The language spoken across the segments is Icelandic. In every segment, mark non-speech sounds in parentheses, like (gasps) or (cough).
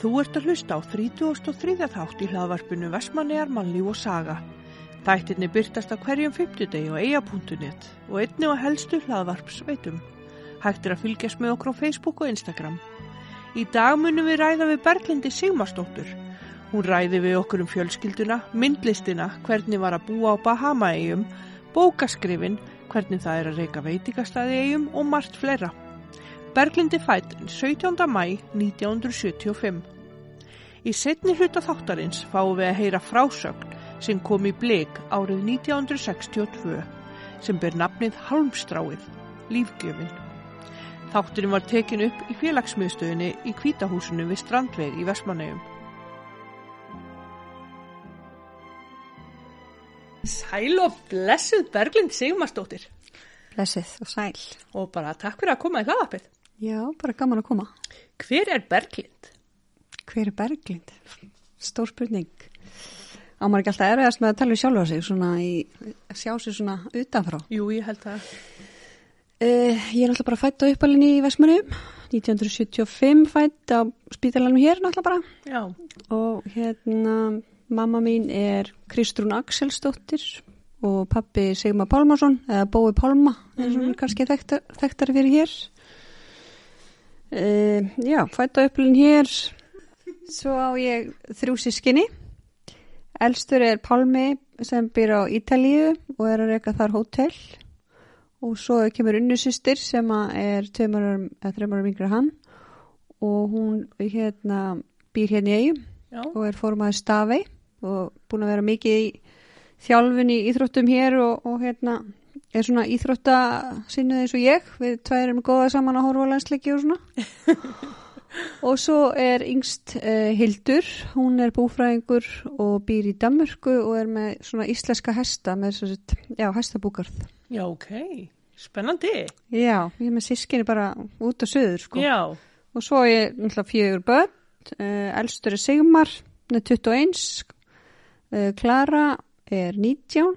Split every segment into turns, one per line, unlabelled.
Þú ert að hlusta á 33. þátt í hlaðvarpinu Vestmannegar mannlíf og saga. Þættinni byrtast á hverjum 50 deg og eia.net og einni á helstu hlaðvarpsveitum. Hægt er að fylgjast með okkur á Facebook og Instagram. Í dag munum við ræða við Berglindi Sigmarsdóttur. Hún ræði við okkur um fjölskylduna, myndlistina, hvernig var að búa á Bahamaegjum, bókaskrifin, hvernig það er að reyka veitingastæðiegjum og margt fleira. Berglindi fætt 17. mæ 1975. Í setni hluta þáttarins fáum við að heyra frásögn sem kom í bleik árið 1962 sem ber nafnið Halmstráið, lífgjöfin. Þátturinn var tekin upp í félagsmiðstöðinni í Kvítahúsinu við Strandveg í Vestmannegjum. Sæl og blessuð Berglind Sigmarsdóttir
Blessið og sæl.
og bara takk fyrir að koma í hlaðarpið.
Já, bara gaman að koma.
Hver er Berglind?
Hver er Berglind? Stór spurning. Á maður ekki alltaf erfiðast með að tala um sjálfa sig, svona í, að sjá sig svona utanfrá.
Jú, ég held það.
Uh, ég er alltaf bara fætt á uppalinn í Vestmannum, 1975 fætt á spítalanum hér náttúrulega bara.
Já,
Og hérna, mamma mín er Kristrún Axelsdóttir og pappi Sigmar Pálmarsson, eða Bói Pálma, eins og mm -hmm. kannski þekktar, þekktar fyrir hér. Uh, já, fætta upplun hér, svo á ég þrjú sískinni. Elstur er Pálmi sem býr á Ítalíu og er að reyka þar hótel. Og svo kemur unnusýstir sem að er tveimur, þreimur mingra hann og hún hérna, býr hérna í eigum
já,
og er formaður stafei og búin að vera mikið í þjálfun í íþróttum hér og, og hérna er svona íþrótta sinnuð eins og ég, við tvær erum góða saman að horfa á landsleiki og svona og svo er yngst uh, Hildur, hún er búfræðingur og býr í Danmörku og er með svona íslenska hesta með svo sett, já, hestabúkarð
já, ok. Spennandi.
já, ég er með sískinni bara út og söður sko
Já,
Og svo er náttúrulega fjögur börn, uh, elstur er Sigmar, hún er 21, uh, Klara er 19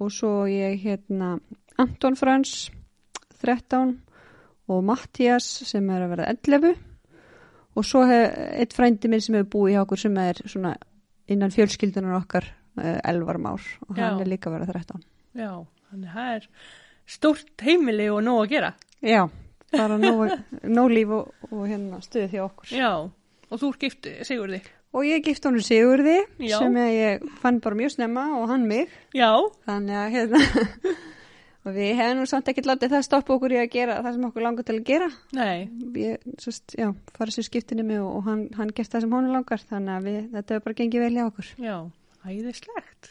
og svo ég hérna Anton Frans, 13 og Mattias sem er að verða 11 og svo hef, eitt frændi minn sem hefur búið hjá okkur sem er svona innan fjölskyldunar okkar uh, 11 már og
Já.
hann er líka að verða 13.
já, þannig að það er stórt heimili og nóg að gera.
Já, bara nóg, (laughs) nóg líf og, og hérna stuðið hjá okkur.
Já, og þú ert gift, segur þig.
Og ég gift honum Sigurði
Já.
sem að ég fann bara mjög snemma og hann mig.
Já,
Þannig að hérna, (laughs) og við hefum nú samt ekkert látið það stoppa okkur í að gera það sem okkur langar til að gera.
nei,
Ég, sest, já, farið sér skiptinu mig og, og hann, hann gert það sem honum langar, þannig að við, þetta hefur bara gengið vel hjá okkur.
já, æðislegt.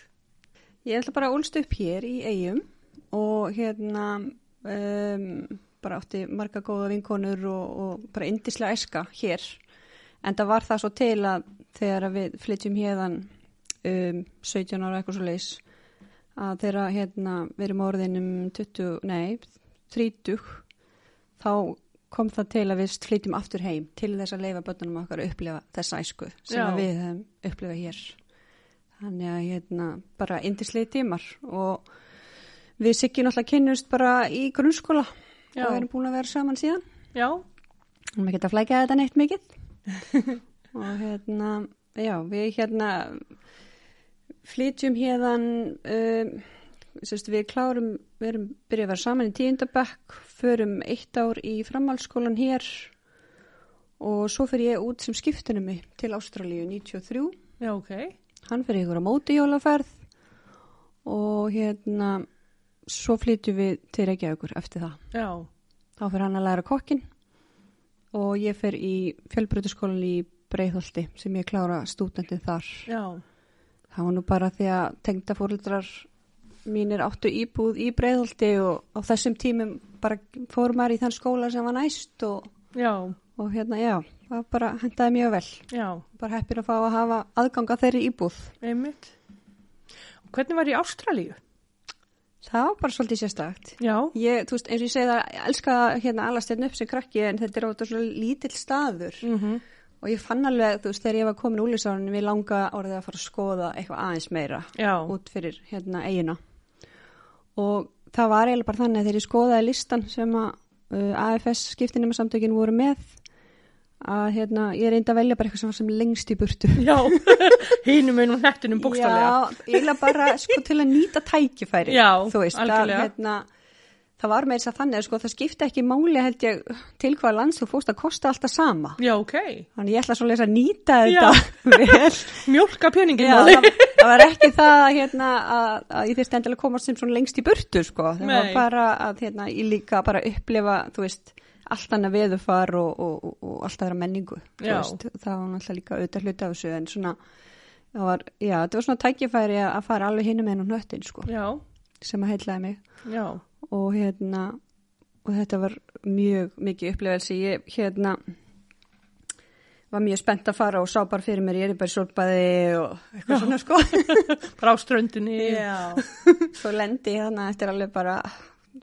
Ég ætla bara að úlst upp hér í eigum og hérna um, bara átti marga góða vinkonur og, og bara indislega eska hér. En það var það svo til að þegar að við flytjum hérðan um, 17 ára eitthvað svo leis að þegar hérna við erum orðin um 20, nei, 30 þá kom það til að við flytjum aftur heim til þess að leifa börnunum okkar að upplifa þessa æsku sem
Já.
að við höfum upplifað hér. Þannig að hérna bara indislegi tímar og við sikki náttúrulega kynnust bara í grunnskóla
Já.
og erum búin að vera saman síðan.
Já,
Við erum ekki að flækja þetta neitt mikið. og hérna, já, við hérna flytjum hérðan, um, sérst, við klárum, við erum byrjað að vera saman í tíundabekk, förum eitt ár í framhaldsskólan hér og svo fyrir ég út sem skiptunumi til Ástralíu 93
já, ok.
hann fyrir ykkur á móti jólaferð og hérna svo flytjum við til Reykjavíkur eftir það.
Já,
Þá fyrir hann að læra kokkin og ég fyrir í fjölbröðuskólan í Breiðholti sem ég klára stúdendið þar.
já,
Það var nú bara því að tengda fóröldrar mínir áttu íbúð í Breiðholti og á þessum tímum bara fór maður í þann skóla sem var næst og,
já,
og hérna já, það bara hendaði mjög vel.
já,
Bara heppir að fá að hafa aðganga þeirri íbúð.
einmitt. Og Hvernig var í Ástralíu?
Það var bara svolítið sérstakt.
Já,
Ég, þú veist, eins og ég segi það, ég elska hérna alast hérna upp sem krakki en þetta er ótaf svona lítill staður
mm -hmm.
og ég fann alveg, þú veist, þegar ég var komin úlisárunum við langa orðið að fara að skoða eitthvað aðeins meira
já,
út fyrir hérna eigina og það var eiginlega bara þannig að þegar ég skoðaði listan sem að uh, AFS skiptinema samtökin voru með að hérna, ég reyndi að velja bara eitthvað sem var sem lengst í
(laughs)
burtu.
Já, hínum einu hnettinum bókstálega.
Já, eiginlega bara sko til að nýta tækifæri,
Já,
þú veist, að
algjörlega.
hérna, það var með þess að þannig að sko það skipti ekki máli held ég til hvaða lands þú fórst að kosta alltaf sama.
Já, ok.
Þannig ég ætla svo að nýta
Já.
þetta (laughs) vel.
Mjólka peningin
Já,
að
það,
þig.
það var ekki það að, hérna, að, að ég þurfti endilega að komast sem svona lengst í burtu sko. það var
Nei.
bara að hérna, ég líka bara upplifa þú veist, allt annað veðufar og, og, og, og allt aðra menningu þú
Já.
veist, það var náttúrulega líka auðvitað hluti af þessu en svona það var, já, það var svona tækifæri að- að fara alveg hinum enn og nöttin sko,
Já,
sem að heillaði mig
já,
og hérna og þetta var mjög mikið upplifelse ég hérna var mjög spennt að fara og sá bara fyrir mér ég er bara sorpaði og eitthvað svona sko (laughs)
bara á ströndinni.
Já. svo lendi ég þannig að þetta er alveg bara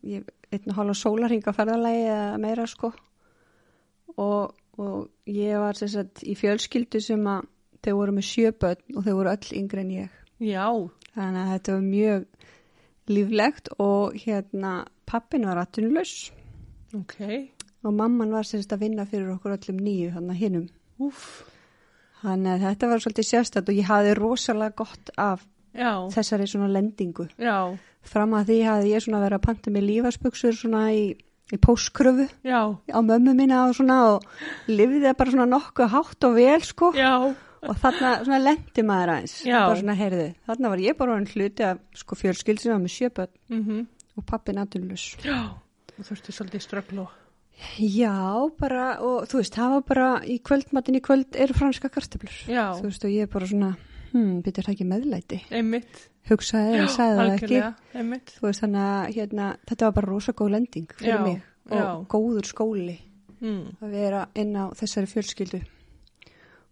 ég, einn og hálf sólarhinga ferðalagi eða meira sko og, og ég var sem sagt í fjölskyldu sem að þau voru með sjöböld og þau voru öll yngri en ég
Já,
þannig að þetta var mjög líflegt og hérna pappin var atvinnulegs
ok.
og mamman var sem sagt að vinna fyrir okkur öllum nýju þannig að hinnum
Úf,
þannig að eh, þetta var svolítið sérstætt og ég hafði rosalega gott af
já,
þessari svona lendingu
já,
fram að því hafði ég svona verið að panta mér lífarsbuksur svona í, í póskröfu
já,
á mömmu mína og svona og lifði það bara svona nokkuð hátt og vel sko
já,
og þarna svona lendi maður aðeins
Já.
bara svona heyrði, þarna var ég bara orðin hluti af sko fjölskyld sem var með sjöböld
mhm,
og pappi naturnlus
já. Þú þurfti svolítið ströggl og...
Já, bara og þú veist, það var bara í kvöldmatin í kvöld eru franska kartöflur
Já.
þú veist og ég bara svona, hm, býtur það ekki meðlæti
Einmitt.
hugsaði en sagði það ekki
Algjörlega, einmitt.
þú veist þannig að hérna, þetta var bara rosa góð lending fyrir
Já,
mig og
já.
góður skóli
Mm.
að vera inn á þessari fjölskyldu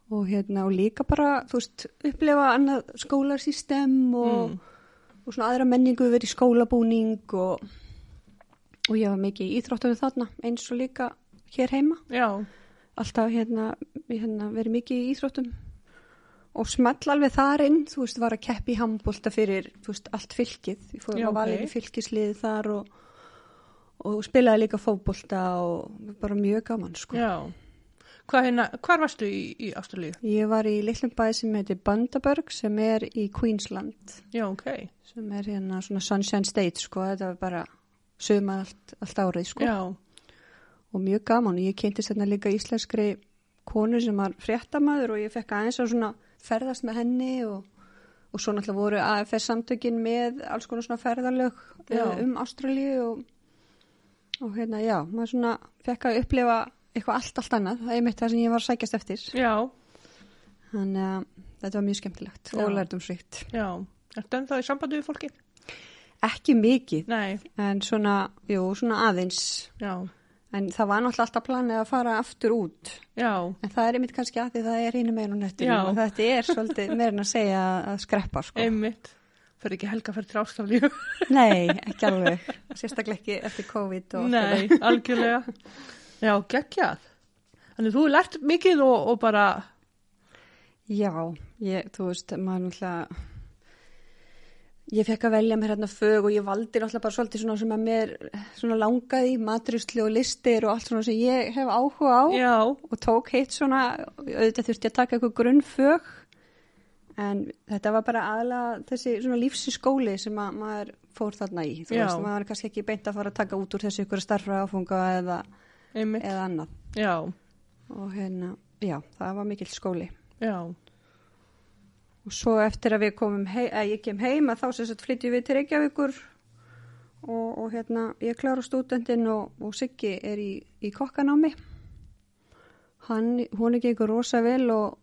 og hérna og líka bara þú veist upplifa annað skólarsystem og,
Mm.
og svona aðra menningu verið í skólabúning og, og ég var mikið í íþróttunum þarna eins og líka hér heima
Já,
alltaf hérna, hérna verið mikið í íþróttum og small alveg þar inn, þú veist, var að keppi í handbólta fyrir, þú veist, allt fylkið. Ég fór
Já,
að
ok.
valið í fylkislið þar og, og spilaði líka fótbólta og bara mjög gaman, sko.
já. Hvað hérna, hvar varstu í, í Ástralíu?
Ég var í litlum bæði sem heitir Bandaberg sem er í Queensland,
Já, ok.
sem er hérna svona Sunshine State, sko, þetta var bara sögum allt, allt árið, sko.
Já,
og mjög gaman og ég kynntist þarna líka íslenskri konu sem var fréttamaður og ég fekk aðeins að svona ferðast með henni og, og svo náttúrulega voru AFS samtökin með alls konar svona ferðalög
Já.
eh, um Ástralíu og, og hérna já, maður svona fekk að upplifa eitthvað allt, allt annað, það er mitt það sem ég var að sækjast eftir
já,
þannig að þetta var mjög skemmtilegt
Já.
og lærdomsrikt.
já. Ertu ennþá í sambandi við fólki?
Ekki mikið,
Nei,
en svona, jú, svona aðeins
já,
en það var náttúrulega alltaf planið að fara aftur út
já,
En það er einmitt kannski að því það er hínu meira á
Já.
nettinu og þetta er svolítið meira en að segja að skreppa sko.
einmitt. Fyrir ekki helga fyrir til
(laughs)
Ástralíu.
Nei, ekki alveg. Sérstaklega ekki eftir COVID og
Nei, algjörlega. Já, geggjað. Þannig þú hefur lært mikið og, og bara,
Já, ég, þú veist, maður náttúrulega, ég fekk að velja mér hérna fög og ég valdi náttúrulega bara svolítið svona sem að mér svona langaði, í, matrýslu og listir og allt svona sem ég hef áhuga á
já,
og tók hitt svona, auðvitað þurfti að taka eitthvað grunnfög en þetta var bara aðlega þessi svona lífsiskóli sem að maður fór þarna í, þú
Já.
veist, maður er kannski ekki beint að fara að taka út úr þessu ykkur starfra áfunga eða,
einmitt,
eða annað
já,
og hérna, já, það var mikill skóli
já,
og svo eftir að við komum heim, að ég kem heim að þá sem sagt flytjum við til Reykjavíkur og, og hérna ég klára stúdendin og, og Siggi er í, í kokkanámi hann, hún er gengur rosa vel og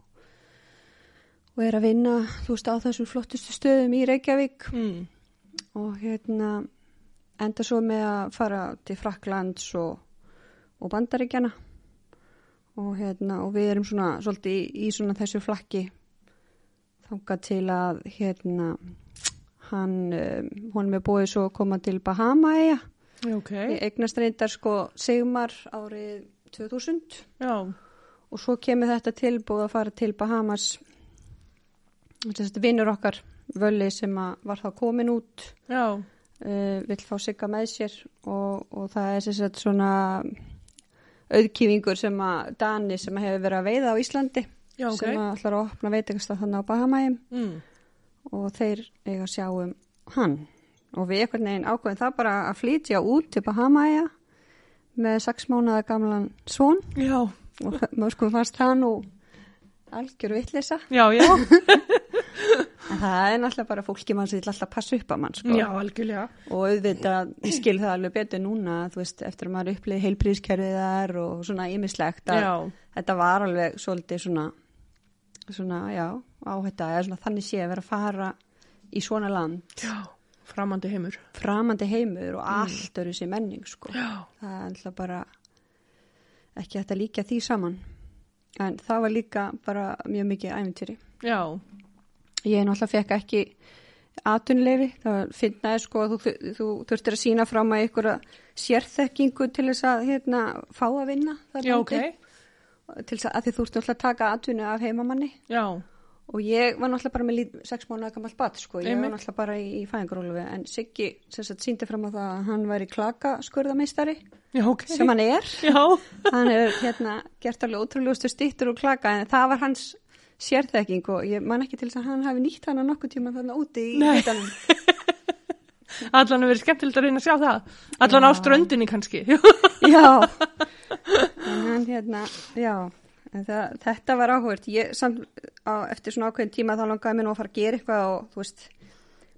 og er að vinna, þú veist, á þessum flottustu stöðum í Reykjavík
mm.
og hérna enda svo með að fara til Fraklands og, og Bandaríkjana og hérna og við erum svona svolítið í, í svona þessu flakki þangað til að hérna hann, um, honum er búið svo að koma til Bahama eiga
ok,
ég eignast reyndar sko Sigmar árið 2000
já,
og svo kemur þetta tilbúið að fara til Bahamas þess að vinnur okkar völli sem að var þá komin út
já,
uh, vill fá sigga með sér og, og það er sem sagt svona auðkýfingur sem að Dani sem að hefur verið að veiða á Íslandi
Já, ok.
sem að ætlar að opna veitingast að þannig á Bahamæjum
Mm.
og þeir eiga að sjá um hann og við einhvern veginn ákveðum það bara að flytja út til Bahamæja með sex mánuða gamlan son
Já,
og (laughs) mörgum fannst það nú algjör vitlisa
já, já.
en það er náttúrulega bara fólki mann sem vil alltaf passa upp að mann sko.
(laughs) já, algjörlega.
og auðvitað ég skil það alveg betur núna þú veist, eftir að maður upplið heilbríðskerfiðar og svona ymislegt að
Já.
þetta var alveg svolítið svona svona, já, áhætta eða svona þannig sé að vera að fara í svona land,
Já, framandi heimur.
framandi heimur og allt eru þessi menning sko
Já.
það er alltaf bara ekki hægt að líka því saman en það var líka bara mjög mikið æfintýri
Já,
Ég náttúrulega fekk ekki atunleifi, það finnaði sko að þú, þú, þú þurftir að sína fram að ykkur sérþekkingu til þess að hérna, fá að vinna. þarna
já, ok.
úti. Til þess að, að því þú ert náttúrulega að taka atunu af heimamanni
Já,
og ég var náttúrulega bara með lít, sex mánuða gamalt bat sko, ég
Einmitt.
var náttúrulega bara í, í fæðingarólufi en Siggi sem sagt síndi fram að það að hann væri klaka skurðameistari
já, ok.
sem hann er
(laughs) Já,
hann hefur hérna gert alveg ótrúlegustu stýttur og klaka en það var hans sérþekking og ég man ekki til þess að hann hafi nýtt hana nokkuð tíma þarna úti í
Nei.
hitanum.
(laughs) allan hefur verið skemmtilegt að reyna að sjá það. Allan á ströndinni kannski. (laughs)
Já, en hann hérna, já, en það, þetta var áhugert. Ég samt á, eftir svona ákveðin tíma þá langaði mér nú að fara að gera eitthvað og þú veist,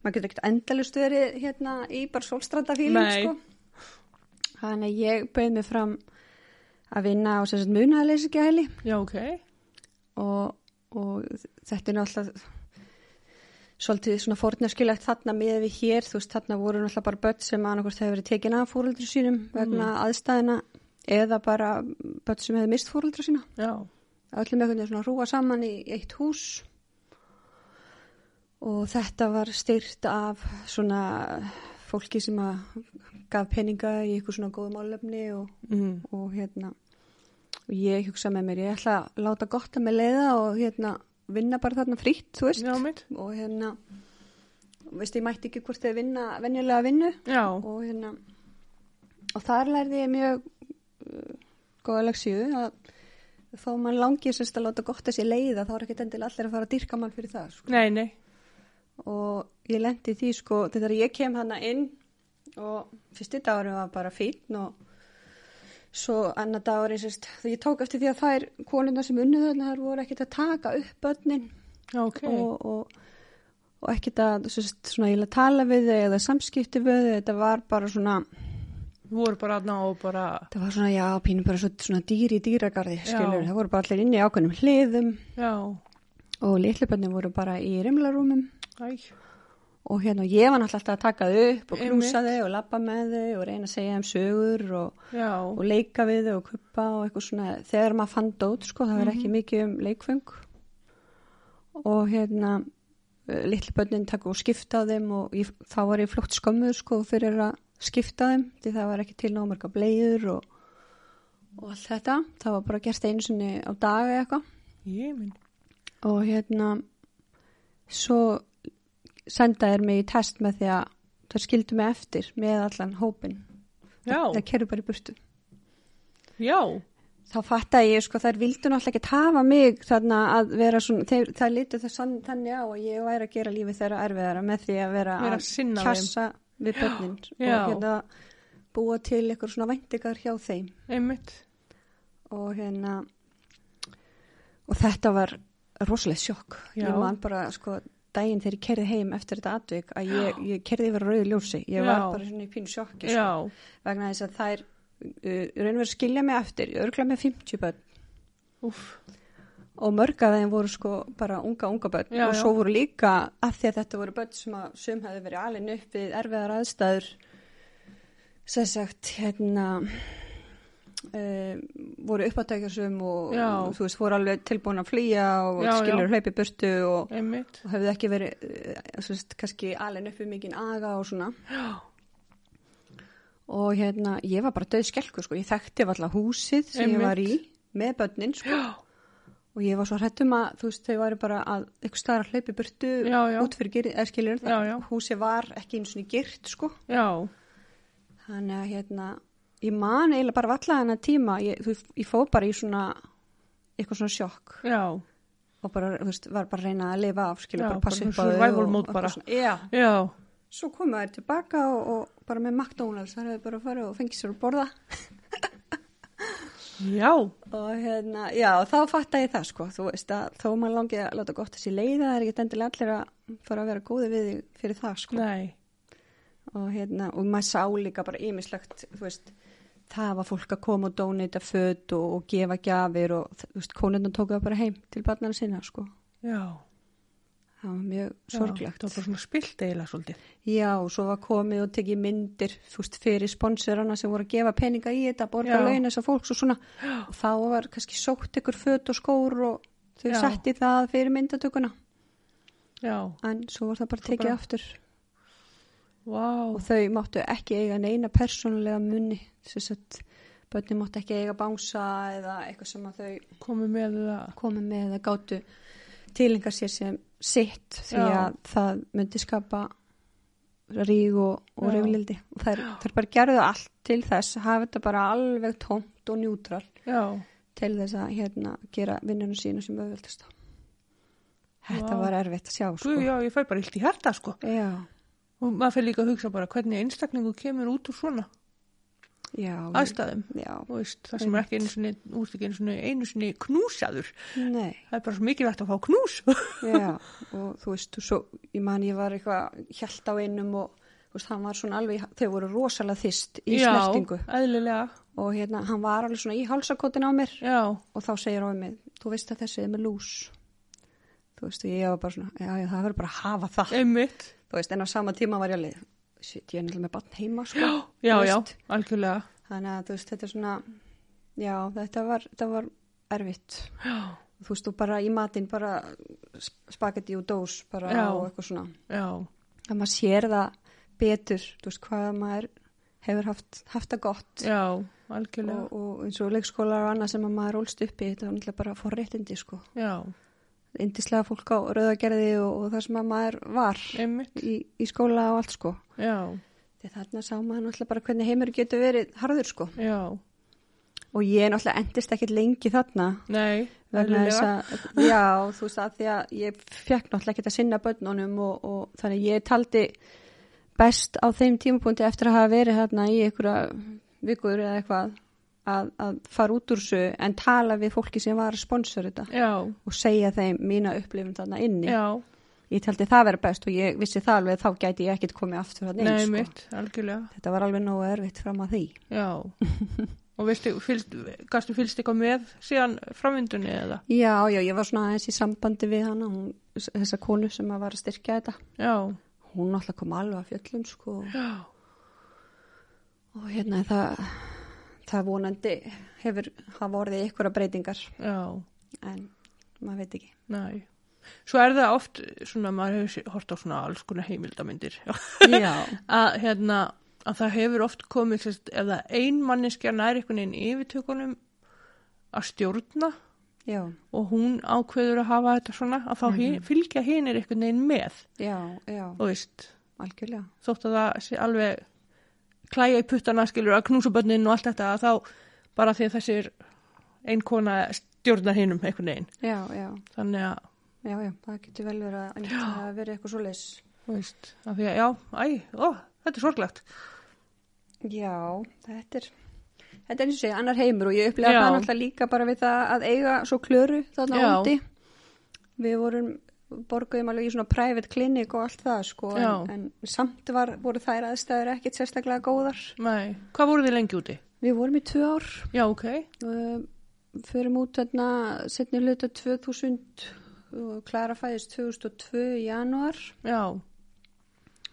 maður getur ekkert endalust verið hérna í bara sólstrandafílum,
Nei.
sko. Þannig að ég bauð mig fram að vinna á sem sagt munaðarleysingjæli
já, ok.
og, og þetta er náttúrulega svolítið svona fórnarskilegt þarna með við hér, þú veist, þarna voru náttúrulega bara börn sem annarkvort hefur verið tekin af fóröldri sínum vegna aðstæðina eða bara börn sem hefur mist fóröldra sína
Já,
öllum einhvern veginn svona rúa saman í eitt hús og þetta var styrt af svona fólki sem að gaf peninga í ykkur svona góðum álefni og
mm.
og hérna og ég hugsa með mér, ég ætla að láta gott að mig leiða og hérna vinna bara þarna frýtt, þú veist
já, mitt.
og hérna, veist ég mætti ekki hvort þau vinna venjulega vinnu
Já,
og hérna og þar lærði ég mjög uh, góða leksíu að þó mann langið sérst að láta gott að sér leiða þá er ekkit endilega allir að fara að dyrka mann fyrir það sko
nei, nei.
og ég lendi í því sko þegar ég kem hana inn og fyrsti dagurinn var bara fín og svo annar dagurinn sérst, því ég tók eftir því að þær konuna sem unnið þarna þær voru ekkert að taka upp börnin
Já, ok.
og, og, og ekkert að sérst, svona ég að tala við þau eða samskipti við þau, þetta var bara svona
Þú voru bara aðna og bara...
það var svona já, pínu bara svona, svona dýr í dýragarði
Já.
skilur, það voru bara allir inni í ákveðnum hliðum
Já,
og litlubönni voru bara í rimlarúmum
æg.
og hérna ég var náttúrulega alltaf að taka þau upp og
Einmitt.
knúsa þau og labba með þau og reyna að segja þeim sögur og,
Já,
og leika við þau og kuppa og eitthvað svona þegar maður fann dót sko það var ekki mikið um leikfeng og hérna litli bönnin taka og skipta á þeim og ég, þá var ég flott skömmuð sko fyrir að skipta þeim því það var ekki til námarga bleiður og, og allt þetta það var bara gert einu sinni á dag eða eitthvað
ég minn.
og hérna svo sendaði þér mig í test með því að það skildu mig eftir með allan hópin
Já,
það kerðu bara í burtu
já,
þá fattaði ég sko þær vildu náttúrulega ekki hafa mig þarna að vera svona þeir, það litu það sann, þannig á og ég væri að gera lífið þeirra erfiðara með því að vera
Vera að
að
sinna þeim.
kjassa við börnin
já.
og hérna búa til eitthvað svona væntingar hjá þeim
einmitt.
og hérna og þetta var rosalega sjokk
Já.
ég man bara sko daginn þegar ég kerði heim eftir þetta atvik að ég, ég kerði yfir á rauðu ljósi ég
Já.
var bara svona í pínu sjokki sko.
Já,
vegna þess að þær uh, raunverð skilja mig eftir, örgla með 50 börn
úff.
og mörg af þeim voru sko bara unga, unga börn
Já,
og
já.
svo voru líka af því að þetta voru börn sem að sum hefði verið alin upp við erfiðar aðstæður sem sagt hérna um, voru uppátækjarsum og,
Já.
og þú veist voru alveg tilbúin að flýja og
Já,
skilur hlaupi í burtu og,
Einmitt.
og hefði ekki verið eh, sem sagt, kannski alin upp við mikinn aga og svona
Já,
og hérna ég var bara döð skelku sko, ég þekkti alltaf húsið sem
Einmitt.
ég var í með börnin sko
já,
og ég var svo hrættum að þú veist þau væri bara að ykkur staðar að hlaupi burtu
Já, já.
út fyrir gyrði, eða skilur
Já, já.
húsi var ekki eins og niður gyrt sko
já,
þannig að hérna ég man eiginlega bara valla þennan tíma ég, þú, veist, ég fóð bara í svona eitthvað svona sjokk
já,
og bara, þú veist, var bara að reyna að lifa af skilja,
Já,
bara
bara
passa upp á þau
survival
og-
mode
og
bara.
eitthvað svona- já,
já,
svo koma þær tilbaka og, og bara með McDonalds þar hefur bara að fara og fengið sér að borða
já,
og hérna, já, þá fatta ég það sko, þú veist að þó maður langið að láta gott þessi leiða, það er ekkert endilega allir að fara að vera góði við þig fyrir það sko
nei,
og hérna, og maður sá líka bara ýmislegt, þú veist það var fólk að koma og donata föt og, og gefa gjafir og þú veist, konundan tók það bara heim til barnana sinna sko,
já.
það var mjög
Já,
sorglegt
Það var bara svona spilt eiginlega svolítið.
Já, svo var komið og tekið myndir þú veist, fyrir sponsorana sem voru að gefa peninga í þetta, borga
Já.
laun þessar fólks og svona, og þá var kannski sótt ykkur föt og skór og þau
Já.
setti það fyrir myndatökuna
Já,
en svo var það bara tekið
bara-
aftur
vá,
og þau máttu ekki eiga neina persónulega munni þess að börnum máttu ekki eiga bánsa eða eitthvað sem að þau
komið með það.
komið með eða gátu tilenga sér sem sitt því
Já.
að það myndi skapa ríg og, og
Já.
reyflildi og þær, þær bara gerðu allt til þess hafa þetta bara alveg tómt og njútral
Já,
til þess að hérna gera vinnunum sína sem auðvöldast þetta
Vá.
var erfitt að sjá sko.
Guð, já, ég fæ bara illt í hjarta, sko.
já,
Og maður fyrir líka að hugsa bara hvernig einstaklingu kemur út úr svona
já,
aðstæðum.
já
Þú veist, það sem er ekki einu sinni, úrst ekki einu sinni, einu sinni knúsaður.
nei
Það er bara svo mikilvægt að fá knús. (laughs)
Já, og þú veist, og svo, ég man ég var eitthvað hjælt á einum og þú veist, hann var svona alveg, þau voru rosalega þyst í
já,
snertingu
eðlilega,
og hérna, hann var alveg svona í hálsakotin á mér
já,
og þá segir hann mig, þú veist að þessi er með lús. Þú veist, og ég var bara svona, já, já, það verður bara að hafa það.
einmitt.
Þú veist, en á sama tíma var ég alveg, shit, ég er náttúrulega með bann heima, sko.
Já,
Þú
já,
veist,
algjörlega.
Þannig að, þú veist, þetta er svona, já, þetta var, þetta var erfitt.
Já,
Þú veist, og bara í matinn, bara sp- spagetti og dós, bara
Já.
og eitthvað svona.
já,
að maður sér það betur, þú veist, hvað maður hefur haft, haft það gott
já,
og,
algjörlega.
og eins og leikskólar og annað sem að maður ólst upp í, þetta var náttúrulega bara forréttindi, sko.
Já,
Indislega fólk á rauðagerði og, og það sem að maður var
einmitt,
í, í skóla og allt, sko.
já,
Þegar þarna sá maður náttúrulega bara hvernig heimur getur verið harður, sko.
já,
Og ég náttúrulega endist ekkit lengi þarna
nei,
vegna þess að, já, þú veist að því að ég fekk náttúrulega ekki að sinna börnunum og, og þannig að ég taldi best á þeim tímapunkti eftir að hafa verið hérna í einhverja vikur eða eitthvað að, að fara út úr þessu en tala við fólki sem var að sponsor þetta
Já,
og segja þeim mína upplifun þarna inni.
já,
Ég taldi það vera best og ég vissi það alveg að þá gæti ég ekkit komið aftur þarna
nei,
inn, sko.
mitt, algjörlega,
Þetta var alveg nógu erfitt fram að því.
já. og viltu, fylgst, gastu fylgst eitthvað með síðan framvindunni eða?
Já, já, ég var svona aðeins í sambandi við hana, hún, þessa konu sem að var að styrkja þetta.
Já,
hún náttúrulega kom alveg að fjöllum sko
já,
og hérna það, það vonandi hefur hafa orðið ykkur að breytingar
já,
en maður veit ekki.
næ. Svo er það oft, svona, maður hefur sé- hort á svona alls konar heimildamindir,
Já.
að hérna, að það hefur oft komið, sérst, eða einmanneskja nær einhvern veginn yfirtökunum að stjórna
(laughs) Já,
og hún ákveður að hafa þetta svona, að þá mm fylgja hinir einhvern veginn með,
já, já,
þú veist,
algjörlega.
þótt að það sé alveg klæja í puttana skilur að knúsa bönnin og allt þetta að þá bara því að þessir ein kona stjórnar hinum einhvern veginn
Já, já,
þannig að,
já, já, það getur vel verið að nýta að vera eitthvað svo leys.
þú veist, að því að já, æ, ó, þetta er sorglegt
Já, þetta er, þetta er eins og segja annar heimur og ég upplega
Já.
það náttúrulega líka bara við það að eiga svo klöru þarna
Já.
úti. Við vorum, borguðum alveg í svona private clinic og allt það sko
Já.
en, en samt var, voru þær aðstæður ekkit sérstaklega góðar.
Nei, hvað voru þið lengi úti?
Við vorum í tvö ár,
Já, ok,
uh, förum út þarna setni hluta 2000 og Klara fæðist 2002 í janúar.
já,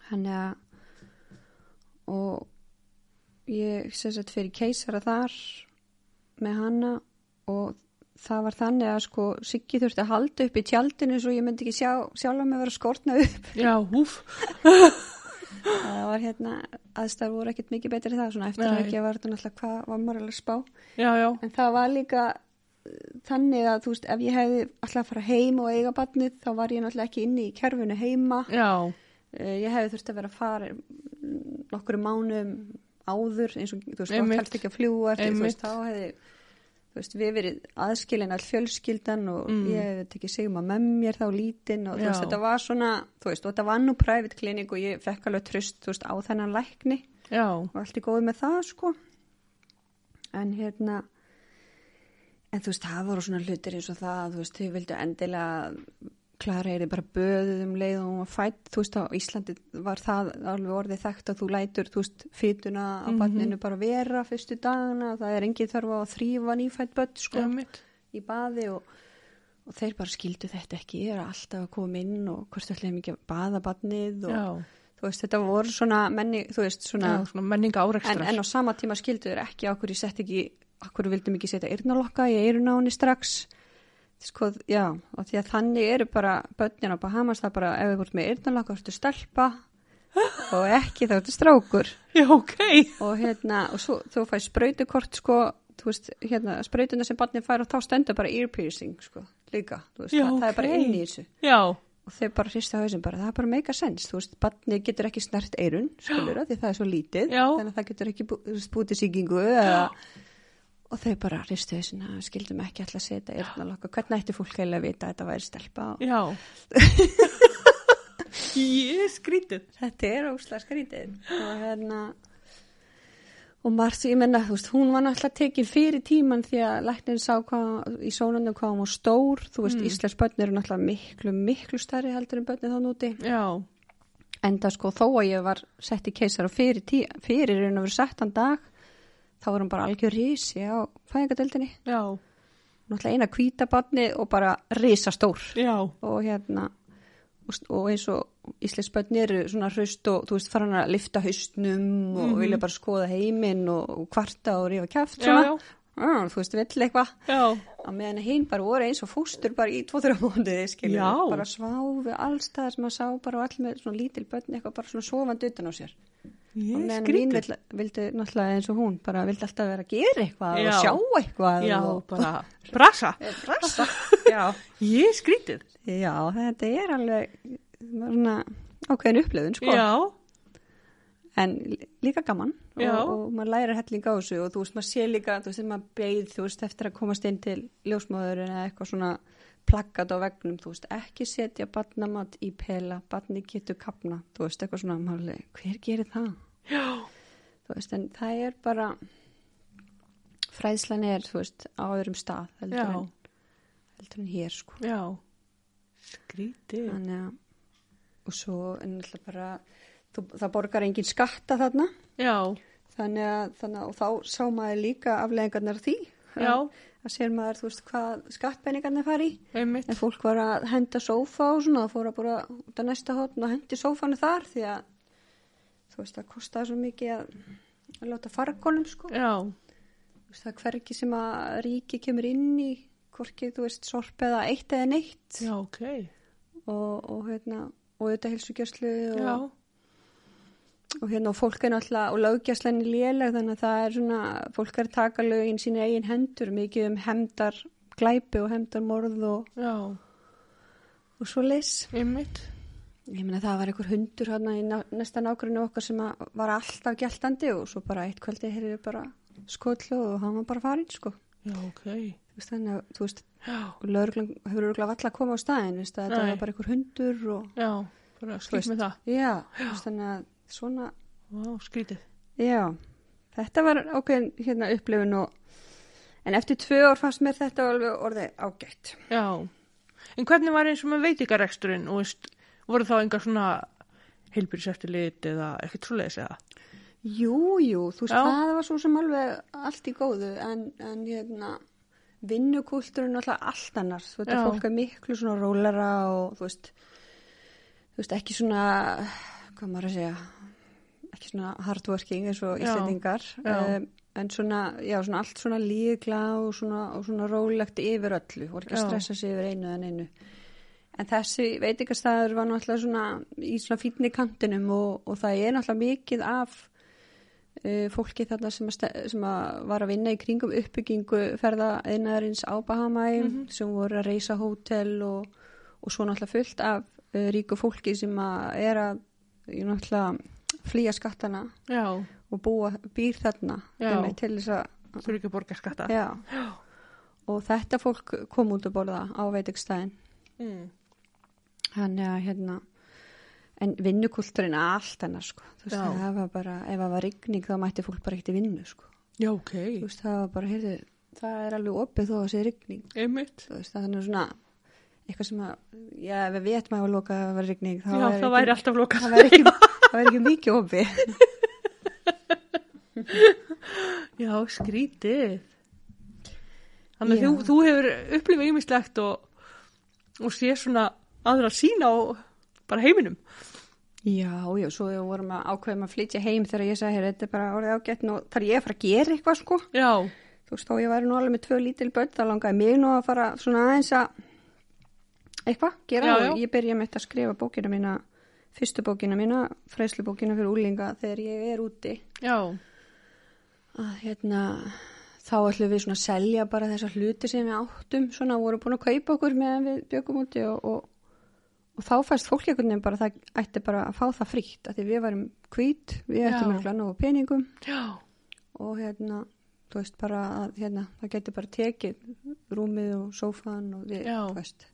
Þannig að og ég sem sagt fyrir keisara þar með hanna og það var þannig að sko Siggi þurfti að halda upp í tjaldinu svo ég myndi ekki sjá, sjálf að mig vera skortna upp.
já, húf
það var hérna, aðstæður voru ekkert mikið betri það svona eftir
Nei.
að ekki var þetta náttúrulega hvað var maður alveg að spá.
Já, já,
En það var líka uh, þannig að þú veist, ef ég hefði alltaf að fara heim og eiga barnið, þá var ég náttúrulega ekki inni í kerfinu heima.
já,
Eh, Uh, Ég hefði þurfti að vera að fara mm, nokkru mánum áður eins og þú veist,
Einmitt.
þá helst ekki að fljúa eftir, þú
Einmitt.
veist, þá hefði þú veist, við verið aðskilin all fjölskyldan og
Mm.
ég hefði tekið segjum að með mér þá lítinn og þú veist,
Já.
þetta var svona þú veist, og þetta var nú private klinik og ég fekk alveg tröst, þú veist, á þennan lækni
já,
og allt er góð með það, sko en hérna en þú veist, það voru svona hlutir eins og það, þú veist, þau vildu endilega Klara er bara böðuð um leið og hún var fætt, þú veist, á Íslandi var það alveg orðið þekkt að þú lætur, þú veist, fytuna á mm
Mhm.
bara vera fyrstu dagana, það er engin þörf á að þrýfa nýfætt börn, sko,
já mitt
í baði og, og þeir bara skildu þetta ekki, ég er alltaf að koma inn og hvort ætlaðum ekki að baða barnið og
já,
þú veist, þetta voru svona menni, þú veist, svona
já, svona menninga
en,
árekstrar
en á sama tíma skildu þeir ekki okkur ég sett ekki, okkur vildum ekki setja eyrnalokka í eyrun á henni strax sko, já, og því að þannig eru bara börnin á Bahamas, það er bara ef við vorum með eyrnalokka, þú ertu stelpa og ekki þá ertu strákur
já, ok,
og hérna, og svo þú fæði sprautukort sko, þú veist, hérna sprautuna sem barnin fær og þá stendur bara ear piercing sko, líka, þú veist,
Já,
það, það er bara
ókei.
inn í þessu
já,
og þau bara hristi á hausinn bara, það er bara meika sens, þú veist, barni getur ekki snert eirun, skilur það, því það er svo lítið
Já.
þannig að það getur ekki bú, þú veist, bútið sýkingu eða, og þau bara hristi á hausinn að við skildum ekki alltaf setja eirunalokka, hvernig ætti fólk heila að vita að þetta væri stelpa og
já (laughs) ég er skrítið
þetta er ósla skrítið og hérna og Marci, ég menna, þú veist, hún var náttúrulega tekin fyrir tíman því að læknin sá hvað, í sónunum hvað hún var stór þú veist, mm. Íslands börn eru náttúrulega miklu, miklu stærri heldur en börnin þá núti
já,
enda sko þó að ég var sett í keisara fyrir, tí, fyrir raun og verið settan dag þá var hún bara algjör rísi á fæðingadeldinni
já,
náttúrulega eina kvítabarni og bara risastór
já
og hérna og, og eins og íslensbönni eru svona hraust og þú veist farin að lifta haustnum og vilja bara skoða heiminn og, og kvarta og rífa kæft
Mhm. Já,
svona
já.
Mm, þú veist vill eitthvað
já,
á meðan hinn bara voru eins og fóstur bara í tvo-þrjá mónuði, skilur
Já.
bara sváfi allstaðar sem að sá bara og all með svona lítil börn eitthvað bara svona sofandi utan á sér
ég
og
er
meðan hinn
skrítið
vill, vildi náttúrulega eins og hún bara vildi alltaf vera að gera eitthvað
Já.
og sjá eitthvað
já,
og
bara brasa
Eh,
(laughs)
brasa já.
ég er skrítið
já, þetta er alveg svona ákveðin upplöðun sko
já,
en lí- líka gaman og,
Já.
og maður lærir helling á þessu og þú veist maður sé líka, þú veist þegar maður beið þú veist eftir að komast inn til ljósmaður eða eitthvað svona plakkat á vegnum þú veist ekki setja barnamat í pela, barni getur kapna þú veist eitthvað svona, maður alveg, hver gerir það?
já,
þú veist en það er bara fræðslan er þú veist á öðrum stað
já,
heldur, en, heldur en hér sko
já skrítið
þannig að og svo en alltaf bara þú, það borgar engin skatta þarna
já,
þannig að, þannig að og þá sá maður líka afleðingarnar af því
já,
að, að sér maður þú veist hvað skattpenningarnir fari í
einmitt
en fólk var að henda sófa og svona og fór að bara út að næsta hotn og hendi sófanu þar því að þú veist það kostaði svo mikið að, að láta fargólum sko
já,
Þú veist, það er hvergi sem að ríki kemur inn í hvorki þú veist sorp eða eitt eða neitt
já, ok
og, og hérna og auðvitað hilsugjastlu og,
já,
og hérna og fólk er náttúrulega og löggjastlan er léleg þannig að það er svona fólk er að taka lögin sín í eigin hendur mikið um hemdar glæpi og hemdar morð og,
já,
og svo leys
einmitt
ég meina það var einhver hundur hérna í ná- næsta nágrunni okkar sem að var alltaf gæltandi og svo bara eitt kvöldi heyrði bara skollu og hann var bara farinn sko
já, ok
Þú veist, þannig að þú veist
já,
og lögreglan hefur örgulega valla að koma á staðin veist, að þetta
Nei.
var bara einhver hundur og
já, bara skrítið með það
já, þú veist, þannig að svona
já, skrítið
Já, þetta var ákveðin hérna upplifun og en eftir tvö ár fannst mér þetta alveg orðið ágætt.
já, en hvernig var eins og með veitingareksturinn og veist, voru þá engar svona heilbyrðseftirlit eða ekkert svoleiðis eða
Jú, jú, þú veist,
Já.
það var svo sem alveg allt í góðu en, en hérna vinnukúlturinn alltaf allt annar, þú veist,
Já.
að fólk er miklu svona rólera og þú veist, þú veist, ekki svona, hvað maður að segja, ekki svona hardworking eins og
Já.
íslendingar,
Já.
um, en svona, já, svona allt svona líkla og svona, og svona rólegt yfir öllu, voru ekki að
Já.
stressa sig yfir einu en einu. En þessi veitingastæður var náttúrulega svona í svona fínni kantinum og, og það er náttúrulega mikið af uh, fólki þarna sem, að, ste- sem að var að vinna í kringum uppbyggingu ferða einarins á Bahamæ
Mhm.
sem voru að reysa hótel og, og svo náttúrulega fullt af uh, ríku fólki sem að er að ég náttúrulega flýja skattana
já,
og búa, býr þarna
Já.
einmitt til þess að
þurfi ekki að borga skatta.
já. og þetta fólk kom út að borða á veitingstæðin
Mm.
þannig að hérna en vinnukulturinn er allt hennar sko þú veist
Já.
það var bara, ef það var rigning þá mætti fólk bara ekkert í vinnu sko
Já, ok.
þú veist það var bara, heyrðu, það er alveg opið þó að sé rigning
Einmitt.
þú veist þannig svona eitthvað sem að, já ef við veitum að loka að það var rigning
Já, það
ekki-
væri alltaf lokað.
það væri
(laughs)
ekki, það væri ekki mikið opið
Já, skrítið. Þannig að
Já.
þú, þú hefur upplifað ýmislegt og, og sé svona aðra sína á bara heiminum.
já, já, svo við vorum að ákveðum að flytja heim þegar ég sagði, heyrðu, þetta er bara orðið ágætt og þar ég að fara að gera eitthvað sko
Já,
þú veist, þá ég væri nú alveg með tvö lítil börn þá langaði mig nú að fara svona aðeins að eitthvað, gera
Já,
og
já.
ég byrja með þetta að skrifa bókina mína fyrstu bókina mína, fræslubókina fyrir úlinga þegar ég er úti
já,
að hérna þá ætlum við svona að selja bara þessa hluti sem við áttum, svona vorum búin að kaupa okkur meðan við bjökum úti og, og, og þá fæst fólk einhvern veginn bara það ætti bara að fá það frítt að því við varum hvít, við
Já.
ættum ekki nógu peningum
já,
og hérna, þú veist bara að hérna, það getur bara tekið rúmið og sófan og við,
Já.
þú veist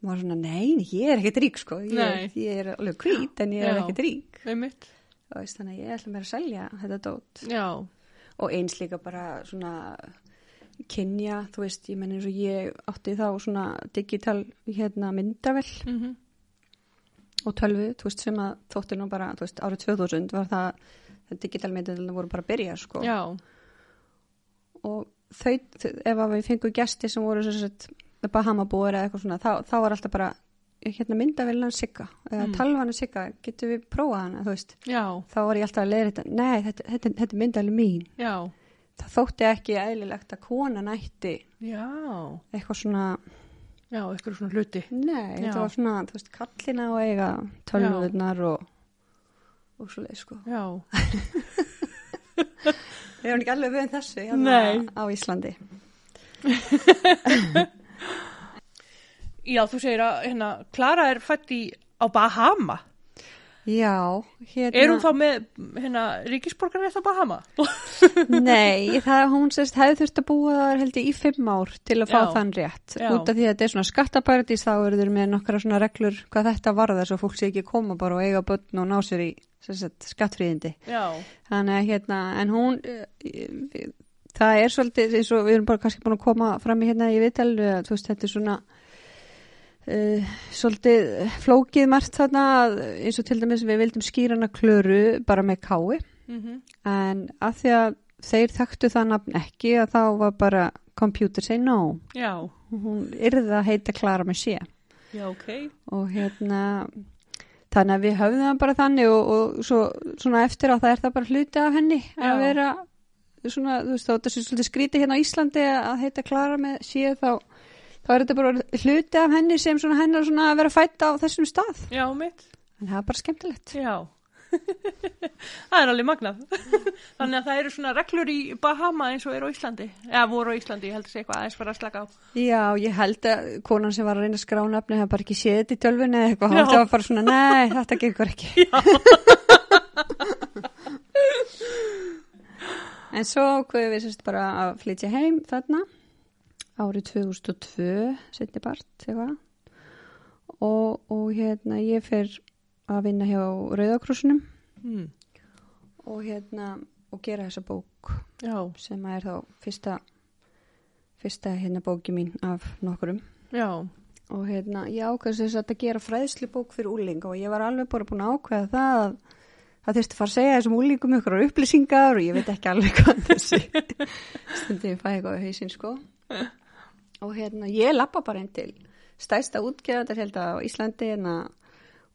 maður var svona, nei, ég er ekkert rík sko,
Nei.
ég, ég er alveg hvít en ég er
Já.
ekkert rík
einmitt,
Þú veist, þannig að ég ætla mér að selja þetta dót
já,
og eins líka bara svona kynja, þú veist, ég menn eins og ég átti þá svona digital hérna myndavel
mm
og tölvu, þú veist, sem að þótti nú bara, þú veist, árið 2000 var það, það digital myndavelna voru bara að byrja, sko
já,
og þau, þau- ef að við fengum gesti sem voru sem sagt Bahamabúar eða eitthvað svona, þá, þá var alltaf bara hérna myndavelna sigga, eða
Mm.
talvana sigga, getum við prófað hana, þú veist
já,
þá var ég alltaf að leiða þetta, nei, þetta, þetta, þetta er myndavelin mín,
já,
það þótti ekki eðlilegt að kona nætti
já,
eitthvað svona,
já, eitthvað svona hluti.
nei,
Já.
þetta var svona, þú veist, kallina og eiga tölvöðnar og, og svo leið, sko.
Já,
Við erum ekki alveg við en þessu hérna,
Nei.
á Íslandi.
já, þú segir að hérna, Klara er fætt í á Bahama.
Já, hérna.
Er hún þá með hérna, ríkisborgarrétt á Bahama?
Nei, það hún sérst hefði þurft að búa þar held ég í fimm ár til að fá
Já.
þann rétt.
Já.
Út af því að þetta er svona skattabærdís þá eru þeir með nokkra svona reglur hvað þetta varðar svo fólk sé ekki að koma bara og eiga börn og ná sér í sem sagt, skattfríðindi.
já,
Þannig að hérna, en hún, eh, við- það er svolítið eins og við erum bara kannski búin að koma fram í hérna í viðtælu að þú veist þetta er svona uh, svolítið flókið margt þarna að, eins og til dæmis við vildum skýra hana klöru bara með kái
mm
en að því að þeir þekktu það nafn ekki að þá var bara computer say no
já,
hún yrði að heita Klara með sé
já, ok.
og hérna þannig að við höfðum það bara þannig og, og svo, svona eftir á það er það bara hluti af henni
Já.
að vera svona, þú veist, þá þetta sé svolítið skrítið hérna á Íslandi að heita Klara með síða þá þá er þetta bara orðið hluti af henni sem svona hennar svona að vera fætt á þessum stað
Já, mitt,
en það er bara skemmtilegt
já. (laughs) það er alveg magnað. (laughs) Þannig að það eru svona reglur í Bahama eins og eru á Íslandi. Eða voru á Íslandi, ég held að segja eitthvað aðeins fyrir að slaka á.
Já, ég held að konan sem var að reyna að skrá nafni hefði bara ekki séð þetta í tölvunni eða eitthvað,
Já.
það var bara svona, nei, þetta gengur ekki (laughs) En svo ákveðum við sérst bara að flytja heim þarna árið 2002, setni part eitthvað og, og hérna ég fer að vinna hjá Rauðakrossunum
Mm.
og hérna og gera þessa bók
Já,
sem er þá fyrsta fyrsta hérna bóki mín af nokkurum
já,
og hérna ég ákveðs þess að gera fræðslubók fyrir úlinga og ég var alveg bara búin að ákveða það að það þurfti að fara að segja þessum úlingum ykkur upplýsingar og ég veit ekki alveg (laughs) hvað þessi stundi ég fæði eitthvað á hausinn sko og hérna ég lappa bara inn til stæsta útgefandar held að á Íslandi en að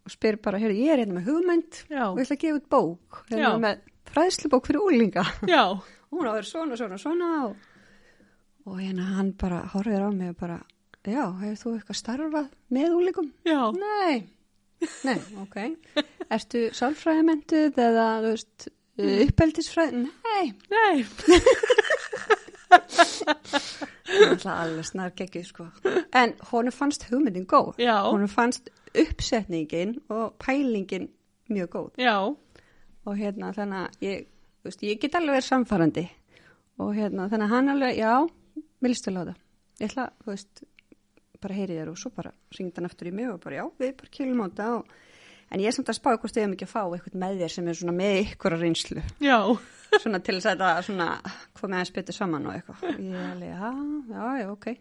og spyr bara, heyrðu, ég er hérna með hugmynd
já,
og ég ætla að gefa út bók hérna
Já.
með fræðslubók fyrir úlinga
já,
hún á að vera svona, svona, svona og, og hérna hann bara horfir á mig og bara, já, hefur þú eitthvað starfað með úlikum?
já,
Nei, nei, ok Ertu sálfræðimenduð eða, þú veist, uppeldisfræð? Nei,
nei,
það er alveg snar geggið, sko En honum fannst hugmyndin góð
já,
honum fannst uppsetningin og pælingin mjög góð
já,
og hérna þannig að ég þú veist, ég get alveg verið samfærandi og hérna, þannig að hann alveg, já, mér listu alveg á það. Ég ætla, þú veist, bara heyrið þér og svo bara ringd hann aftur í mig og bara, já, við bara kýlum á þetta og, en ég er samt að spá hvort þið hefum ekki að fá eitthvað með þér sem er svona með ykkur að reynslu,
Já,
svona til þess að þetta svona komið aðeins betur saman og eitthvað. Og Ég er alveg, já, já, já, ok.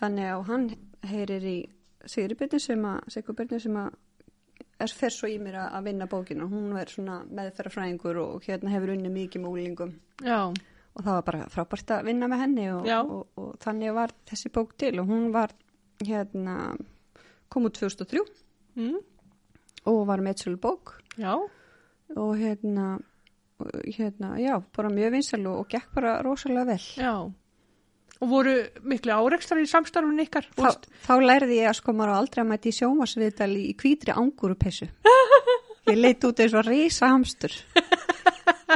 Þannig að hann heyrir í Sigri Byrni sem að, Sigur Byrni sem að er fer svo í mér að að vinna bókinu, hún er svona meðferðarfræðingur og hérna hefur unni mikið með úlingum
já,
og það var bara frábært að vinna með henni og,
Já.
og, og, þannig var þessi bók til og hún var hérna kom út 2003
mm,
og var meðsölu bók
já,
og hérna, og hérna já, bara mjög vinsal og, og gekk bara rosalega vel
já. Og voru miklu árekstar í samstarfinu ykkar? Þú
Þá,
veist,
þá lærði ég að sko maður á aldrei að mæti í sjómasviðtal í í hvítri
(laughs)
angurupessu. Ég leit út eins og reysa hamstur.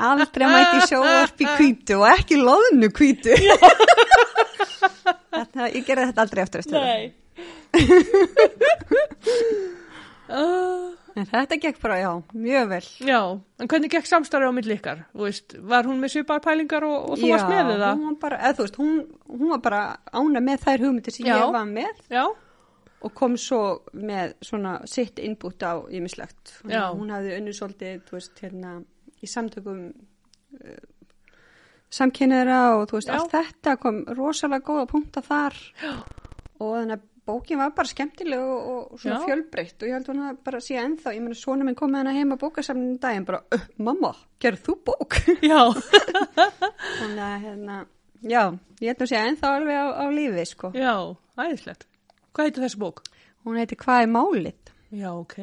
Aldrei að mæti í sjóvarp í hvítu og ekki loðnu hvítu. (laughs) Þetta, ég gerði þetta aldrei eftir eftir. það.
Nei. uh,
En þetta gekk bara, já, mjög vel.
já, en hvernig gekk samstarfið á milli ykkar? Þú veist, var hún með svipar pælingar og, og þú varst með
Já,
eða?
hún var bara, eða þú veist, hún, hún var bara ána með þær hugmyndir sem
Já.
ég var með
Já,
og kom svo með svona sitt innbútt á ymislegt.
Já.
Hún hafði unnu svolítið, þú veist, hérna, í samtökum uh, samkynniðra og þú veist,
Já.
allt þetta kom rosalega góða punkta þar Já. og þannig að bókin var bara skemmtileg og, og svona
Já.
fjölbreytt og ég held að hún að bara sé ennþá, ég meina svona minn kom með hana heim að bókasamninu daginn bara, "Ö, mamma, gerð þú bók? (laughs)
já,
Þannig að, hérna, já, ég held að hún sé ennþá alveg á, á lífið, sko.
(laughs) já, æðislegt. Hvað heitir þessi bók?
Hún heiti Hvað er málið?
Já, ok.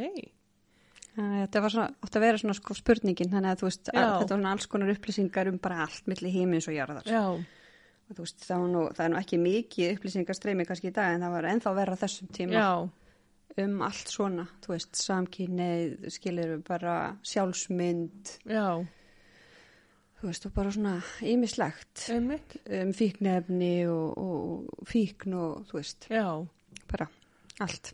Þannig að Þetta var svona, átti að vera svona sko spurningin, þannig að þú veist, að,
Já.
þetta var svona alls konar upplýsingar um bara allt milli heimins og jarðar.
Já,
Og þú veist, það, var nú, það er nú ekki mikið upplýsingarstreymi kannski í dag, en það var ennþá verra á þessum tíma
já,
um allt svona, þú veist, samkynneið, skilir bara sjálfsmynd,
já,
þú veist, og bara svona ýmislegt
einmitt,
um fíknefni og, og, og fíkn og þú veist,
já,
bara allt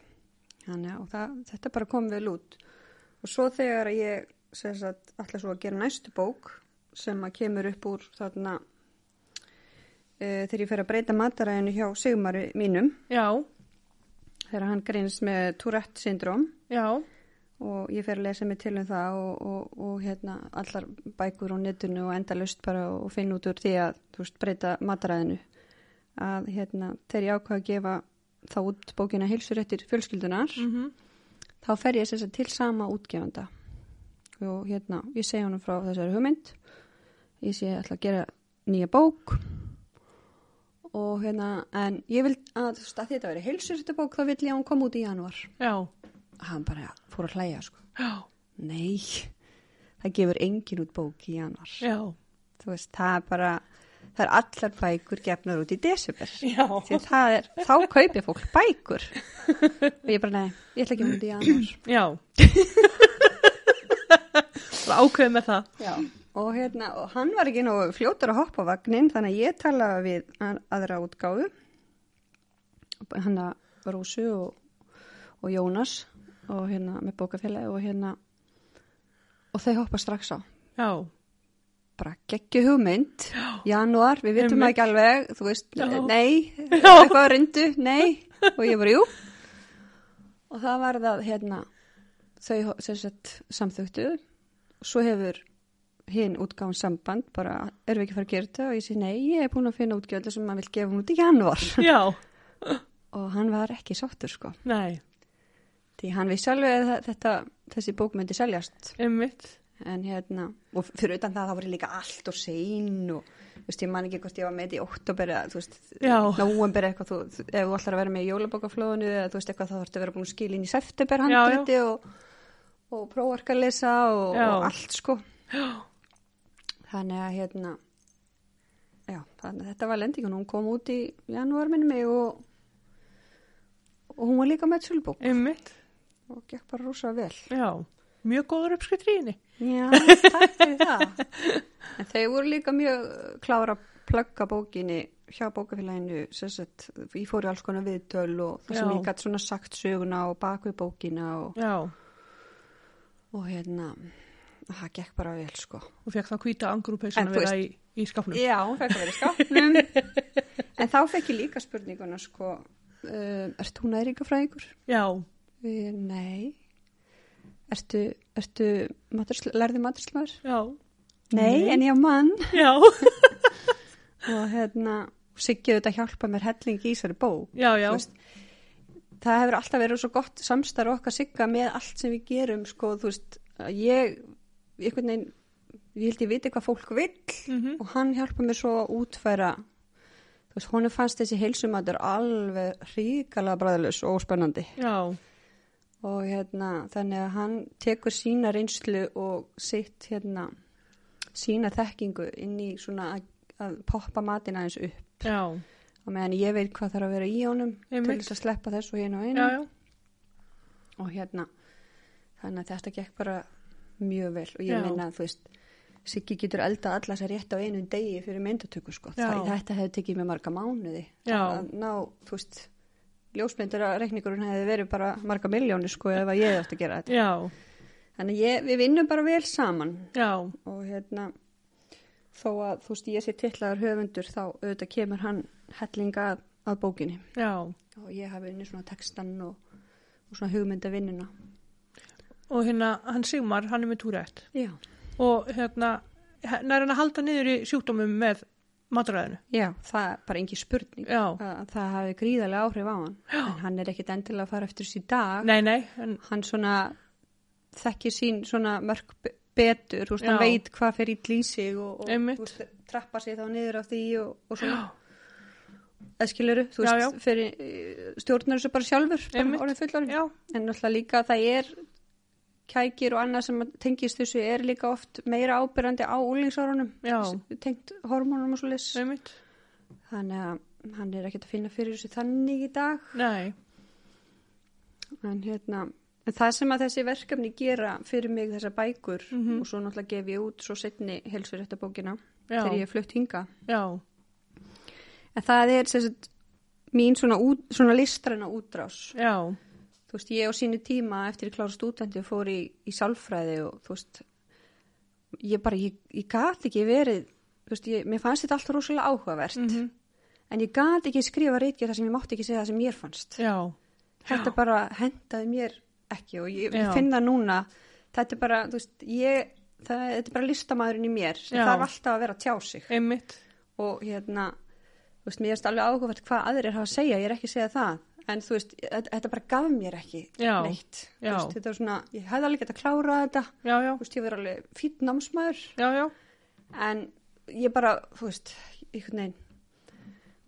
þannig að og það, þetta bara kom vel út og svo þegar ég sem sagt, ætla svo að gera næstu bók sem að kemur upp úr þarna e, þegar ég fer að breyta mataræðinu hjá Sigmari mínum
já,
þegar hann greinst með Tourette syndrom
já,
og ég fer að lesa mig til um það og, og, og hérna allar bækur á netinu og endalust bara og finn út úr því að þú veist breyta mataræðinu að hérna þegar ég ákvað að gefa þá út bókina heilsur eftir fjölskyldunar
mhm,
þá fer ég þess að til sama útgefanda og hérna, ég segi honum frá þessari hugmynd ég segi ég ætla að gera nýja bók og hérna en ég vil að, þú veist, að þetta veri heilsur þetta bók þá vill ég að hún kom út í januar
já,
hann bara fór að hlæja sko
já,
nei, það gefur engin út bók í januar
já,
þú veist, það er bara það er allar bækur gefnar út í desember
já,
því það er, þá kaupir fólk bækur og ég bara, nei, ég ætla ekki að gefa hún út í januar
já. (laughs) Það ákveð með það.
Já, og hérna, og hann var ekki nógu fljótur að hoppa á vagnin, þannig að ég talaði við a- aðra útgáfu, hann að Rósu og, og Jónas og hérna með bókafélagi og hérna, og þau hoppa strax á,
Já, (laughs)
bara geggju hugmynd, januar, við vitum
Einmitt.
ekki alveg, þú veist,
Já.
nei, eitthvað reyndu, nei, og ég bara, jú. Og það var það, hérna, þau ho- sem sagt samþögtu, svo hefur hinn útgáðan samband, bara, erum við ekki að fara að gera þetta? Og ég segi, nei, ég er búin að finna útgjöldu sem maður vil gefa hún út í januar.
já,
og hann var ekki sáttur, sko.
nei,
Því hann vissi alveg að þa- þetta, þessi bók myndi seljast.
einmitt,
En hérna, og fyrir utan það, það voru líka allt og sein og, þú veist, ég man ekki hvort ég var með í óttóber eða, þú veist,
Já.
nóvember eitthvað, þú, þú- ef þú ætlar að vera með í jólabókaflóðinu eða, þú veist, eitthvað, þá þarftu að vera búin að skilja inn í september
Já, já.
handriti og, og prófarkalesa og,
Já.
og allt, sko. Þannig að, hérna, já, þannig að þetta var lendingun, hún kom út í janúar minni mig og, og hún var líka með sölubók
einmitt,
og gekk bara rosa vel.
já. Mjög góður uppskrift í henni.
Já, takk fyrir það. (laughs) En þau voru líka mjög klára að plugga bókinni hjá bókafélaginu, sem sagt, ég fór í alls konar viðtöl og það sem
Já.
ég gætt svona sagt söguna og bakvið bókina og,
Já,
og hérna, það gekk bara vel sko.
og fekk þá hvita angrúpeysuna
En þú
vera í, í skapnum.
Já, það ekki (laughs) verið skápnum. en þá fekk ég líka spurninguna sko, uh, ert þú næringafræðingur?
Já,
Við, nei. Ertu, ertu matursl, lærði maturslaður?
já,
Nei, en ég á mann.
já,
Og hérna, Siggi auðvitað hjálpa mér helling í þessari bók.
já, já,
Þú veist, það hefur alltaf verið svo gott samstarf okkar sigga með allt sem við gerum sko, þú veist, að ég einhvern veginn, ég held ég viti hvað fólk vill
Mhm.
og hann hjálpa mér svo að útfæra þú veist, honum fannst þessi heilsumatur alveg ríkala bræðilegs og spennandi
já,
og hérna, þannig að hann tekur sína reynslu og sitt hérna, sína þekkingu inn í svona að, að poppa matin aðeins upp
já,
og meðan ég veit hvað þarf að vera í honum til
Einmitt.
þess að sleppa þessu hérna og einu
já, já,
og hérna þannig að þetta gekk bara mjög vel og ég
Já.
meina að þú veist Siggi getur elda alla sér rétt á einum degi fyrir myndatöku sko,
Já.
það, þetta hefði tekið með marga mánuði
Já.
að ná, þú veist ljósmyndur að reikningurinn hefði verið bara marga miljónir sko ef að ég átti að gera þetta
já,
þannig að ég, við vinnum bara vel saman
já,
og hérna þó að þú veist ég sé tillaður höfundur þá auðvitað kemur hann hellinga að, að bókinni
já.
og ég hafi unni svona textan og, og svona hugmyndavinnuna
Og hérna, hann Sigmar, hann er með túrætt
Já,
og hérna, hann er hann að halda niður í sjúkdómum með matræðinu.
já, það er bara engi spurning
Já.
að það hafi gríðarlega áhrif á hann já. en hann er ekkit endilega að fara eftir þessi dag
Nei, nei, en,
hann svona þekkir sín svona mörg be- betur, þú veist, hann
Já.
veit hvað fer ítl í sig og, og
Einmitt.
þú veist, trappa sig þá niður á því og, og svona eskiluru, þú
Já,
veist,
já.
fyrir stjórnar þessu bara sjálfur,
Einmitt.
bara orðið fullorinn
já,
en náttúrulega líka það er kækir og annað sem tengist þessu er líka oft meira ábyrjandi á úlingsárunum
já,
tengt hormónum og svo
einmitt,
Þannig að hann er ekkert að finna fyrir þessu þannig í dag.
nei,
En, hérna, en það sem að þessi verkefni gera fyrir mig þessar bækur
Mhm.
og svo náttúrulega gef ég út svo setni helsuréttabókina
já,
þegar ég er flutt hinga.
já,
En það er sem sagt mín svona, út, svona listræna útrás.
já,
Þú veist, ég á sínu tíma eftir að klára stúdendi fór í, í sálfræði og þú veist, ég bara, ég, ég gat ekki verið, þú veist, ég, mér fannst þetta alltaf rosalega áhugavert.
mhm,
En ég gat ekki skrifa reitgerð þar sem ég mátti ekki segja það sem mér fannst.
já,
þetta bara hendaði mér ekki og ég
Já.
finna núna þetta er bara, þú veist, ég það, þetta er bara listamaðurinn í mér sem
Já.
þarf alltaf að vera að tjá sig
einmitt,
og hérna, þú veist, mér erst alveg áhugavert hvað aðrir hafa að segja, ég er ekki að segja það en þú veist, þetta, þetta bara gaf mér ekki
Já.
neitt,
Já.
þú veist, þetta var svona ég hefði alveg gett að klára þetta
já, já,
þú veist, ég verið alveg fýtt námsmaður
já, já,
en ég bara, þú veist, einhvern veginn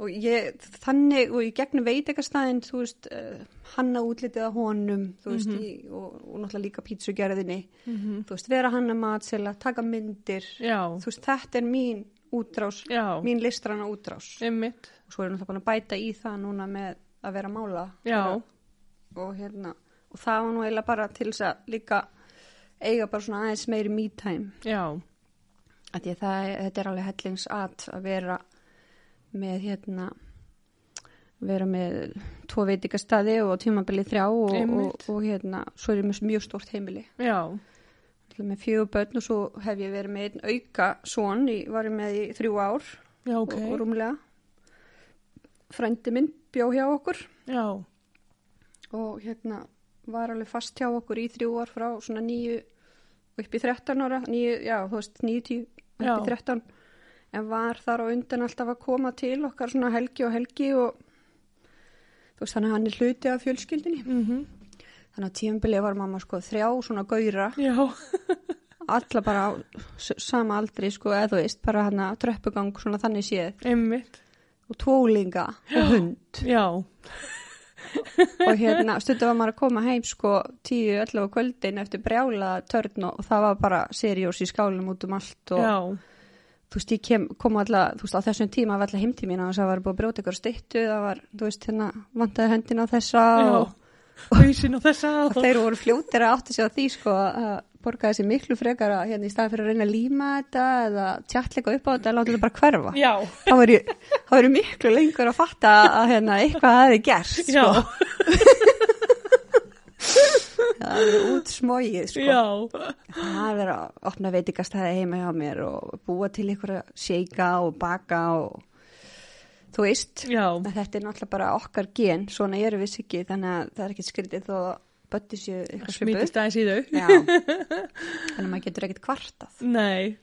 og ég, þannig, og ég gegnum veit eitthvað staðinn, þú veist, uh, hanna útlitið að honum, þú veist, í, og, og náttúrulega líka pítsugerðinni,
mhm,
þú veist, vera hanna matsela, taka myndir,
já,
þú veist, þetta er mín útrás,
já,
mín listrana útrás.
einmitt,
Og svo erum náttúrulega búin að bæta í það núna með að vera mála
já,
og hérna, og það var nú eiginlega bara til þess að líka eiga bara svona aðeins meiri me time.
já,
að því að það, þetta er alveg hellingsat að vera með hérna vera með tvo veitingastadi og tímabili þrjá og, og,
Einmitt.
og hérna, svo er ég með mjög stórt heimili
já,
Ég er með fjögur börn og svo hef ég verið með einn auka son, ég var ég með í þrjú ár
já, ok,
og, og rúmlega frændi minn bjó hjá okkur
já,
og hérna var alveg fast hjá okkur í þrjú ár frá svona nýju upp í 13 ára, nýju, já, þú veist, nýju tíu upp
Já.
í 13 en var þar á undan alltaf að koma til okkar svona helgi og helgi og þú veist, þannig að hann er hluti af fjölskyldinni
mhm,
þannig að tímabilið var mamma sko þrjá svona gauðra,
já,
alla bara á s- sama aldri sko, eða þú veist, bara hann að tröppugang svona þannig séð
einmitt,
og tólinga og hund
já,
og hérna stundu var maður að koma heim sko 10-11 á kvöldin eftir brjála törn og, og það var bara seriós í skálum út um allt og
já,
þú veist ég kem, kom alltaf, þú veist á þessum tíma var alltaf heimtíð mín og það var búið að brjóta ykkur styttu það var, þú veist hérna, vantaði höndin á þessa
já,
og,
hausin og þessa,
og þeir voru fljótir að átti sig á því sko að að borgaði sér miklu frekar að hérna í staðan fyrir að reyna að líma þetta eða tjallega upp á þetta, láta þetta bara hverfa
já,
þá var ég, þá var ég miklu lengur að fatta sko. að hérna eitthvað hafi gerst
já,
Já, alveg út smóið sko.
Já,
Það er verið að opna veitingastæði heima hjá mér og búa til ykkur að shakea og baka og þú veist.
já,
En Þetta er náttúrulega bara okkar gen, svona erum við sikið þannig að það er ekkert skrítið þó að bötti séu eitthvað svipuð.
smítist aðeins í þau.
Já, þannig að maður getur ekkert kvartað.
Nei,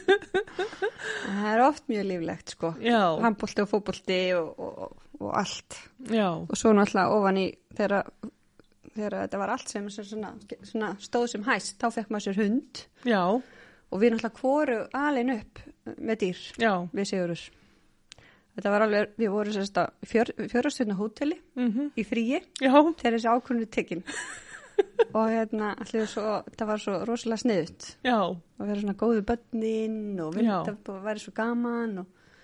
En Það er oft mjög líflegt sko,
já,
handbólti og fótbólti og, og, og allt.
já,
Og svo náttúrulega ofan í þegar, þegar þetta var allt sem, sem svona, svona stóð sem hæst, þá fekk maður sér hund.
já,
og við náttúrulega kvoru alin upp með dýr
já,
við Sigurus þetta var alveg, við vorum sérst að fjör, fjörastjörna hóteli
mhm,
í fríi
já,
þegar þessi ákvörnum er tekin og hérna allir svo, það var svo rosalega sniðut
já,
að vera svona góðu börnin og
Já.
vinda og væri svo gaman og,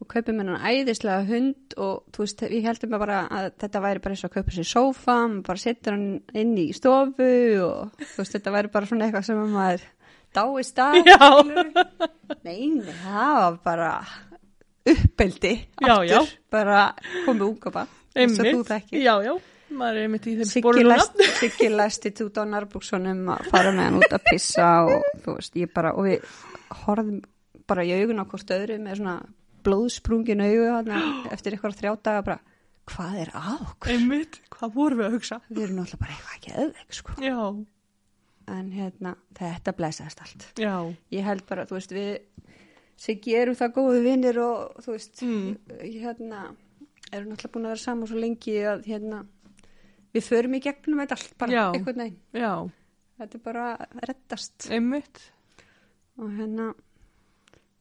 og kaupið mér hann æðislega hund og þú veist, ég heldum bara að þetta væri bara eins og að kaupa sér sófa maður bara setja hann inn í stofu og þú veist, þetta væri bara svona eitthvað sem að maður dáist að
Já.
skilurðu. (laughs) nei, nei, það var bara uppeldi
Já,
aftur,
já.
bara komið unga bara eins og þú
einmitt,
þekkir
já, já, maður er einmitt í þeim
Siggi
spórunum.
læst-
(laughs)
Siggi læsti út á Narbúksunum að fara með hann út að pissa og þú veist, ég bara, og við horfðum bara í augun á hvort öðru með svona blóðsprungin augu hana,
(gasps)
eftir eitthvað þrjá daga bara, hvað er á okkur?
Einmitt, hvað vorum við að hugsa?
Við erum náttúrulega bara eitthvað ekki öðveik, sko.
Já,
En hérna, þetta blessaðist allt.
já,
Ég held bara, þú veist, við Siggi erum það góðu vinnir og þú veist,
Mm.
hérna, erum náttúrulega búin að vera saman svo lengi að hérna, við förum í gegnum þetta allt bara,
Já.
einhvern veginn.
já,
Þetta er bara að reddast
einmitt,
og hérna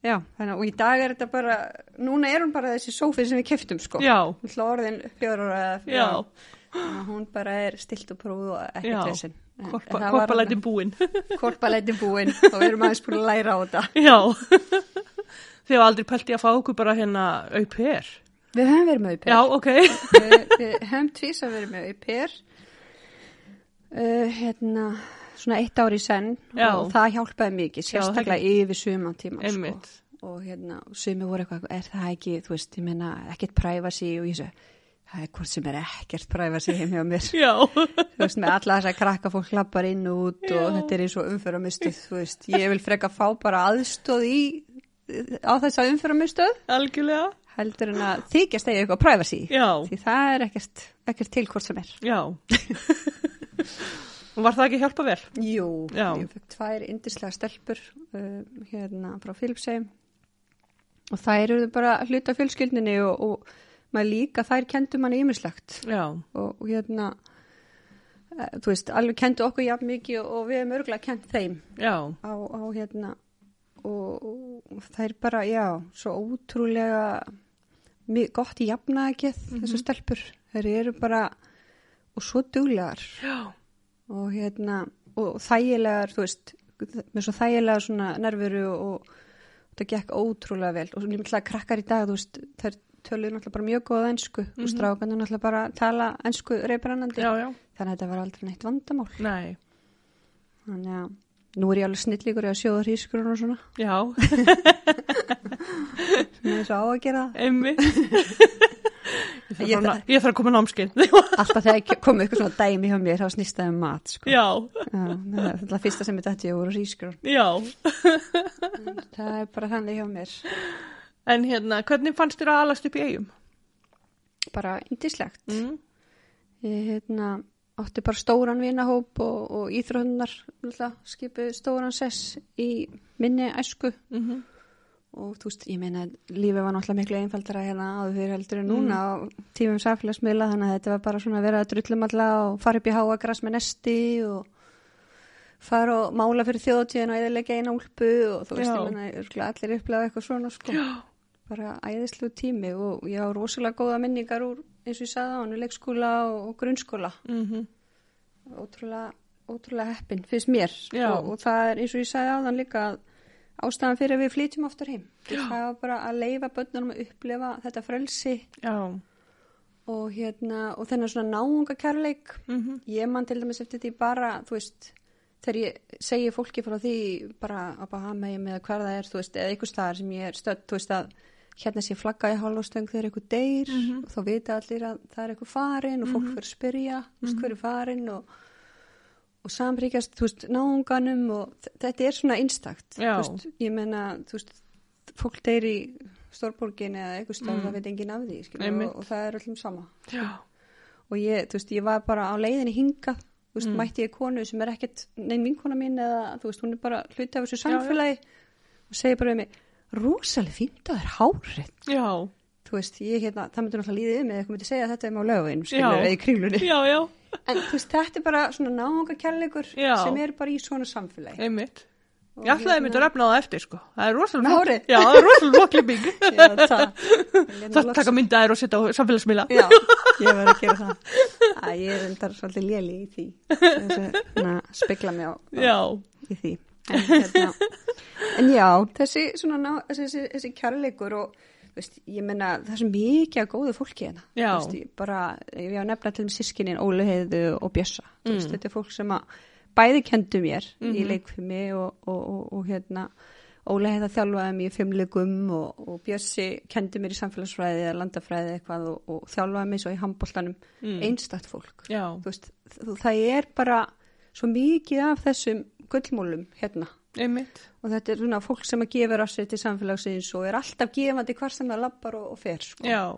já, þannig að og í dag er þetta bara núna er hún bara þessi sófi sem við keftum sko
já,
hún hló orðin fjör ára eða
já,
fjör ára hún bara er stilt og próf og
Já.
ekkert þessin
korpalætin búinn.
(laughs) korpalæti búin og við erum aðeins búin að læra á þetta
(laughs) Já, þið hafa aldrei pælt í að fá okkur bara hérna auper.
við höfum verið með auper
Já, ok.
við, við höfum tvísa verið með auper uh, hérna svona eitt ár í senn
Já.
og það hjálpaði mikið
Já, það
sérstaklega yfir suma tíma sko.
Einmitt.
og hérna, sumi voru eitthvað, er það ekki, þú veist, ég meina, ekkert privacy og ég svo, það er hvort sem er ekkert privacy heim hjá mér, (laughs)
Já,
þú veist, með alla þess að krakka fólk lappar inn og út og
Já.
þetta er eins og umfyrramustuð, þú veist, ég vil freka fá bara aðstóð í, á þess að umfyrramustuð,
(laughs) algjörlega.
heldur en að þykjast eigi eitthvað privacy,
Já,
því það er ekkert, ekkert til hvort sem er.
já. Og Var það ekki að hjálpa vel?
Jú,
Já.
ég fekk tvær indislega stelpur uh, hérna frá Filipsheim og þær eru bara hluta af fjölskyldinni og, og maður líka þær kendu manni ýmislegt
Já,
og, og hérna uh, þú veist, alveg kendu okkur jafn mikið og, og við erum örgulega kent þeim
já,
á, á hérna og, og þær bara, já, svo ótrúlega mi- gott í jafnaðakið mm þessu stelpur, þær eru bara og svo duglegar
já,
og hérna og þægilegar, þú veist með svo þægilegar svona nervuru og, og það gekk ótrúlega vel og náttúrulega krakkar í dag, þú veist þær töluðu náttúrulega bara mjög góða ensku og strákanu náttúrulega bara tala ensku reybrannandi,
Mhm. já, já.
þannig að þetta var aldrei neitt vandamál
Nei,
þannig að nú er ég alveg snillíkur í að sjóða hrískurinn og svona,
já,
sem ég svo á að gera það
(laughs) einmitt. Ég þarf
Ég
að-
þarf-
Ég þarf að koma námskeið. (laughs)
alltaf þegar ég kom eitthvað svona dæmi hjá mér, þá snýst það um mat sko.
Já,
Já, það er það fyrsta sem ég dætti, ég voru hrískurinn
já.
það er bara þannig hjá mér
En hérna, hvernig fannst þér að alast upp í eigum?
bara indislegt
Mm.
Ég hérna, átti bara stóran vinahóp og, og íþróðunar skipu stóran sess í minni æsku
Mm -hmm.
og þú veist, ég meina lífið var náttúrulega miklu einfaldara hérna áður fyrir heldur en núna á tímum samfélagsmiðla þannig að þetta var bara svona að vera að drullum alla og fara upp í háagras með nesti og fara og mála fyrir þjóðtíðin og eðilega eina úlpu og þú veist,
Já.
ég meina, örugglega allir upplega eitthvað svona sko, Já. bara æðislu tími og ég á rosalega góða minningar úr eins og ég sagði á hann, leikskóla og, og grunnskóla
Mm -hmm.
ótrúlega, ótrúlega heppin finnst mér
Já.
og, og það er eins og ég sagði áðan líka að ástæðan fyrir að við flytjum aftur heim það var bara að leifa börnunum að upplifa þetta frelsi
Já,
og, hérna, og þennan svona náunga kærleik
mm
ég man til dæmis eftir því bara þú veist þegar ég segi fólki frá því bara að bara hafa með eða hver það er þú veist, eða einhvers staðar sem ég er stödd þú veist að hérna sé flagga í hálfstöng þegar einhver deyr og þá vita allir að það er einhver farin og fólk fyrir að spyrja þú veist, hver er farin og og samríkjast, þú veist, náunganum og þ- þetta er svona einstakt
Já.
Þú veist, ég meina, þú veist fólk deyr í stórborgin eða eitthvað stað, það veit enginn af því skilur,
Mm. Einmitt.
og, og það er öllum sama
Já,
og ég, þú veist, ég var bara á leiðinni hingað, þú veist,
Mm.
mætti ég konu sem er ekkert, neinn vinkona mín eða, þú veist, hún er bara hluti af þessu samfélagi og segir bara um mig rosalega fínt að það er hárið
já,
þú veist, ég hérna, það myndi náttúrulega líðið um eða eitthvað myndi segja að þetta er maður lögavinn,
Já.
skilur, eða í
(laughs)
kringlunni
já, já,
en þú veist, þetta er bara svona náunga kærleikur
Já.
sem er bara í svona
(laughs)
samfélagi
einmitt.
Og
Ég ætlaði einmitt að
hérna-
refna það eftir, sko. Það er rosalega
Með
flott-
hárið?
Já, það er rosalega
(laughs)
flokklipping.
Já, það- hérna
Það
loks-
taka myndaðir og setja á samfélagsmiðla.
Já,
(laughs)
ég verði að gera það Æ, ég er endar svolítið léli í því þessi, na, spekla mig á, á
Já,
í því en, hérna, (laughs) en já, þessi svona ná, þessi, þessi, þessi kærleikur og þú veist, ég menna, það er svo mikið að góðu fólki hérna,
Já.
Þú veist, ég bara ef ég á að nefna til um sískinin Ólu Heiðu og Bjössa, þú veist, þetta er fólk sem að bæði kendu mér í leikfimi og, og, og, og hérna Óla heiða þjálfaði mér í fimmlegum og, og Bjössi kendi mér í samfélagsfræði eða landafræði eitthvað og, og þjálfaði mér svo í handbóltanum einstakt fólk
já,
þú veist, þú- það er bara svo mikið af þessum gullmólum hérna
einmitt.
og þetta er svona fólk sem að gefur af sér til samfélagsins og er alltaf gefandi hvar sem það lappar og, og fer sko.
Já,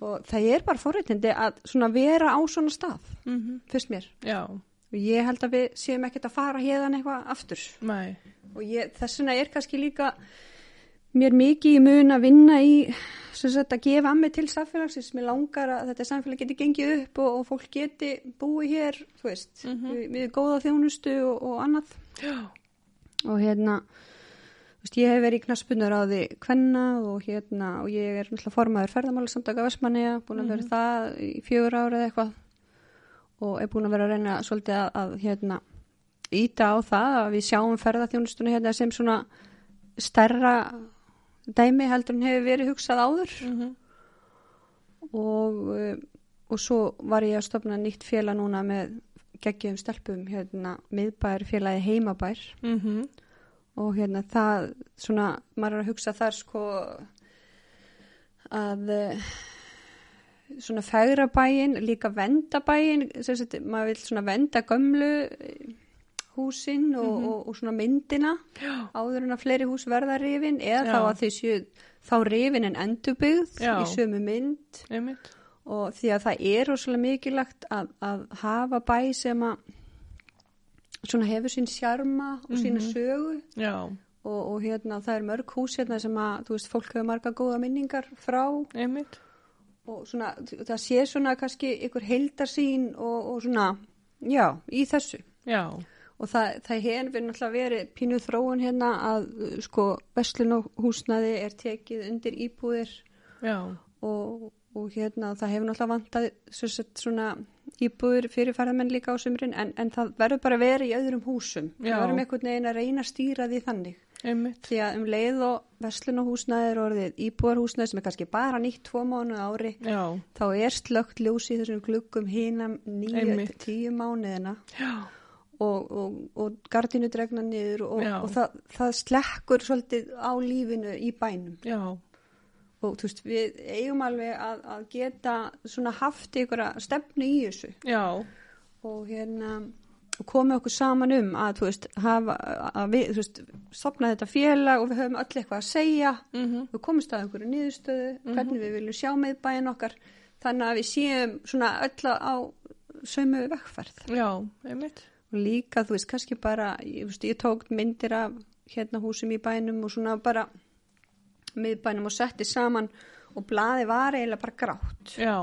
og það er bara forréttindi að svona vera á svona stað
mhm,
fyrst mér
já,
og ég held að við séum ekkert að fara hérðan eitthvað aftur
mæ,
og ég, þess vegna er kannski líka mér mikið í mun að vinna í sem sagt að gefa að mig til samfélagsins mér langar að þetta samfélag geti gengið upp og, og fólk geti búið hér þú veist, mm við, við góða þjónustu og, og annað
já,
og hérna þú veist, ég hef verið í knaspunur á því kvenna og hérna og ég er náttúrulega formaður ferðamála samtaka Vestmanneja búin að vera það í fjögur ára eða eitthvað og er búin að vera að reyna svolítið að, að hérna íta á það að við sjáum ferðaþjónustuna hérna sem svona stærra dæmi heldur en hefur verið hugsað áður
mhm,
og, eh, og svo var ég að stofna nýtt félag núna með geggjum stelpum hérna miðbær félagi heimabær
mhm,
og hérna það svona, maður er að hugsa þar sko að eh, svona fegra bæin, líka venda bæin sem sagt, maður vil svona venda gömlu eh, húsin og, og, og svona myndina
Mhm. já,
áður en að fleiri hús verða rifin eða
Já.
þá að þau séu þá rifin en endurbyggð
Já.
í sömu mynd
einmitt.
og því að það er rosalega mikilagt að, að hafa bæ sem að svona hefur sín sjarma og sína
Mhm.
sögu
Já,
og, og hérna það er mörg hús hérna sem að, þú veist, fólk hefur marga góða minningar frá
einmitt.
og svona, það sé svona kannski ykkur heildarsýn og, og svona, já, í þessu
Já,
og það, það hefur náttúrulega verið pínuð þróun hérna að uh, sko, verslun og húsnaði er tekið undir íbúðir
já,
og, og hérna það hefur náttúrulega vantað sem sagt, svona íbúður fyrir ferðamenn líka á sumrin en, en það verður bara að vera í öðrum húsum
Já.
það verðum einhvern veginn að reyna að stýra því þannig
einmitt.
Því að um leið og verslunahúsnaði er orðið íbúarhúsnaði sem er kannski bara nýtt tvo mánu ári,
Já,
þá er slögt ljós í þessum gluggum hinam nýja
Einmitt.
tíu mánuðina
já,
og, og, og gardinu dregna niður og,
Já.
og það, það slekkur svolítið á lífinu í bænum
já,
og þú veist, við eigum alveg að, að geta svona haft einhverja stefnu í þessu
já,
og hérna og komið okkur saman um að þú veist, hafa, að við, þú veist, sopna þetta félag og við höfum öll eitthvað að segja
mhm,
við komumst að einhverju niðurstöðu, hvernig við viljum sjá með bæin okkar, þannig að við séum svona öll á sömu vegferð.
já, einmitt.
Og líka, þú veist, kannski bara, ég, þú veist, ég tók myndir af hérna húsum í bænum og svona bara miðbænum og setti saman og blaði var eiginlega bara grátt
Já,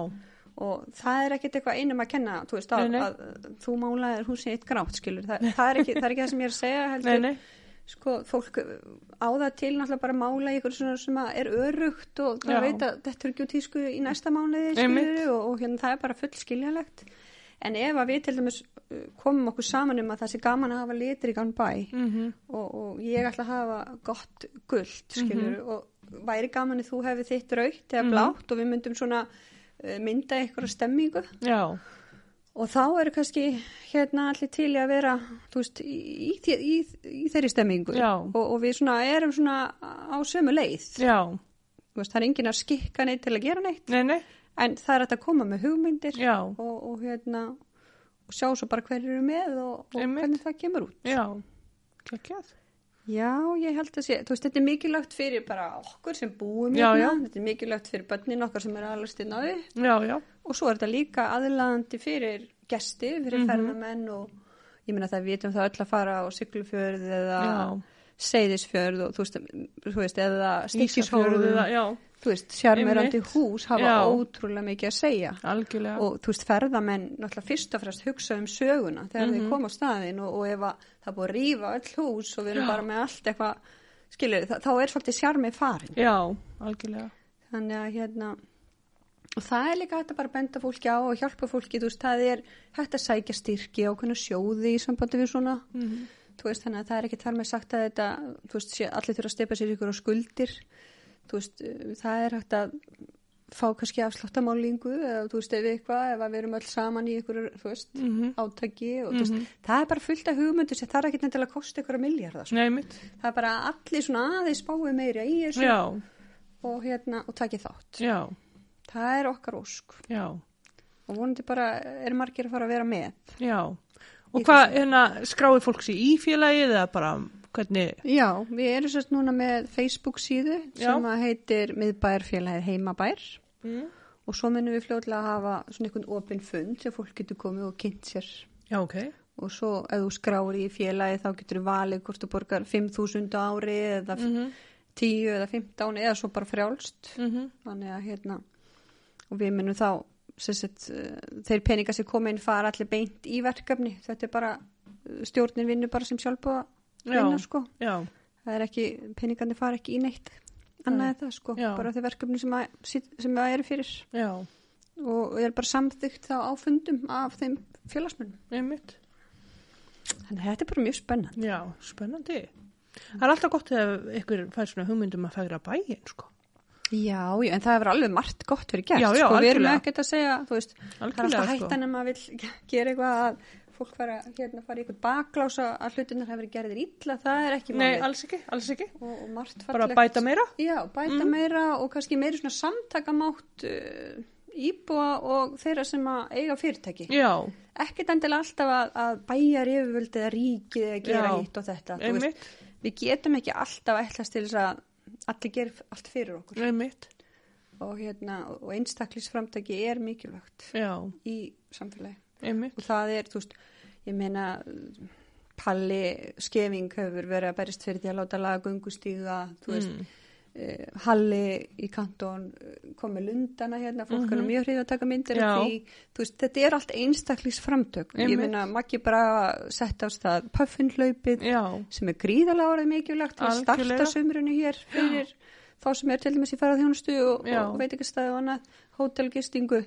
og það er ekkit eitthvað einum að kenna, þú veist, að,
Nei, nei.
að, þú málaðir húsið eitt grátt, skilur, Þa, það, er ekki, það er ekki það sem ég er að segja, heldur,
nei, nei,
sko, fólk á það til náttúrulega bara að mála í ykkur svona sem að er örugt og
Já.
það veit að þetta er ekki út í sko í næsta mánuði
Einmitt.
skilur og, og hérna það er bara full skiljanlegt en ef að við til dæmis uh, komum okkur saman um að það sé gaman að hafa litríkan bæ
mhm,
og, og ég ætla að hafa gott gullt skilur
Mhm.
og væri gaman að þú hefði þitt raukt eða blátt og við myndum svona uh, mynda ykkur stemmingu
já,
og þá eru kannski hérna allir til í að vera þú veist, í, í, þe- í, í þeirri stemmingu
Já.
og, og við svona erum svona á sömu leið
já,
Þú veist, það er enginn að skikka neitt til að gera neitt
nei, nei,
en það er hægt að koma með hugmyndir
já,
og, og hérna og sjá svo bara hverju eru með og, og
Einmitt.
hvernig það kemur út.
Já, geggjað.
Já, ég held að sé, þú veist, þetta er mikilvægt fyrir bara okkur sem búum
Já,
hérna,
já.
þetta er mikilvægt fyrir börnin okkar sem er aðlast inn á upp
Já, já,
og svo er þetta líka aðlaðandi fyrir gesti, fyrir
Mhm.
ferðamenn og ég meina það við vitum það öll að fara á syklufjörð eða
Já.
seyðisfjörð og þú veist, þú veist eða
Ísafjörður,
stikkisfjörð,
já,
þú veist, sjarmerandi
Einmitt.
hús hafa
Já.
ótrúlega mikið að segja
algjörlega.
og þú veist ferðamenn náttúrulega fyrst og fremst hugsa um söguna þegar
Mhm.
þeir koma á staðin og, og ef að það er búið að rýfa öll hús og við erum
Já.
bara með allt eitthvað skilur, þa þá er svolítið sjarmi farin
já, algjörlega.
þannig að hérna og það er líka hægt að bara benda fólki á og hjálpa fólki, þú veist, það er hægt að sækja styrki á hvernig sjóði í sambandi við svona,
Mm
þú veist, þannig að það er ekki þar með sagt að þetta, þú veist, sé- allir þurfa að stepa sér ykkur á skuldir þú veist, eh, það er hægt að fá kannski afslóttamálingu eða þú veist, ef eitthvað, ef að við erum öll saman í ykkur, þú veist, átaki og þú veist, það er bara fullt af hugmyndu sem það er ekki nefndilega að kosta ykkur að miljardar
Nei, mitt.
það er bara að allir svona aðeins spáu meira í þessu
Já,
og hérna, og taki þátt
já,
það er okkar ósk
já,
og vonandi bara er margir að fara að vera með
já. Og
Í
hvað, hérna, skráði fólk sér í félagið eða bara hvernig?
já, við erum sérst núna með Facebook síðu
Já.
sem að heitir miðbæjarfélagið heimabær
Mhm.
og svo munum við fljóðlega að hafa svona einhvern opin fund sem fólk getur komið og kynnt sér
Já, ok.
og svo ef þú skráir í félagi þá getur þú valið hvort þú borgar 5.000 á ári eða
Mm -hmm.
10 eða 15 eða svo bara frjálst
mhm.
þannig að hérna og við munum þá sem sagt, eh, þeir peningar sem koma inn fara allir beint í verkefni þetta er bara eh, stjórnin vinnur bara sem sjálfbúða vinna
Já.
sko
Já,
það er ekki, peningarnir fara ekki í neitt annað
Nei.
en það sko,
Já.
bara þau verkefni sem, að, sit- sem það eru fyrir
já,
og og er bara samþygt þá áfundum af þeim félagsmönnum
nei, mitt.
þannig að þetta er bara mjög spennan
Já, spennandi. Það er alltaf gott ef ykkur fær svona hugmyndum að fegra bæinn, sko.
Já, já, en það hefur alveg margt gott verið gert,
Já, já,
sko, við erum
algjörlega.
ekkert að segja, þú veist, það er
Algjörlega,
alltaf
sko.
hættan ef maður vill (laughs) gera eitthvað að fólk fara, hérna, fara í eitthvað baklása að hlutinnar hefur verið gerðir illa, það er ekki
Nei,
málið.
alls ekki, alls ekki.
og, og margt fallegt.
Bara bæta meira. Mm.
Já, bæta meira og kannski meiri svona samtakamátt uh, íbúa og þeirra sem að eiga fyrirtæki.
Já,
Ekkert endilega alltaf að, að bæjar yfirvöld eða ríkið eða gera
Já,
hitt og þetta, þú veist,
einmitt,
við getum ekki alltaf ætlast til þess að allir gerir allt fyrir
Mm.
okkur
einmitt,
og, hérna, og einstaklisframtaki er mikilvægt
já,
í samfélagi
einmitt,
og það er, þú veist, ég meina Palli Skeving hefur verið að berist fyrir því að láta laga göngustíga, þú veist
Mm.
eh, Halli í kantón eh, kom með lundana hérna, fólk mm er nú mjög hrifið að taka myndir af
Mhm. Já.
því, þú veist, þetta er allt einstaklisframtök, ég
Einmitt.
meina Maggi bara sett á stað puffinhlaupið
já,
sem er gríðalega orðið mikilvægt til að
Algjörlega.
starta sömrunu hér fyrir þá sem er til dæmis í ferðarþjónustu og,
Já.
og veit ekki staði og annað, hótelgistingu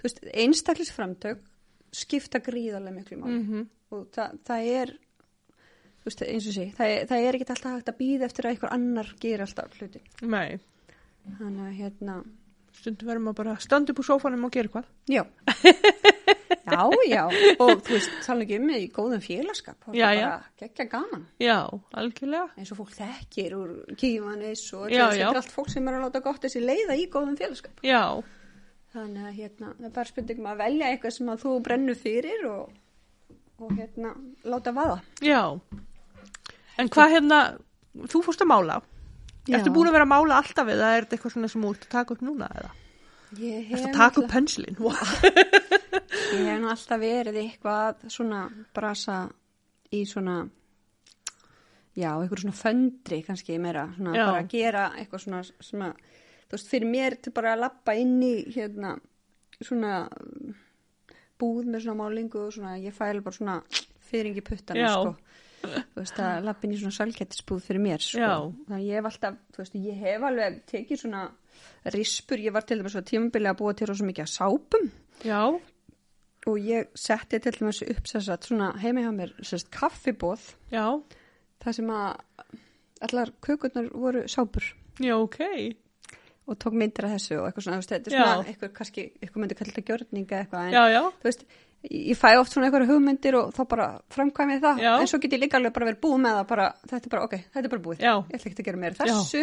þú veist, einstaklisframtök skipta gríðalega miklu máli
mhm,
og það, það er þú veist, eins og sé, það er, það er ekki alltaf hægt að býða eftir að einhver annar gera alltaf hluti
nei,
þannig að hérna
stundum verðum að bara standa upp úr sófanum og gera eitthvað. (laughs)
já já, já, og þú veist, tala ekki um í góðum félagskap, það
Já,
er
já.
bara geggja gaman
Já, algjörlega,
eins og fólk þekkir úr kífanis og
Já,
þetta
já.
er allt fólk sem er að láta gott þessi leiða í góðum félagskap.
já,
Þannig að hérna, það er bara spurningum að velja eitthvað sem að þú brennur fyrir og, og hérna, láta vaða.
já, en hvað hérna, þú fórst að mála, ertu búin að vera að mála alltaf eða er þetta eitthvað svona sem þú ert að taka upp núna eða?
Ég hef,
Ertu að taka
náttúrulega-
upp penslin? Wow.
ég hef nú alltaf verið eitthvað svona brasa í svona, já, eitthvað svona föndri kannski meira, svona
Já.
bara að gera eitthvað svona, svona, þú veist, fyrir mér til bara að lappa inn í hérna, svona um, búð með svona málingu og svona, ég fæl bara svona fyrring í puttana,
Já.
sko. Þú veist, að lappa inn í svona sælkettisbúð fyrir mér, sko.
Já.
Þannig ég hef alltaf, þú veist, ég hef alveg tekið svona rispur, ég var til dæmis svo tímabilið að búa til rosa mikið að sápum
Já,
og ég setti til dæmis upp sem sagt, svona heima hjá mér sérst, kaffibóð
já,
þar sem að allar kökurnar voru sápur
já, ok,
og tók myndir af þessu og eitthvað svona, þú veist, þetta er
Já.
svona eitthvað, kannski, eitthvað myndi kalla þetta gjörninga eitthvað, en
já, já,
þú veist, ég fæ oft svona eitthvað hugmyndir og þá bara framkvæmi ég það,
Já.
en svo get ég líka alveg bara verið búið með það, bara, þetta er bara, ok, þetta er bara búið
já,
ég ætla ekki að gera meira
Já.
þessu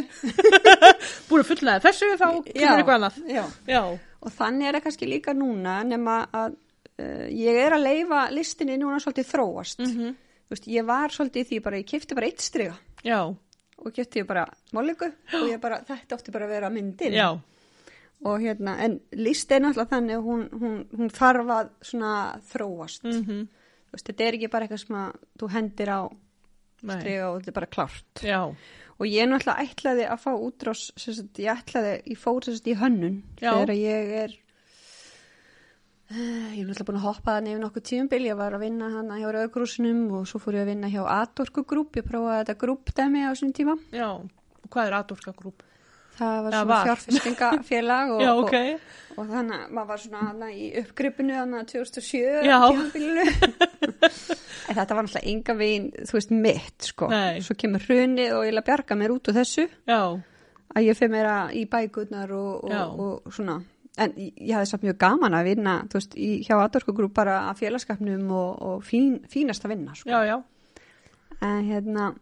búin að fullnaði þessu þá kemur eitthvað annað.
já.
(laughs) Já,
og þannig er það kannski líka núna nema að uh, ég er að leifa listinni núna svolítið þróast
Mm
Þú veist, ég var svolítið í því bara, ég kefti bara eitt striga
Já,
og kefti ég bara málingu og ég bara, þetta átti bara að vera myndin
já,
og hérna, en list er náttúrulega þannig að hún, hún, hún þarf að svona þróast
mm
Þú veist, þetta er ekki bara eitthvað sem að þú hendir á
Nei.
striga og þetta er bara klárt
já,
og ég náttúrulega ætlaði að fá útrás sem sagt, ég ætlaði, ég fór sem sagt í hönnun
Já.
þegar ég er eh, ég er náttúrulega búin að hoppa þannig yfir nokkuð tíumbil, ég var að vinna hann hjá Rauðgrúsinum og svo fór ég að vinna hjá Atorku grúp, ég prófaði þetta grúp dæmi á þessum tíma,
já. Og Hvað er atorka grúp?
það var
Já,
svona
var. (laughs)
fjárfestingafélag og,
Já, ok.
og, og þannig að maður var svona hann í uppgripinu hann að 2007
Já.
tímabilinu (laughs) en þetta var náttúrulega enga vegin, þú veist, mitt sko,
Nei.
svo kemur hrunið og ég vil að bjarga mér út úr þessu
Já,
að ég fyrir meira í bækurnar og,
Já.
og, og svona en ég ég hafði samt mjög gaman að vinna þú veist, í, hjá aðdorkugrúp bara að félagskapnum og, og fín, fínast að vinna sko.
já, já.
en hérna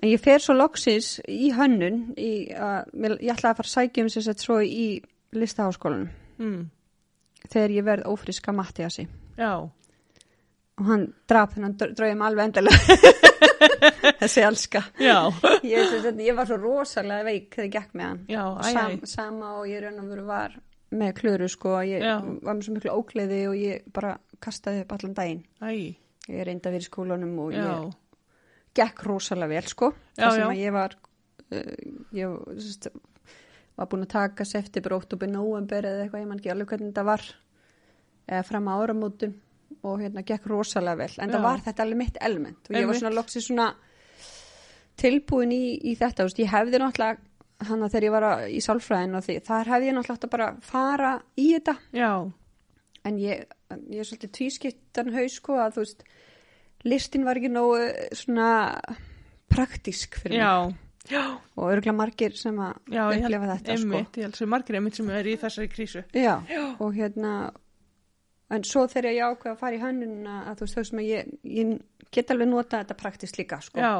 en ég fer svo loksins í hönnun í, uh, ég ætlaði að fara að sækja um sem sett svo í listaháskólanum
Mm.
þegar ég verð ófriska Mattiasi
Já,
og hann draf þennan dr- draum alveg endalega (laughs) þessi elska
já,
ég, sem sagt, ég var svo rosalega veik þegar ég gekk með hann
(laughs) Já, æ, æ.
Sam, sama og ég raun og veru var með klöru sko, ég
Já.
var með svo miklu ógleði og ég bara kastaði upp allan daginn
æ,
ég reynda við í skólanum og
já,
ég gekk rosalega vel sko
Já,
þar sem
já.
að ég var uh, ég sest, var búin að taka september, óttúber, november eða eitthvað, ég man ekki alveg hvernig þetta var eða fram á áramótum og hérna gekk rosalega vel, en
Já.
það var þetta alveg mitt element og ég var
Einmitt.
svona loksið svona tilbúin í, í þetta, þú veist, ég hefði náttúrulega hann að þegar ég var að, í sálfræðin og því, þar hefði ég náttúrulega átt að bara fara í þetta
já,
en ég, en ég er svolítið tvískiptan haus sko að þú veist listin var ekki nógu eh, svona praktísk fyrir mig
já, já,
og örgulega margir sem að
já, ég held-
upplifa þetta sko
einmitt, ég held sem margir einmitt sem er í þessari krísu.
já, og hérna en svo þegar ég ákveð að fara í hönnunina að þú veist þau sem að ég, ég get alveg nota þetta praktískt líka sko
Já,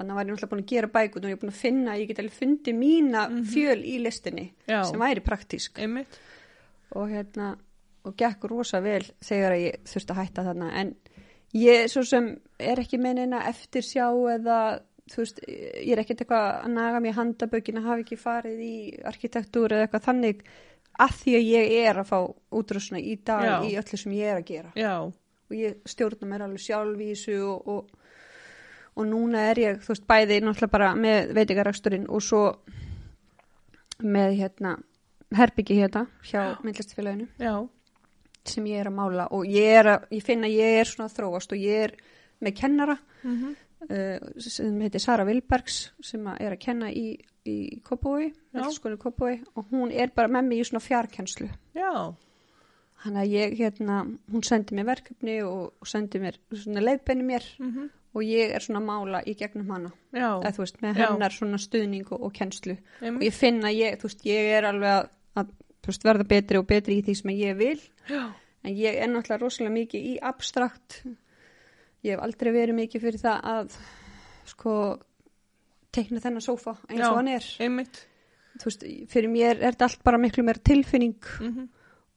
þannig var ég náttúrulega búin að gera bækut og ég er búin að finna, ég get alveg fundið mína fjöl í listinni
Mhm. Já.
sem væri praktísk
einmitt,
og hérna og gekk rosa vel þegar að ég þurfti að hætta þarna en ég svo sem er ekki með neina eftir sjá eða þú veist, ég er ekkert eitthvað að naga mér handabökin að hafa ekki farið í arkitektúr eða eitthvað þannig að því að ég er að fá útrúsna í dag
Já.
í öllu sem ég er að gera
já,
og ég stjórna mér alveg sjálfvísu og, og, og núna er ég þú veist bæði náttúrulega bara með veitingaræksturinn og svo með hérna herbyggi hérna hjá myndlistfélaginu
já,
sem ég er að mála og ég er að, ég finn að ég er svona að þróast og ég er með kennara
mm
uh, sem heitir Sara Vilbergs sem að er að kenna í, í Kópói,
Já.
myndlistaskólinni Kópói og hún er bara með mig í svona fjarkenslu
já,
Þannig að ég, hérna, hún sendi mér verkefni og, og sendi mér, svona leiðbenni mér
mm
og ég er svona að mála í gegnum hana,
já,
eða þú veist, með
Já.
hennar svona stuðning og, og kennslu og
einmitt,
ég finn að ég, þú veist, ég er alveg að, að þú veist, verða betri og betri í því sem ég vil
já,
en ég er náttúrulega rosalega mikið í abstrakt ég hef aldrei verið mikið fyrir það að sko teikna þennan sófa eins
Já.
og hann er
einmitt,
þú veist, fyrir mér er þetta allt bara miklu meira tilfinning
mhm,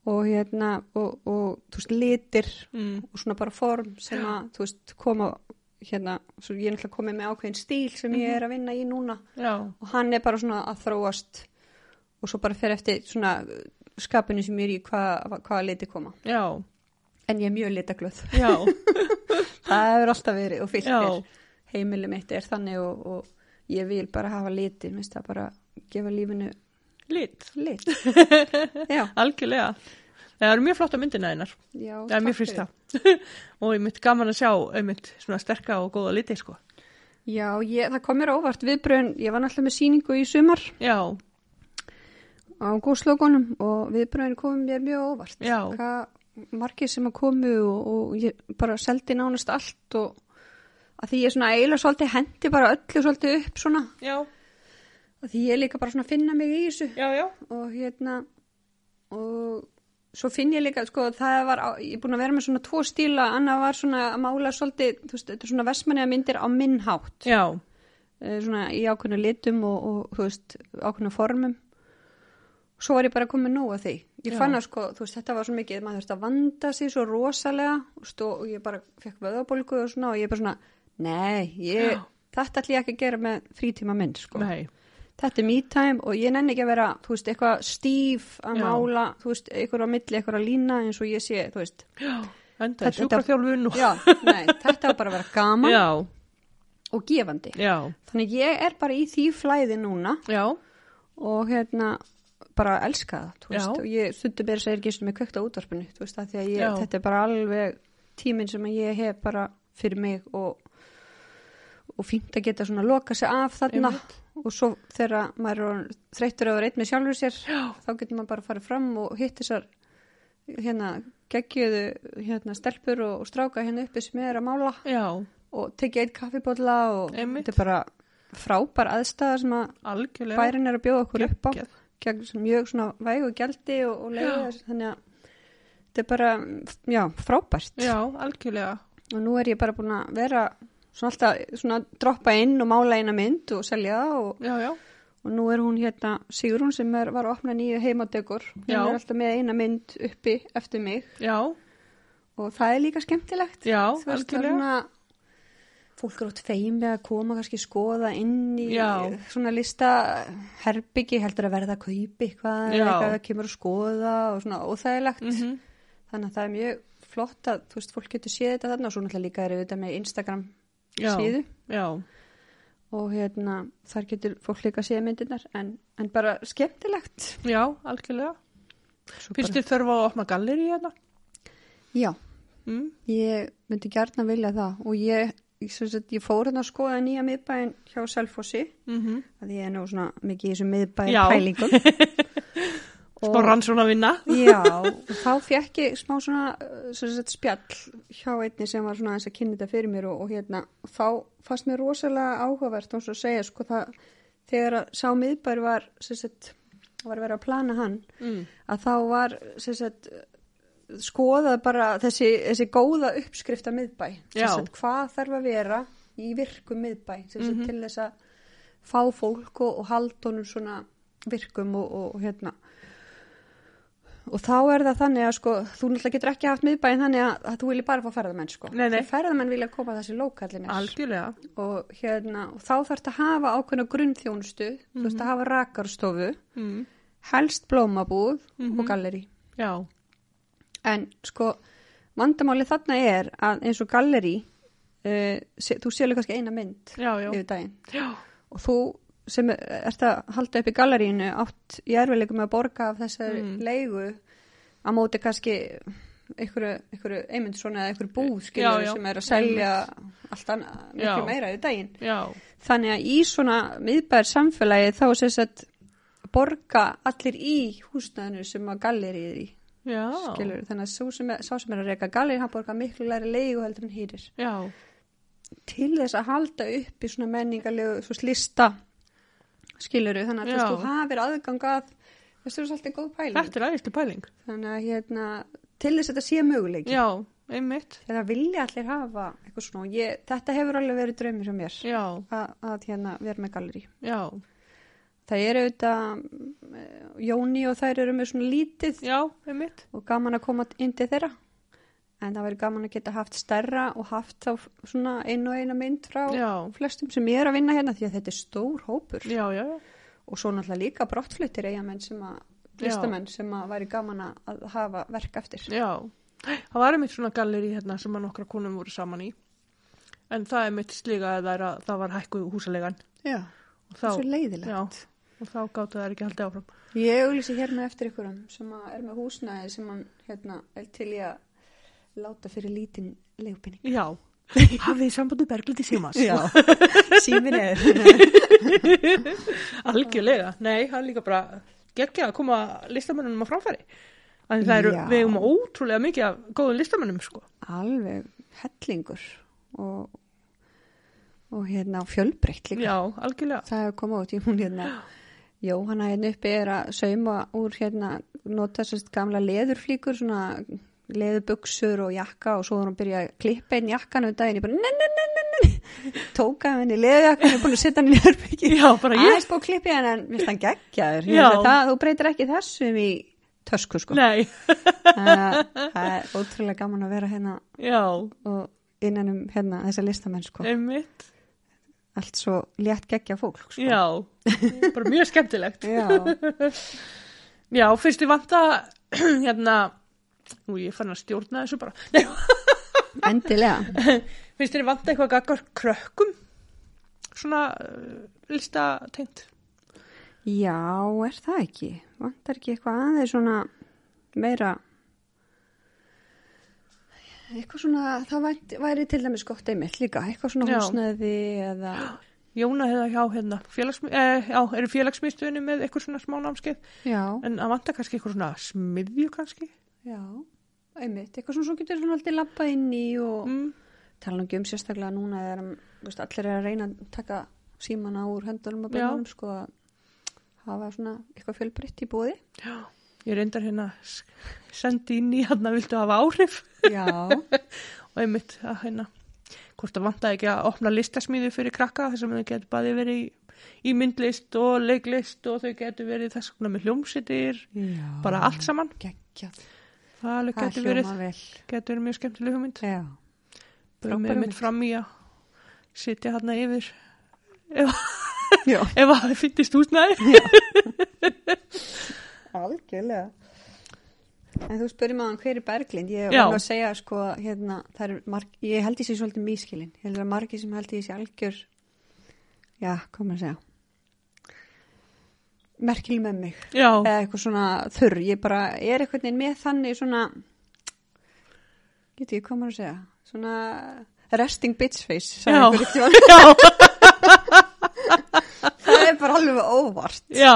og hérna og, og þú veist, litir
mm,
og svona bara form sem að þú veist, koma hérna, svo ég er náttúrulega komið með ákveðin stíl sem ég er að vinna í núna
já,
og hann er bara svona að þróast og svo bara fer eftir svona uh, skapinu sem ég er í hvað hva liti koma
já,
en ég er mjög litaglöð
já,
það hefur alltaf verið og fyllt
Já.
er heimili mitt er þannig og, og ég vil bara hafa liti, minnst það bara gefa lífinu
lit, (laughs)
lit já,
algjörlega. Það eru mjög flotta myndina einar,
já,
það er
takk
mjög
fyrir.
fyrst það. (laughs) og einmitt gaman að sjá einmitt svona sterka og góða liti, sko.
já, ég, það kom mér á óvart viðbröðin, ég var náttúrulega með síningu í sumar
Já,
á góðslogunum og viðbröðin kom mér mjög á óvart
Já.
hvað margir sem að komu og, og ég bara seldi nánast allt og að því ég svona eiginlega svolítið hendi bara öllu svolítið upp svona
já,
að því ég er líka bara svona að finna mig í þessu
já, já,
og hérna og svo finn ég líka sko, það var, á, ég er búin að vera með svona tvo stíla, annað var svona að mála svolítið, þú veist, þetta er svona vestmanniða myndir á minn hátt,
já,
Eh, svona í ákveðnu litum og, og þú veist, ákveðnu formum svo var ég bara komin nóg að því Ég
Já.
fann að sko, þú veist, þetta var svo mikið, maður þurfti að vanda sig svo rosalega þú veist, og ég bara fekk vöðabólgu og svona og ég bara svona, nei, ég,
Já.
þetta ætlum ég ekki að gera með frítíma minn, sko.
Nei,
Þetta er me time og ég nenni ekki að vera, þú veist, eitthvað stíf að
Já.
mála, þú veist, einhver á milli, einhver að lína eins og ég sé, þú veist.
enda
Þetta-
sjúkraþjálfun og...
Já, nei, þetta var bara að vera (laughs) gaman
(laughs) já,
og gefandi.
já,
Þannig ég er bara í því flæði núna
já,
og hérna bara elska það, þú
Já.
veist, og ég stundum meira að segja ekki eins og með kvögt á útvarpinu, þú veist, að því að ég,
Já.
þetta er bara alveg tíminn sem ég hef bara fyrir mig og, og fínt að geta svona loka sig af þarna
Einmitt.
og svo þegar maður er orðinn þreyttur að vera einn með sjálfur sér, Já. þá getur maður bara farið fram og hitt þessar hérna geggjöðu hérna stelpur og, og stráka hérna uppi sem er að mála
já,
og tekið eitt kaffibólla og
Einmitt.
þetta er bara frábær aðstæða sem að
algjörlega.
bærin er að bjóða okkur upp á
Geggjað.
gegn sem mjög svona væg og gældi og, og leiði þess þannig að þetta er bara, já, frábært
Já, algjörlega.
og nú er ég bara búin að vera svona alltaf, svona droppa inn og mála eina mynd og selja það og,
Já, já,
og nú er hún hérna Sigrún sem er, var að opna nýju heimadegur hún
Já.
er alltaf með eina mynd uppi eftir mig
já,
og það er líka skemmtilegt
já,
þú veist það er
algjörlega.
svona fólk er átt feimið að koma kannski skoða inn í
Já.
svona lista herbyggi heldur að verða að kaupi eitthvað
Já.
eða eitthvað að kemur að skoða og svona óþægilegt
Mm
þannig að það er mjög flott að þú veist fólk getur séð þetta þarna og svo náttúrulega líka er þetta með Instagram
Já.
síðu
Já,
og hérna þar getur fólk líka séð myndirnar en, en bara skemmtilegt
já, algjörlega.
Svo
Finnst þið þörfa að opna galleri hérna?
bara, Já,
Mm?
ég myndi gjarnan vilja það og ég, ég, sem sagt, ég fór hérna að skoða nýja miðbæin hjá Selfossi
Mm -hmm.
að ég er nú svona mikið í þessum miðbæri
Já.
pælingum
Spá rannsóna vinna?
já, og þá fekk ég smá svona, uh, svona sett, spjall hjá einni sem var svona aðeins að kynna þetta fyrir mér og, og hérna, og þá fannst mér rosalega áhugavert og svo segja sko það þegar að sá miðbæri var sem sagt, var verið að plana hann
Mm.
að þá var sem sagt, skoðað bara þessi, þessi góða uppskrift að miðbæ Sem
Já.
sagt, hvað þarf að vera í virkum miðbæ sem sagt,
Mhm.
til þess að fá fólk og, og haldunum svona virkum og, og, og hérna og þá er það þannig að sko þú náttúrulega getur ekki haft miðbæin þannig að, að þú vilji bara fá ferðamenn sko
Nei, nei.
Því ferðamenn vilja koma að þessi lókallinir
Algjörlega.
og, hérna, og þá þarf að hafa ákveðna grunnþjónustu þú
Mhm.
veist að hafa rakarstofu
Mm.
helst blómabúð
Mhm.
og galleri
Já,
en sko vandamáli þarna er að eins og galleri uh, se, þú sélur kannski eina mynd
já, já.
yfir daginn
Já,
og þú sem er- ert að halda upp í gallerínu átt í erfileikum að borga af þessari
Mm.
leigu að móti kannski einhverju, einhverju einmundsson eða einhverju búð skilur
Já, já.
sem er að selja allt annað miklu
Já.
meira yfir daginn
já,
þannig að í svona miðbæðar samfélagi þá sést að borga allir í húsnæðinu sem að gallerið er í
já.
skilur, þannig að svo sem er, sá sem er að reyka galir hann borgar miklu læri leigu heldur en hýrir
Já,
til þess að halda upp í svona menningarlegu svo slista skiluru, þannig að þú
Já.
veist, þú hafir aðgang að þessu er svolítið góð pæling
þetta er aðeinsli pæling.
þannig að hérna, til þess að þetta sé möguleiki
Já, einmitt.
þegar vilja allir hafa eitthvað svona og ég, þetta hefur alveg verið draumir hjá mér
Já,
að, að hérna, vera með galeri
já,
það eru auðvitað eh, Jóni og þær eru með svona lítið
já, einmitt.
og gaman að koma inn til þeirra en það verður gaman að geta haft stærra og haft þá svona einu og eina mynd frá
Já,
flestum sem ég er að vinna hérna því að þetta er stór hópur
já, já, já.
og svo náttúrulega líka brottfluttir eigamenn sem að
Já.
listamenn sem að væri gaman að- að hafa verk eftir
Já, það var einmitt svona galleri hérna sem að nokkra konum voru saman í. En það er mitt slíka að það, er að það var hækkuð húsalegan.
Já,
Og þá,
það er svo leiðilegt
já, og þá gáttu það ekki haldið áfram.
Ég auglýsi hérna eftir ykkurum sem að er með húsnæði sem hann hérna, er til í að láta fyrir lítinn leifbynning
(laughs) Já, hafið þið sambandið bergliti símas. (laughs)
símin er
Algjörlega, nei, það er líka bara geggja að koma listamönnum á framfæri. Þannig það eru,
Já.
við eigum ótrúlega mikið af góðum listamönnum, sko.
alveg hellingur og, og hérna fjölbreytt líka
Já, algjörlega.
það hefur komið út í hún hérna Jóhanna hérna uppi er að sauma úr hérna, nota sérst gamla leðurflíkur, svona leðurbuksur og jakka og svo var hún að byrja að klippa einn jakkan um daginn, ég bara nenn, nenn, nenn, nenn, tóka af henni leðurjakkan, ég er búin að setja hann í leðurbyggi
(laughs) Já, bara ég
aðeins búið að klippa henni en minnst hann geggjaður
Já.
Ég held að það, þú breytir ekki þessum í tösku
(laughs)
sko.
Nei,
Það það er ótrúlega gaman að vera hérna
já,
og innan um hérna þessa listamenn sko.
Eh. einmitt,
Allt svo létt geggja fólk sko.
já,
(laughs)
bara mjög skemmtilegt.
Já.
Já, finnst þið vanta, (clears throat) hérna, nú ég fann að stjórna þessu bara, Nei,
(laughs) Endilega.
finnst þið vanta eitthvað gaggar krökkum, svona uh, listatengt?
Já, er það ekki? Vantar ekki eitthvað aðeins svona meira eitthvað svona, það væri, væri til dæmis gott einmitt líka, eitthvað svona
Já.
húsnæði eða,
Jóna hefða hjá, hérna, félagsmi, eh, já, eru félagsmiðstöðinu með eitthvað svona smá námskeið,
já,
en að vanta kannski eitthvað svona smiðju kannski?
já, einmitt, eitthvað svona svo getur svona aldrei lappa inn í og
Mm.
tala nú ekki um sérstaklega núna þegar um, veist, allir er að reyna að taka símana úr höndunum og beinunum sko að hafa svona eitthvað fjölbreytt í bóði.
Ég reyndar hérna, s- sendi inn í hérna, viltu hafa áhrif?
Já,
og einmitt að hérna hvort það vantaði ekki að opna listasmíðu fyrir krakka þess að þau getur bæði verið í, í myndlist og leiklist og þau getur verið þess vegna með hljómsittir
já.
bara allt saman
geggjað.
það alveg
Það
getur verið,
hljóma vel.
getur verið mjög skemmtileg hugmynd
Já.
með
frábær hugmynd.
mynd fram í að sitja hérna yfir
Já.
ef að það fyndist húsnæði
(laughs) Algjörlega. En þú spurði maður hver er Berglind, ég
Já.
var nú að segja sko hérna, það er marg, ég held í sig svolítið mískilin, ég held að margir sem held í sig algjör, já, hvað maður að segja, merkil með mig,
já,
eða eitthvað svona þurr, ég bara er eitthvað neginn með þannig svona, geti ég hvað maður að segja, svona resting bitch face, sagði
Já.
einhver einhverjum,
(laughs) já,
(laughs) það er bara alveg óvart.
já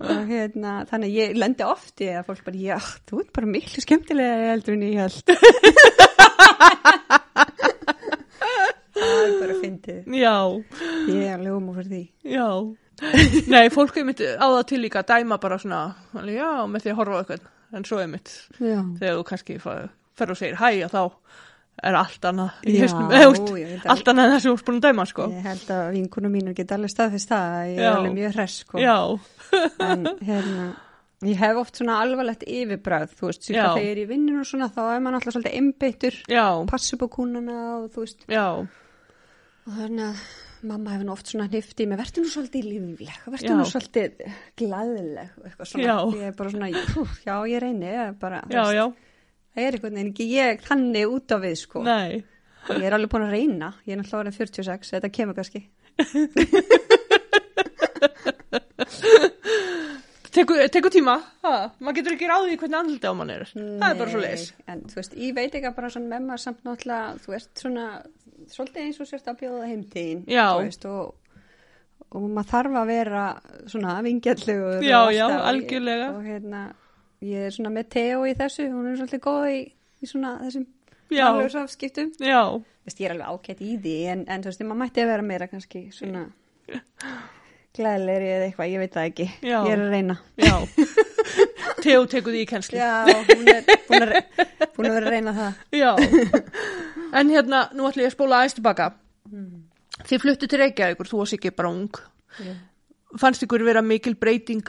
og hérna, þannig að ég lendi oft í að fólk bara, já, þú ert bara miklu skemmtilega heldur en ég held (laughs) það er bara fyndið
já
ég er alveg um fyrir því
Já, nei, fólk er mitt á það til líka að dæma bara svona, alveg, já, með því að horfa á eitthvað, en svo er mitt,
já,
þegar þú kannski fa- fer og segir hæ og þá er allt annað í
Já,
hausnum, eða úst,
já, ég veit að-
allt annað en það sem þú ert búin að dæma, sko.
ég held að vinkunum mínum geta alveg staðfist það að ég
Já.
er alveg mjög hress sko.
Já,
en hérna Ég hef oft svona alvarlegt yfirbræð, þú
Já.
veist, síðan þegar ég er í vinninu og svona, þá er maður alltaf svolítið einbeittur,
já,
passa upp á kúnana og þú veist,
já,
Og þannig að mamma hefur nú oft svona hnifti með verður nú svolítið lífleg,
Já.
verður nú svolítið glaðileg og eitthvað svona.
Já.
Ég er bara svona, pú, já ég reyni, ég er bara, þú
já,
veist,
já,
það er einhvern veginn ekki ég þannig út á við sko.
nei,
Ég er alveg búin að reyna, ég er náttúrulega orðin 46, þetta kemur kannski.
tekur teku tíma, ha, maður getur ekki ráðið í hvernig andlita á mann er, það er bara svo leis.
Nei, En þú veist, ég veit ekki að bara svona með maður samt náttúrulega, þú ert svona, svolítið eins og sért að bjóða heimtíðin.
Já.
Þú veist, og, og maður þarf að vera svona vingjallegur.
Já,
og
já,
alltaf.
algjörlega.
Og hérna, ég er svona með Teo í þessu, hún er svolítið góð í, í svona þessum
Já.
aflöðsafskiptum.
Já,
Þú veist, ég er alveg ágætt í því, en, en þú veist, maður mætti að vera meira kannski svona glæðilegri eða eitthvað, ég veit það ekki.
Já.
Ég er að reyna.
já,
(laughs)
Teo tekur því í kennslu.
Já, hún er búin að, re- búin að vera að reyna það. (laughs)
Já, en hérna, nú ætlum ég að spóla aðeins tilbaka.
Mm.
Þið fluttu til Reykjavíkur, þú varst ekki bara ung.
Já.
Fannst ykkur vera mikil breyting,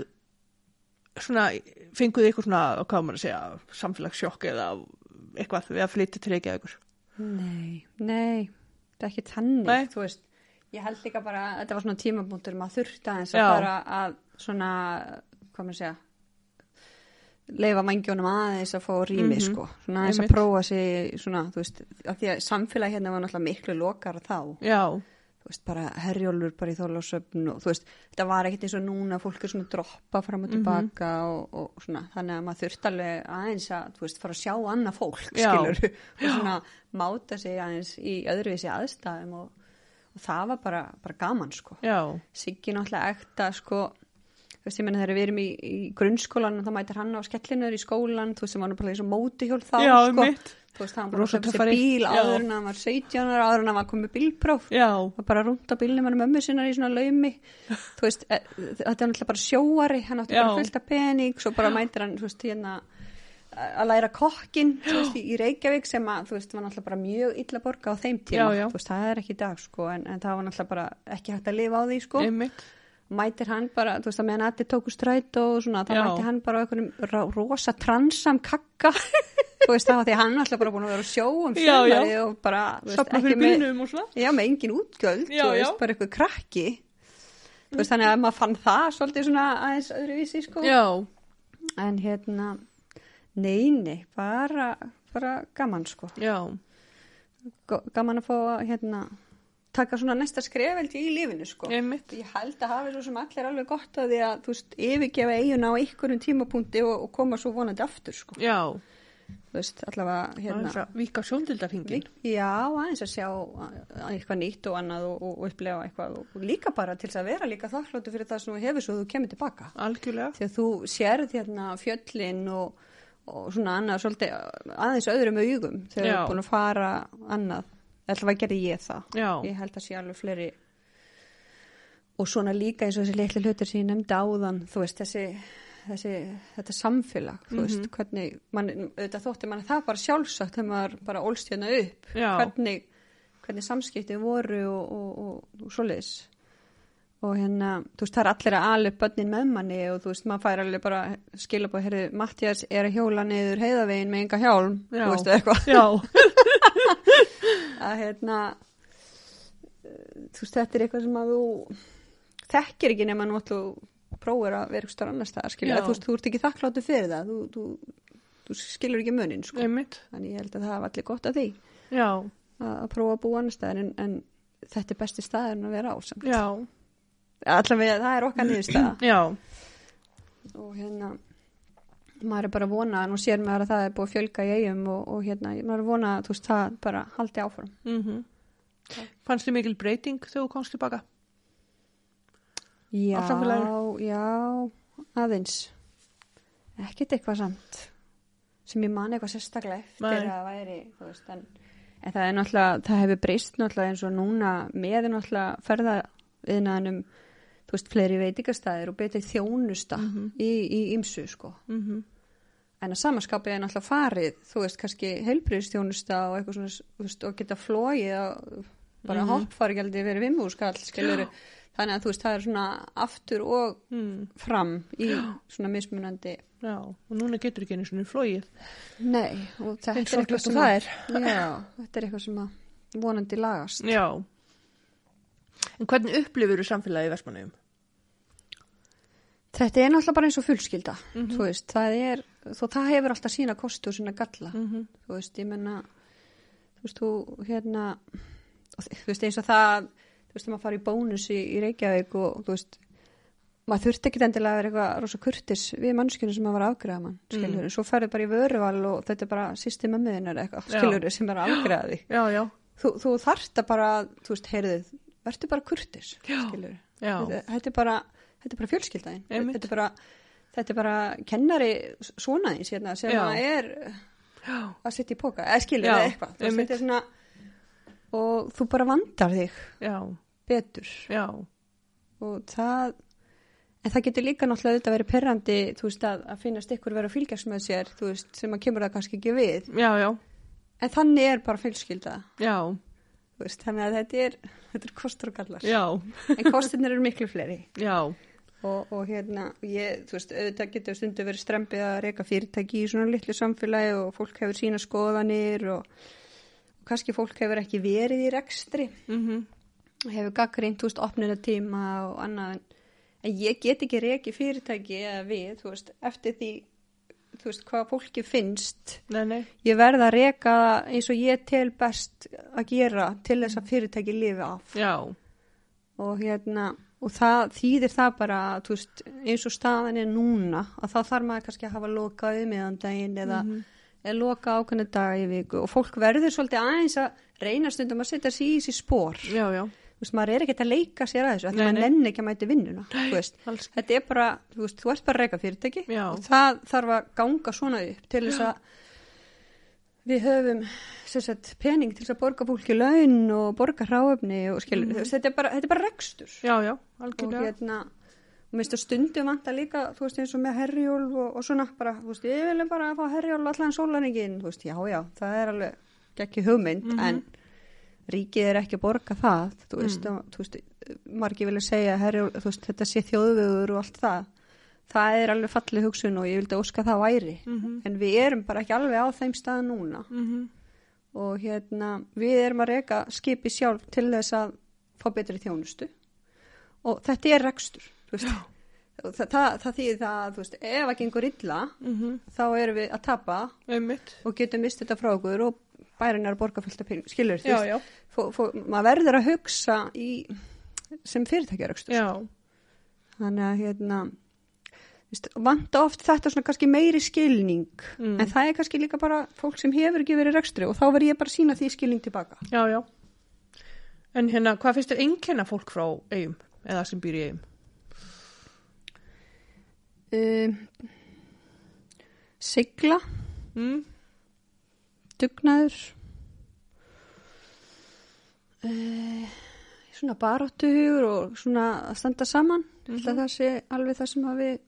svona, fenguð ykkur svona, hvað á maður að segja, samfélagssjokk eða eitthvað við að flytja til Reykjavíkur?
Nei, nei, það er ekki tannig,
Nei.
þú veist. Ég held líka bara, að þetta var svona tímabúndur maður þurfti aðeins að
Já.
fara að svona, hvað maður segja, leifa mængjónum aðeins að fá rými, sko. Svona aðeins
Mhm,
að
Einmitt.
prófa sig, svona, þú veist, af því að samfélagi hérna var náttúrulega miklu lokar þá.
Já,
Þú veist, bara herjólfur bara í þorlásöfn og þú veist, þetta var ekkit eins og núna, fólk er svona að droppa fram og
Mhm.
tilbaka og, og svona, þannig að maður þurfti alveg aðeins að, þú veist, fara að sjá annað fólk,
Já.
skilur, og svona máta sig aðeins í öðruvísi aðstæðum og, og það var bara, bara gaman, sko.
já,
Siggi náttúrulega ekta sko þú veist, ég menna þegar við erum í, í grunnskólan og þá mætir hann á skellinuður í skólan þú veist, sem var nú bara eins og mótihjól þá
Já,
sko.
einmitt.
þú veist, hann bara
Rosa
hlæfði sér
töffari.
bíl
Já.
áður en hann var 17 ára áður en hann var komið bílpróf
já,
og bara rúnda bílnum hann mömmu sinnar í svona
(laughs)
laumi þú veist, e, þetta er náttúrulega bara sjóari hann átti
Já.
bara fullt af pening svo bara mætir hann, þú veist, hérna að læra kokkin, þú veist, í í Reykjavík sem að, þú veist, var náttúrulega bara mjög illa borga á þeim tíma,
Já, já.
þú veist, það er ekki í dag sko, en, en það var náttúrulega bara ekki hægt að lifa á því, sko
einmitt,
mætir hann bara, þú veist að meðan allir tóku stræt og svona, þá
Já.
mætir hann bara á einhvernum rá- rosa transam kakka (laughs) þú veist það, því hann alltaf bara búin að vera að sjó um
Já, já.
sumarið og bara, þú veist,
Safna fyrir
með
bílnum um og svona.
já, með engin útgjöld,
Já, já.
þú
Mm.
veist, bara eitthvað krakki þú veist, þannig að maður fann það svolítið svona aðeins öðruvísi, sko
Já,
en hérna, neini bara, bara gaman, sko
já,
G- gaman að fá að, hérna taka svona næsta skrefeld í lífinu, sko
einmitt.
Ég held að hafi svo sem allir alveg gott að því að, þú veist, yfirgefa eiguna á einhverjum tímapunkti og, og koma svo vonandi aftur, sko.
Já,
Þú veist, allavega,
aðeins
hérna.
að vika sjóndildarhingin.
Já, aðeins að sjá að- að eitthvað nýtt og annað og, og, og upplefa eitthvað og, og líka bara til þess að vera líka þakkláttu fyrir það sem þú hefur svo þú kemur tilbaka.
Algjörlega.
Þegar þú sérð hérna fjöllin og, og svona annað svolítið uh, aðeins öðrum augum þegar þú
Já.
er búin að fara annað. Allavega gerði ég það
Já,
ég held að sé alveg fleiri og svona líka eins og þessi litlu hlutir sem ég nefndi áðan þú veist þessi, þessi þetta samfélag þú veist
Mhm.
hvernig man, auðvitað þótti mann það bara sjálfsagt þegar maður bara ólst hérna upp
Já.
hvernig, hvernig samskipti voru og, og, og, og svoleiðis og hérna, þú veist, það er allir að ala upp börnin með manni og þú veist, maður fær alveg bara skila búið, heyrðu, Mattias er að hjóla niður heiðavegin með enga hjálm,
Já.
þú veist, eða eitthvað
já,
að hérna eh, þú veist þetta er eitthvað sem að þú þekkir ekki nema nú þú prófur að vera eitthvað annars það skilja,
Já.
þú veist, þú ert ekki þakkláttu fyrir það þú, þú, þú skilur ekki munin sko.
einmitt.
þannig ég held að það hafa allir gott að því
Já,
að, að prófa að búa annars staðar en, en þetta er besti staðar en að vera á samt
já,
allavega það er okkar niðurstaða
já,
(clears throat) og hérna maður er bara að vona, nú sér maður að það er búið að fjölga í eigum og, og hérna maður er að vona að þú veist það bara haldi áfram
mhm. Fannst þið mikil breyting þegar þú komst tilbaka?
Já,
samfélaginu?
já, aðeins. Ekkert eitthvað samt sem ég man eitthvað sérstaklega eftir
Nei.
að það væri, þú veist, en, en það er náttúrulega, það hefur breyst náttúrulega eins og núna með náttúrulega ferða viðnaðanum, þú veist, fleiri veitingastæðir og betri þjónusta
Mhm.
í, í ymsu, sko.
Mm
En að samaskapið er náttúrulega farið, þú veist, kannski heilbriðstjónusta og eitthvað svona, þú veist, og geta flóið að bara mm -hmm. hoppfargjaldi verið vimmúskall, skilur, þannig að þú veist, það er svona aftur og
mm,
fram í svona mismunandi
Já, og núna getur ekki einu svona flóið.
Nei, og þetta
Eins
er
sorglegt
eitthvað
og
sem
það
að Já, (laughs) þetta er eitthvað sem að vonandi lagast
Já. En hvernig upplifur þú samfélagi í Vestmannaugum?
Þetta er náttúrulega bara eins og fullskilda þú veist, það er, þó það hefur alltaf sína kosti og sína galla
Mm -hmm.
þú veist, ég menna þú veist, þú hérna og þi- þú veist, eins og það þú veist, þegar maður fara í bónus í, í Reykjavík og þú veist, maður þurfti ekkit endilega að vera eitthvað rosa kurtis við mannskjörnum sem maður var að afgreða mann,
Mm.
skilur svo ferðu bara í vöruval og þetta er bara sýsti mömmuðin er eitthvað,
Já.
skilur sem er að afgreða þig
Já, já,
þú, þú þarft að bara, þú veist, heyrðu, verður bara kurtis,
Já,
skilur.
já.
Þetta, þetta er bara, þetta er bara fjölskyldaðin.
Einmitt.
Þetta er bara, þetta er bara kennari svonaðins, hérna, sem
Já.
að er
Já.
að sitja í póka, eða skilur,
Já,
eða eitthvað. Þú veist,
einmitt.
þetta er svona, og þú bara vandar þig
Já,
betur
já,
og það, en það getur líka náttúrulega auðvitað að vera perrandi, þú veist, að, að finnast ykkur vera að fylgjast með sér, þú veist, sem að kemur það kannski ekki við.
já, já,
En þannig er bara fjölskyldað,
já,
þú veist, þannig að þetta er, þetta er kostur og gallar.
já,
en kostinir eru miklu fleiri
já,
og, og hérna, ég, þú veist, auðvitað getur stundu verið strempið að reyka fyrirtæki í svona litlu samfélagi og fólk hefur sína skoðanir og, og kannski fólk hefur ekki verið í rekstri
mhm,
hefur gaggrínt, þú veist, opnunatíma og annað en, en ég get ekki reyki fyrirtæki eða við, þú veist, eftir því þú veist, hvað fólki finnst
nei, nei,
ég verð að reyka eins og ég tel best að gera til þess að fyrirtæki lifi af
já,
og hérna og það þýðir það bara að, þú veist, eins og staðan er núna að þá þarf maður kannski að hafa lokað um meðan daginn eða mm -hmm. loka ákveðna dag í viku og fólk verður svolítið aðeins að reyna stundum að setja sig í þessi spór
já, já,
þú veist, maður er ekkert að leika sér að þessu að
Nei,
maður
nei.
nenni ekki að mæti vinnuna þú veist,
alls,
þetta er bara, þú veist, þú ert bara að reyka fyrirtæki
Já.
og það þarf að ganga svona upp til þess að við höfum sem sagt, pening til þess að borga fólki laun og borga hráöfni og skilur,
Mhm.
mm þetta, er bara, þetta er bara rekstur
já, já,
og
algjörlega,
hérna og minnst að stundum vanta líka þú veist eins og með herjólf og, og svona bara, þú veist, ég viljum bara að fá herjólf allan sólaningin, þú veist, já, já, það
Mhm. Mhm.
er alveg ekki hugmynd, en ríkið er ekki að borga það, þú veist, og, þú veist margi vilja segja herri, þú veist, þetta sé þjóðvegur og allt það það er alveg fallið hugsun og ég vildi óska það væri
Mhm.
en við erum bara ekki alveg á þeim stað núna
Mhm.
og hérna við erum að reyka skipi sjálf til þess að fá betri þjónustu og þetta er rekstur þú veist. Og það, það, það þýðir það að, þú veist, ef að gengur illa
Mhm.
þá erum við að tapa
Einmitt.
og getum mist þetta frá okkur og bærin er að borga fullt af peningum, skilur þú
Já,
veist,
já.
fó, fó, maður verður að hugsa í, sem fyrirtækjarekstur
Já.
þannig að hérna þú veist, vanta oft þetta svona kannski meiri skilning
Mm.
en það er kannski líka bara fólk sem hefur ekki verið í rekstri og þá verð ég bara að sína því skilning tilbaka
Já, já. En hérna, hvað finnst þér einkenna fólk frá eigum eða sem býr í eigum?
um, sigla,
Mm?
dugnaður uh, svona baráttuhugur og svona að standa saman mm
Mhm.
það sé alveg það sem að við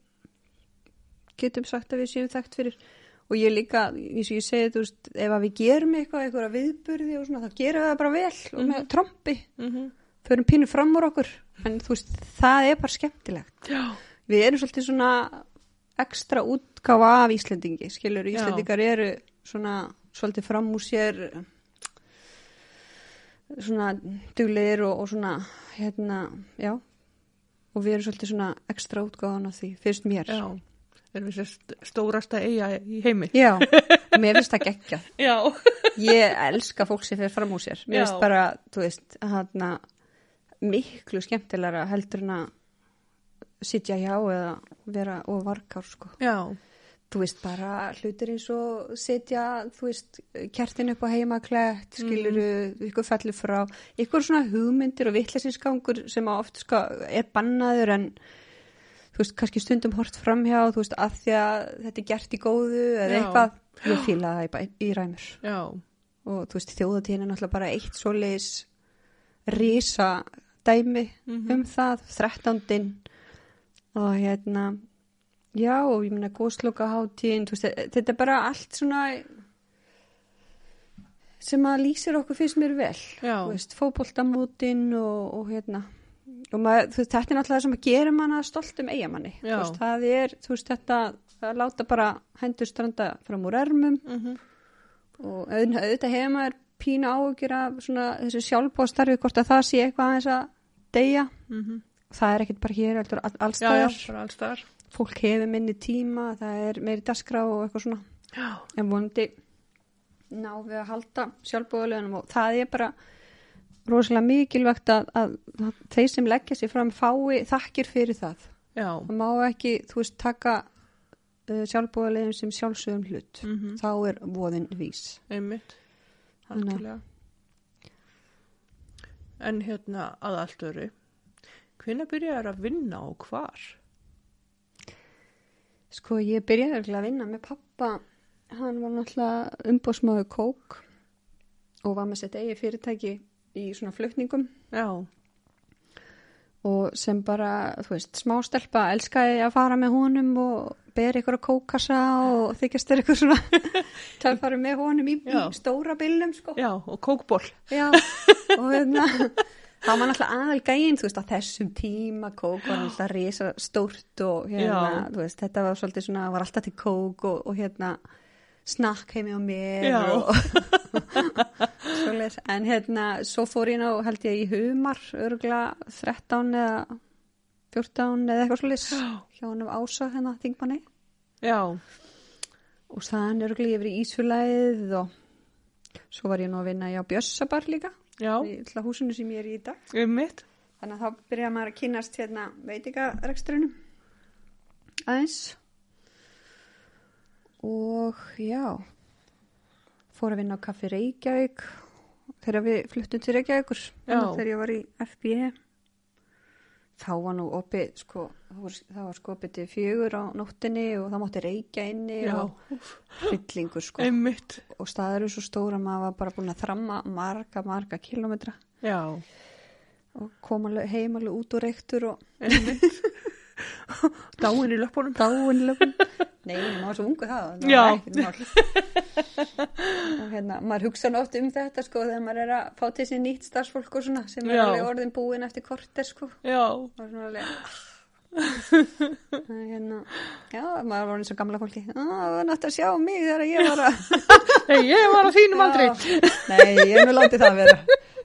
getum sagt að við séum þekkt fyrir og ég líka, eins og ég segi þú veist, ef að við gerum eitthvað, eitthvað viðburði og svona, þá gerum við það bara vel og með trompi,
Mm -hmm.
förum pínu fram úr okkur en þú veist, það er bara skemmtilegt
Já.
við erum svolítið svona ekstra útgáfa af Íslendingi skilur,
Já.
Íslendingar eru svona svolítið fram úr sér svona duglegir og, og svona hérna, já og við erum svolítið svona ekstra útgáfan af því, finnst mér
Já. Erum við sérst stórasta eiga í heimi? (laughs)
Já, mér finnst það geggja
Já.
ég elska fólk sem fer fram úr sér mér
Já.
finnst bara, þú veist, hana miklu skemmtilega heldur en að sitja hjá eða vera og varkar sko
Já.
þú veist bara hlutir eins og setja, þú veist, kertin upp á heimaklett, skiluru, ykkur fellur frá, ykkur svona hugmyndir og vittlesinsgangur sem að oft ska, er bannaður en þú veist, kannski stundum hort framhjá, þú veist, að því að þetta er gert í góðu eða
Já.
eitthvað, ég fíla það í, bæ- í ræmur
Já.
og þú veist, þjóðatíðin er náttúrulega bara eitt svoleiðis risa dæmi
Mhm.
um það, þrettándin og hérna já, og ég meina góðslokaháttíðin, þú veist, e- þetta er bara allt svona sem að lýsir okkur finnst mér vel
Já.
þú veist, fótboltamótin og, og hérna og maður, þú veist, þetta er náttúrulega það sem að gera manna stolt um eigamanni, þú
Já.
veist, það er þú veist, þetta, það láta bara hendur stranda fram úr ermum
Mm
og auðvitað auðvitað hefur maður pína áhugjur af svona þessu sjálfbóðstarfi hvort að það sé eitthvað aðeins að deyja það er ekkert bara hér heldur all- alls
mhm. Já, já.
staðar
Bara alls þar.
fólk hefur minni tíma það er meiri dasgra og eitthvað svona
Já.
en vonandi ná við að halda sjálfbóðulegunum og það er bara rosalega mikilvægt að, að, að þeir sem leggja sér fram fái þakkir fyrir það
Já.
það má ekki, þú veist, taka uh, sjálfbóðulegum sem sjálfsögum hlut
Mm
þá er voðin vís
Einmitt.
Þannig að-
Algjörlega. En hérna að allt öru. Hvenær byrjar að vinna og hvar?
Sko, ég byrjaði örugglega að vinna með pappa. Hann var náttúrulega umbóðsmáðu kók og var með sitt eigi fyrirtæki í svona flutningum
Já.
og sem bara, þú veist, smástelpa elskaði að fara með honum og bera ykkur á kókassa og þykjast er ykkur svona töfari með honum í, í
Já.
stóra bílnum, sko.
Já, og kókból.
Já, og hérna, það var náttúrulega aðal gæinn, þú veist, á þessum tíma kók var náttúrulega risa stórt og hérna,
Já.
þú veist, þetta var svolítið svona, var alltaf til kók og, og hérna, snakk heimi á mér
Já.
og (laughs) svolítið, en hérna, svo fór ég ná, held ég, í humar, örgla 13 eða 14 eða eitthvað svolítið, hjá hann af ása hérna, þingmanni
Já.
og þann örgla yfir í Ísfjölaðið og svo var ég nú að vinna í á Bjössabar líka
Já.
í til að húsinu sem ég er í í dag
Einmitt.
þannig að þá byrja maður að kynast hérna veitingarekstrunum aðeins og já fór að vinna á kaffi Reykjavík þegar við fluttum til Reykjavíkur þannig að
Já.
þegar ég var í FB þá var nú opið sko, það var, það var sko opið til fjögur á nóttinni og það mátti reykja inni
Já.
og hryllingur sko
Einmitt.
og staður er svo stóra maður var bara búin að þramma marga marga kilometra
Já.
og kom alveg heim alveg út úr reyktur og
Einmitt. Dáin í löpunum.
dáinlöfum (laughs) Nei, maður var svo ungu það, það
Já.
var ekkert mál og hérna, maður hugsa nú oft um þetta sko, þegar maður er að fá til sín nýtt starfsfólk og svona, sem er
Já.
alveg orðin búin eftir korter sko,
Já,
maður er svona alveg
(laughs)
Það er hérna, já, maður var eins og gamla fólki "Á, það var nátt að sjá mig þegar ég var að
(laughs) hey, ég var á þínum aldrei.
Já. Nei, ég er nú látið það vera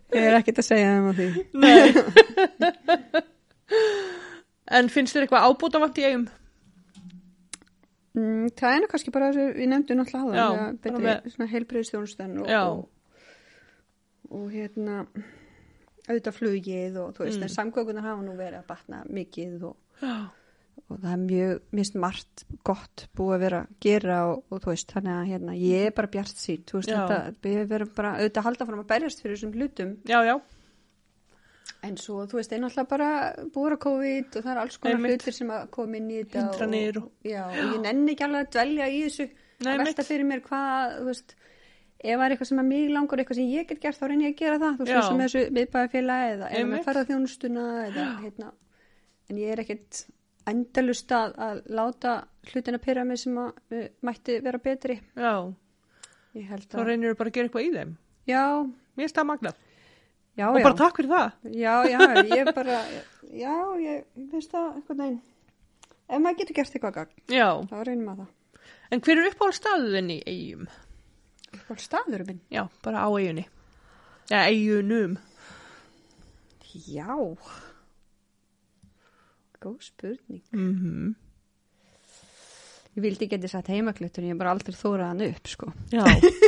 Ég er ekkert að segja þeim á því
Nei. (laughs) en finnst þér eitthvað ábútavant í eigum?
Mm, það er nú kannski bara þessu, við nefndum náttúrulega
Já,
áðan,
bara
betri,
með-
svona heilbreyðstjónustan og,
Já.
og, og hérna auðvitað flugið og þú veist,
Mm.
en samgöngunar hafa nú verið að batna mikið og,
Já.
og það er mjög, mist margt gott búið að vera að gera og, og þú veist, þannig að hérna, ég er bara bjart sín, þú veist,
Já.
þetta, við verum bara auðvitað að halda fram að berjast fyrir þessum hlutum
Já, já.
en svo, þú veist, er náttúrulega bara búið að COVID og það er alls konar
Einmitt.
hlutir sem að koma inn í þetta
Hindranir
og, já, og ég nenni ekki alveg að dvelja í þessu
Nei,
að velta fyrir mér hvað, þú veist ef það er eitthvað sem að mig langar, eitthvað sem ég get gert þá reynir ég að gera það, þú veist,
Já.
eins og með þessu miðbæðafélagi eða eða
Einmitt.
með ferðarþjónustuna eða, hérna, en ég er ekkit endalust að, að láta hlutina pyrra mig sem að uh, mætti vera betri,
Já,
ég held
þá
að
reynir þau bara að gera eitthvað í þeim.
já,
Mér finnst það magnað.
já,
Og
já
bara takk fyrir það.
Já, já, ég bara, já, ég finnst það eitthvað neginn. Ef maður getur gert eitthvað gagn,
Já.
þá reynir maður það.
En hver er uppáhald staðuðin í eigum?
Uppáld staður minn?
Já, bara á eigunni. Já, eigunum.
Já. Góð spurning.
Mm
Ég vildi ekki geti satt heimaklutur, ég hef bara aldrei þórað hann upp, sko.
Já,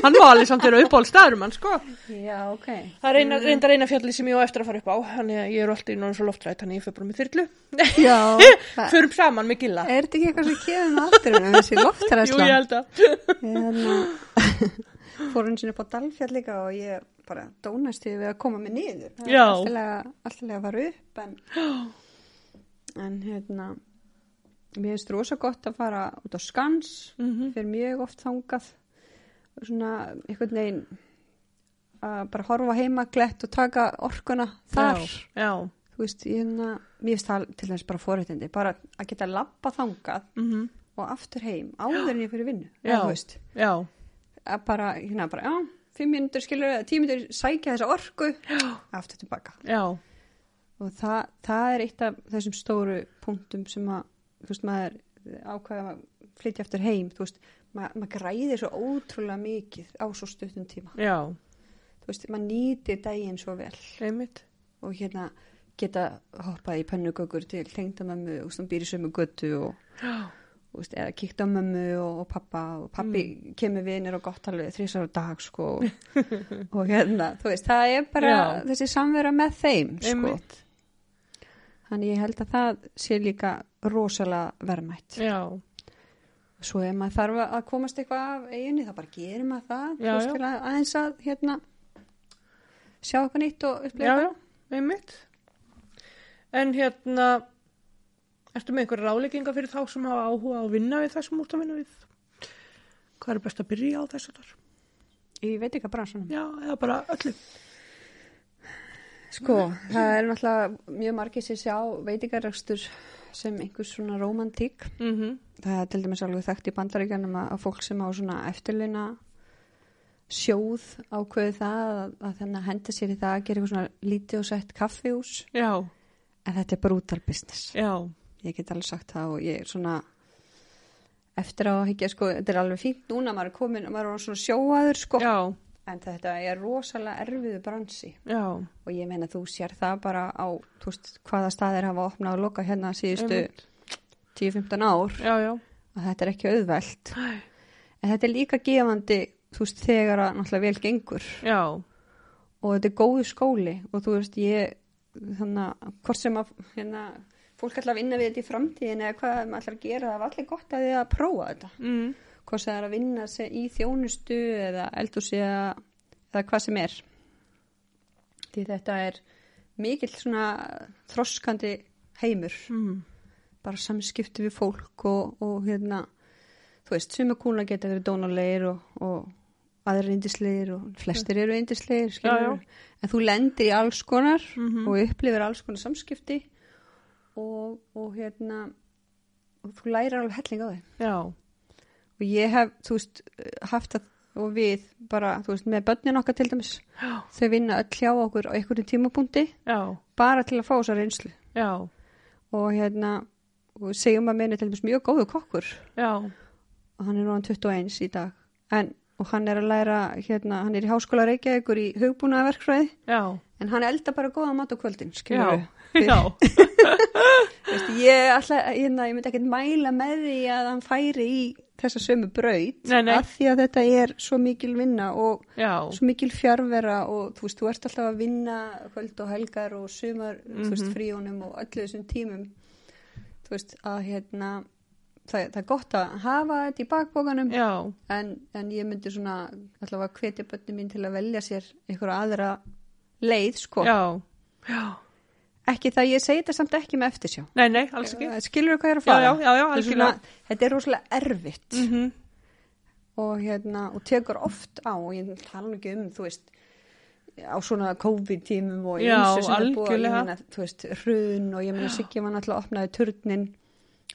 hann má alveg samt vera uppáhald staðurum hann, sko.
Já, ok.
Það er eina, reyndar eina fjallið sem ég á eftir að fara upp á, þannig að ég er alltaf í náttúrulega svo loftrætt, þannig að ég fyrir bara með (laughs) þyrlu.
(laughs) Já, það
Förum saman með gilla.
er þetta ekki eitthvað sem kemur með aldrei en þessi
Jú, ég
loftræðsla.
held að.
Hérna, (laughs) fór hann sinni upp á Dalfjall líka og ég bara dónast því við að koma mig niður. Það er
Já.
alltilega- Alltilega að fara upp en, (gasps) en hérna, mér finnst rosa gott að fara út á skans,
Mhm.
fyrir mjög oft þangað og svona einhvern veginn að bara horfa heima glett og taka orkuna þar.
Já, já.
Þú veist, ég hérna, mér finnst það til þess bara fóréttindi, bara að geta lappa þangað
Mhm.
og aftur heim áður en ég fyrir vinnu.
Já.
Eða, þú veist,
Já,
að bara, hérna bara, já, fimm minútur skilur eða tíu minútur sækja þessa orku aftur tilbaka.
já,
Og það, það er eitt af þessum stóru punktum sem að, þú veist, maður ákvæða að flytja aftur heim, þú veist, maður, maður græðir svo ótrúlega mikið á svo stuttum tíma.
já,
Þú veist, maður nýtir daginn svo vel
einmitt.
og hérna geta hoppað í pönnugökur til tengdamömmu og sem býr í sömu götu og,
Já,
þú veist, eða kíkt á mömmu og, og pappa og pappi
Mm.
kemur vinir og gott alveg þrísar á dag sko
(laughs)
og hérna, þú veist, það er bara
Já.
þessi samvera með þeim sko
einmitt.
þannig ég held að það sé líka rosalega verðmætt
Já,
svo ef maður þarf að komast eitthvað af eiginni þá bara gerir maður
Já,
það þú veist,
já.
til að aðeins að hérna sjá eitthvað nýtt og
já,
upplega
já, einmitt. En hérna, ertu með einhverja ráleikinga fyrir þá sem hafa áhuga á að vinna við það sem út að vinna við? Hvað er best að byrja á þessu þar?
ég veit ekki að bransanum
Já, eða bara öllu.
Sko, það er náttúrulega mjög margir sem sjá veitingarekstur sem einhvers svona romantík.
Mm -hmm.
Það er til dæmis alveg þekkt í bandaríkjanum að, að fólk sem á svona eftirlina sjóð ákveði það að, að þannig að henda sér í það að gera eitthvað svona lítið og sett kaffihús.
Já,
En þetta er brutal business.
já,
Ég get alveg sagt það og ég er svona eftir á að higgja sko, þetta er alveg fínt núna, maður er komin, maður er orðinn svona sjóaður sko.
já,
En þetta er rosalega erfiðu bransi
já,
og ég meina þú sér það bara á þú veist, hvaða staðir hafa opnað og lokað hérna síðustu
einmitt.
10-15 ár
Já, já,
að þetta er ekki auðvelt
Æ.
en þetta er líka gefandi þú veist þegar að náttúrulega vel gengur
já,
og þetta er góðu skóli og þú veist ég þannig að hvort sem að hérna, fólk ætla að vinna við þetta í framtíðin eða hvað maður ætlar að gera það var allir gott að þið að prófa þetta
mm.
hvort sem það er að vinna se- í þjónustu eða eldhúsi eða, eða hvað sem er því þetta er mikill svona þroskandi heimur
Mm.
bara samskipti við fólk og, og hérna þú veist, sumir kúla geta verið dónulegir og, og aðrir indislegir og flestir eru indislegir skilur
Já, já.
en þú lendir í alls konar
Mhm.
og upplifir alls konar samskipti og, og hérna og þú lærir alveg helling á þeim
já,
og ég hef, þú veist, haft það og við bara, þú veist, með börnin okkar til dæmis,
Já.
þau vinna öll hjá okkur á einhverjum tímabúndi,
já,
bara til að fá þessa reynslu
já,
og hérna, og segjum að minni til dæmis mjög góðu kokkur
já,
og hann er nú hann 21 í dag en, og hann er að læra, hérna, hann er í háskóla Reykjavíkur í hugbúnaverkfræði
já,
en hann elda bara góða mat á kvöldin, skilur
já, já,
Veist, ég, ætla, hérna, ég myndi ekkert mæla með því að hann færi í þessa sömu braut
Nei, nei.
að því að þetta er svo mikil vinna og
já,
svo mikil fjárvera og þú veist, þú ert alltaf að vinna kvöld og helgar og sumar þú
Mhm.
veist, fríónum og öllu þessum tímum þú veist, að hérna það, það er gott að hafa þetta í bakbókanum
já,
en, en ég myndi svona alltaf að hvetja bönni mín til að velja sér einhverja aðra leið, sko
já, já,
ekki það, ég segi þetta samt ekki með eftirsjá
nei, nei, alls ekki,
skilur þú hvað ég er að
já,
fara
já, já, já,
Þetta er
algjörlega,
svona, þetta er rosalega erfitt
mhm,
og, hérna, og tekur oft á og ég tala nú ekki um, þú veist á svona COVID-tímum og
Já,
ýmsu sem er búið, ég
algjörlega.
meina, þú veist, hrun og ég meina Siggi var náttúrulega að opnaði turnin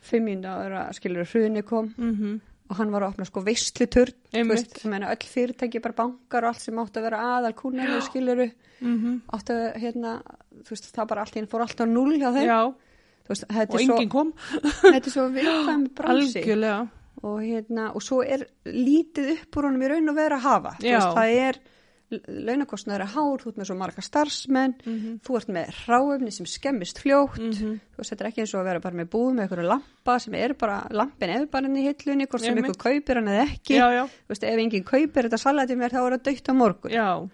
fimmjönda ára, skilur, hruni kom
mhm,
og hann var að opna sko veistlu turn, þú
Einmitt.
veist, ég meina öll fyrirtæki bara bankar og allt sem átti að vera aðal kúnari, skilur,
mhm,
átti að, hérna, þú veist, það bara allt í einn fór allt á null hjá þeim,
já,
þú veist, þetta
og
er svo,
enginn kom,
þetta er svo
(gasps)
viðkvæmi bransi
algjörlega,
og hérna, og svo er lítið upp úr honum í raun og vera að hafa Þú
Já.
veist, það er, launakostnaður er hár þú ert með svo marga starfsmenn
Mm.
þú ert með ráöfni sem skemmist fljótt
Mhm.
þú veist, þetta er ekki eins og að vera bara með búð með einhverju lampa sem er bara lampin er bara hann í hillunni, hvort sem
Einmitt.
einhver kaupir hann eða ekki,
já, já,
þú veist, ef enginn kaupir þetta salatið mér þá er það döitt á morgun
já,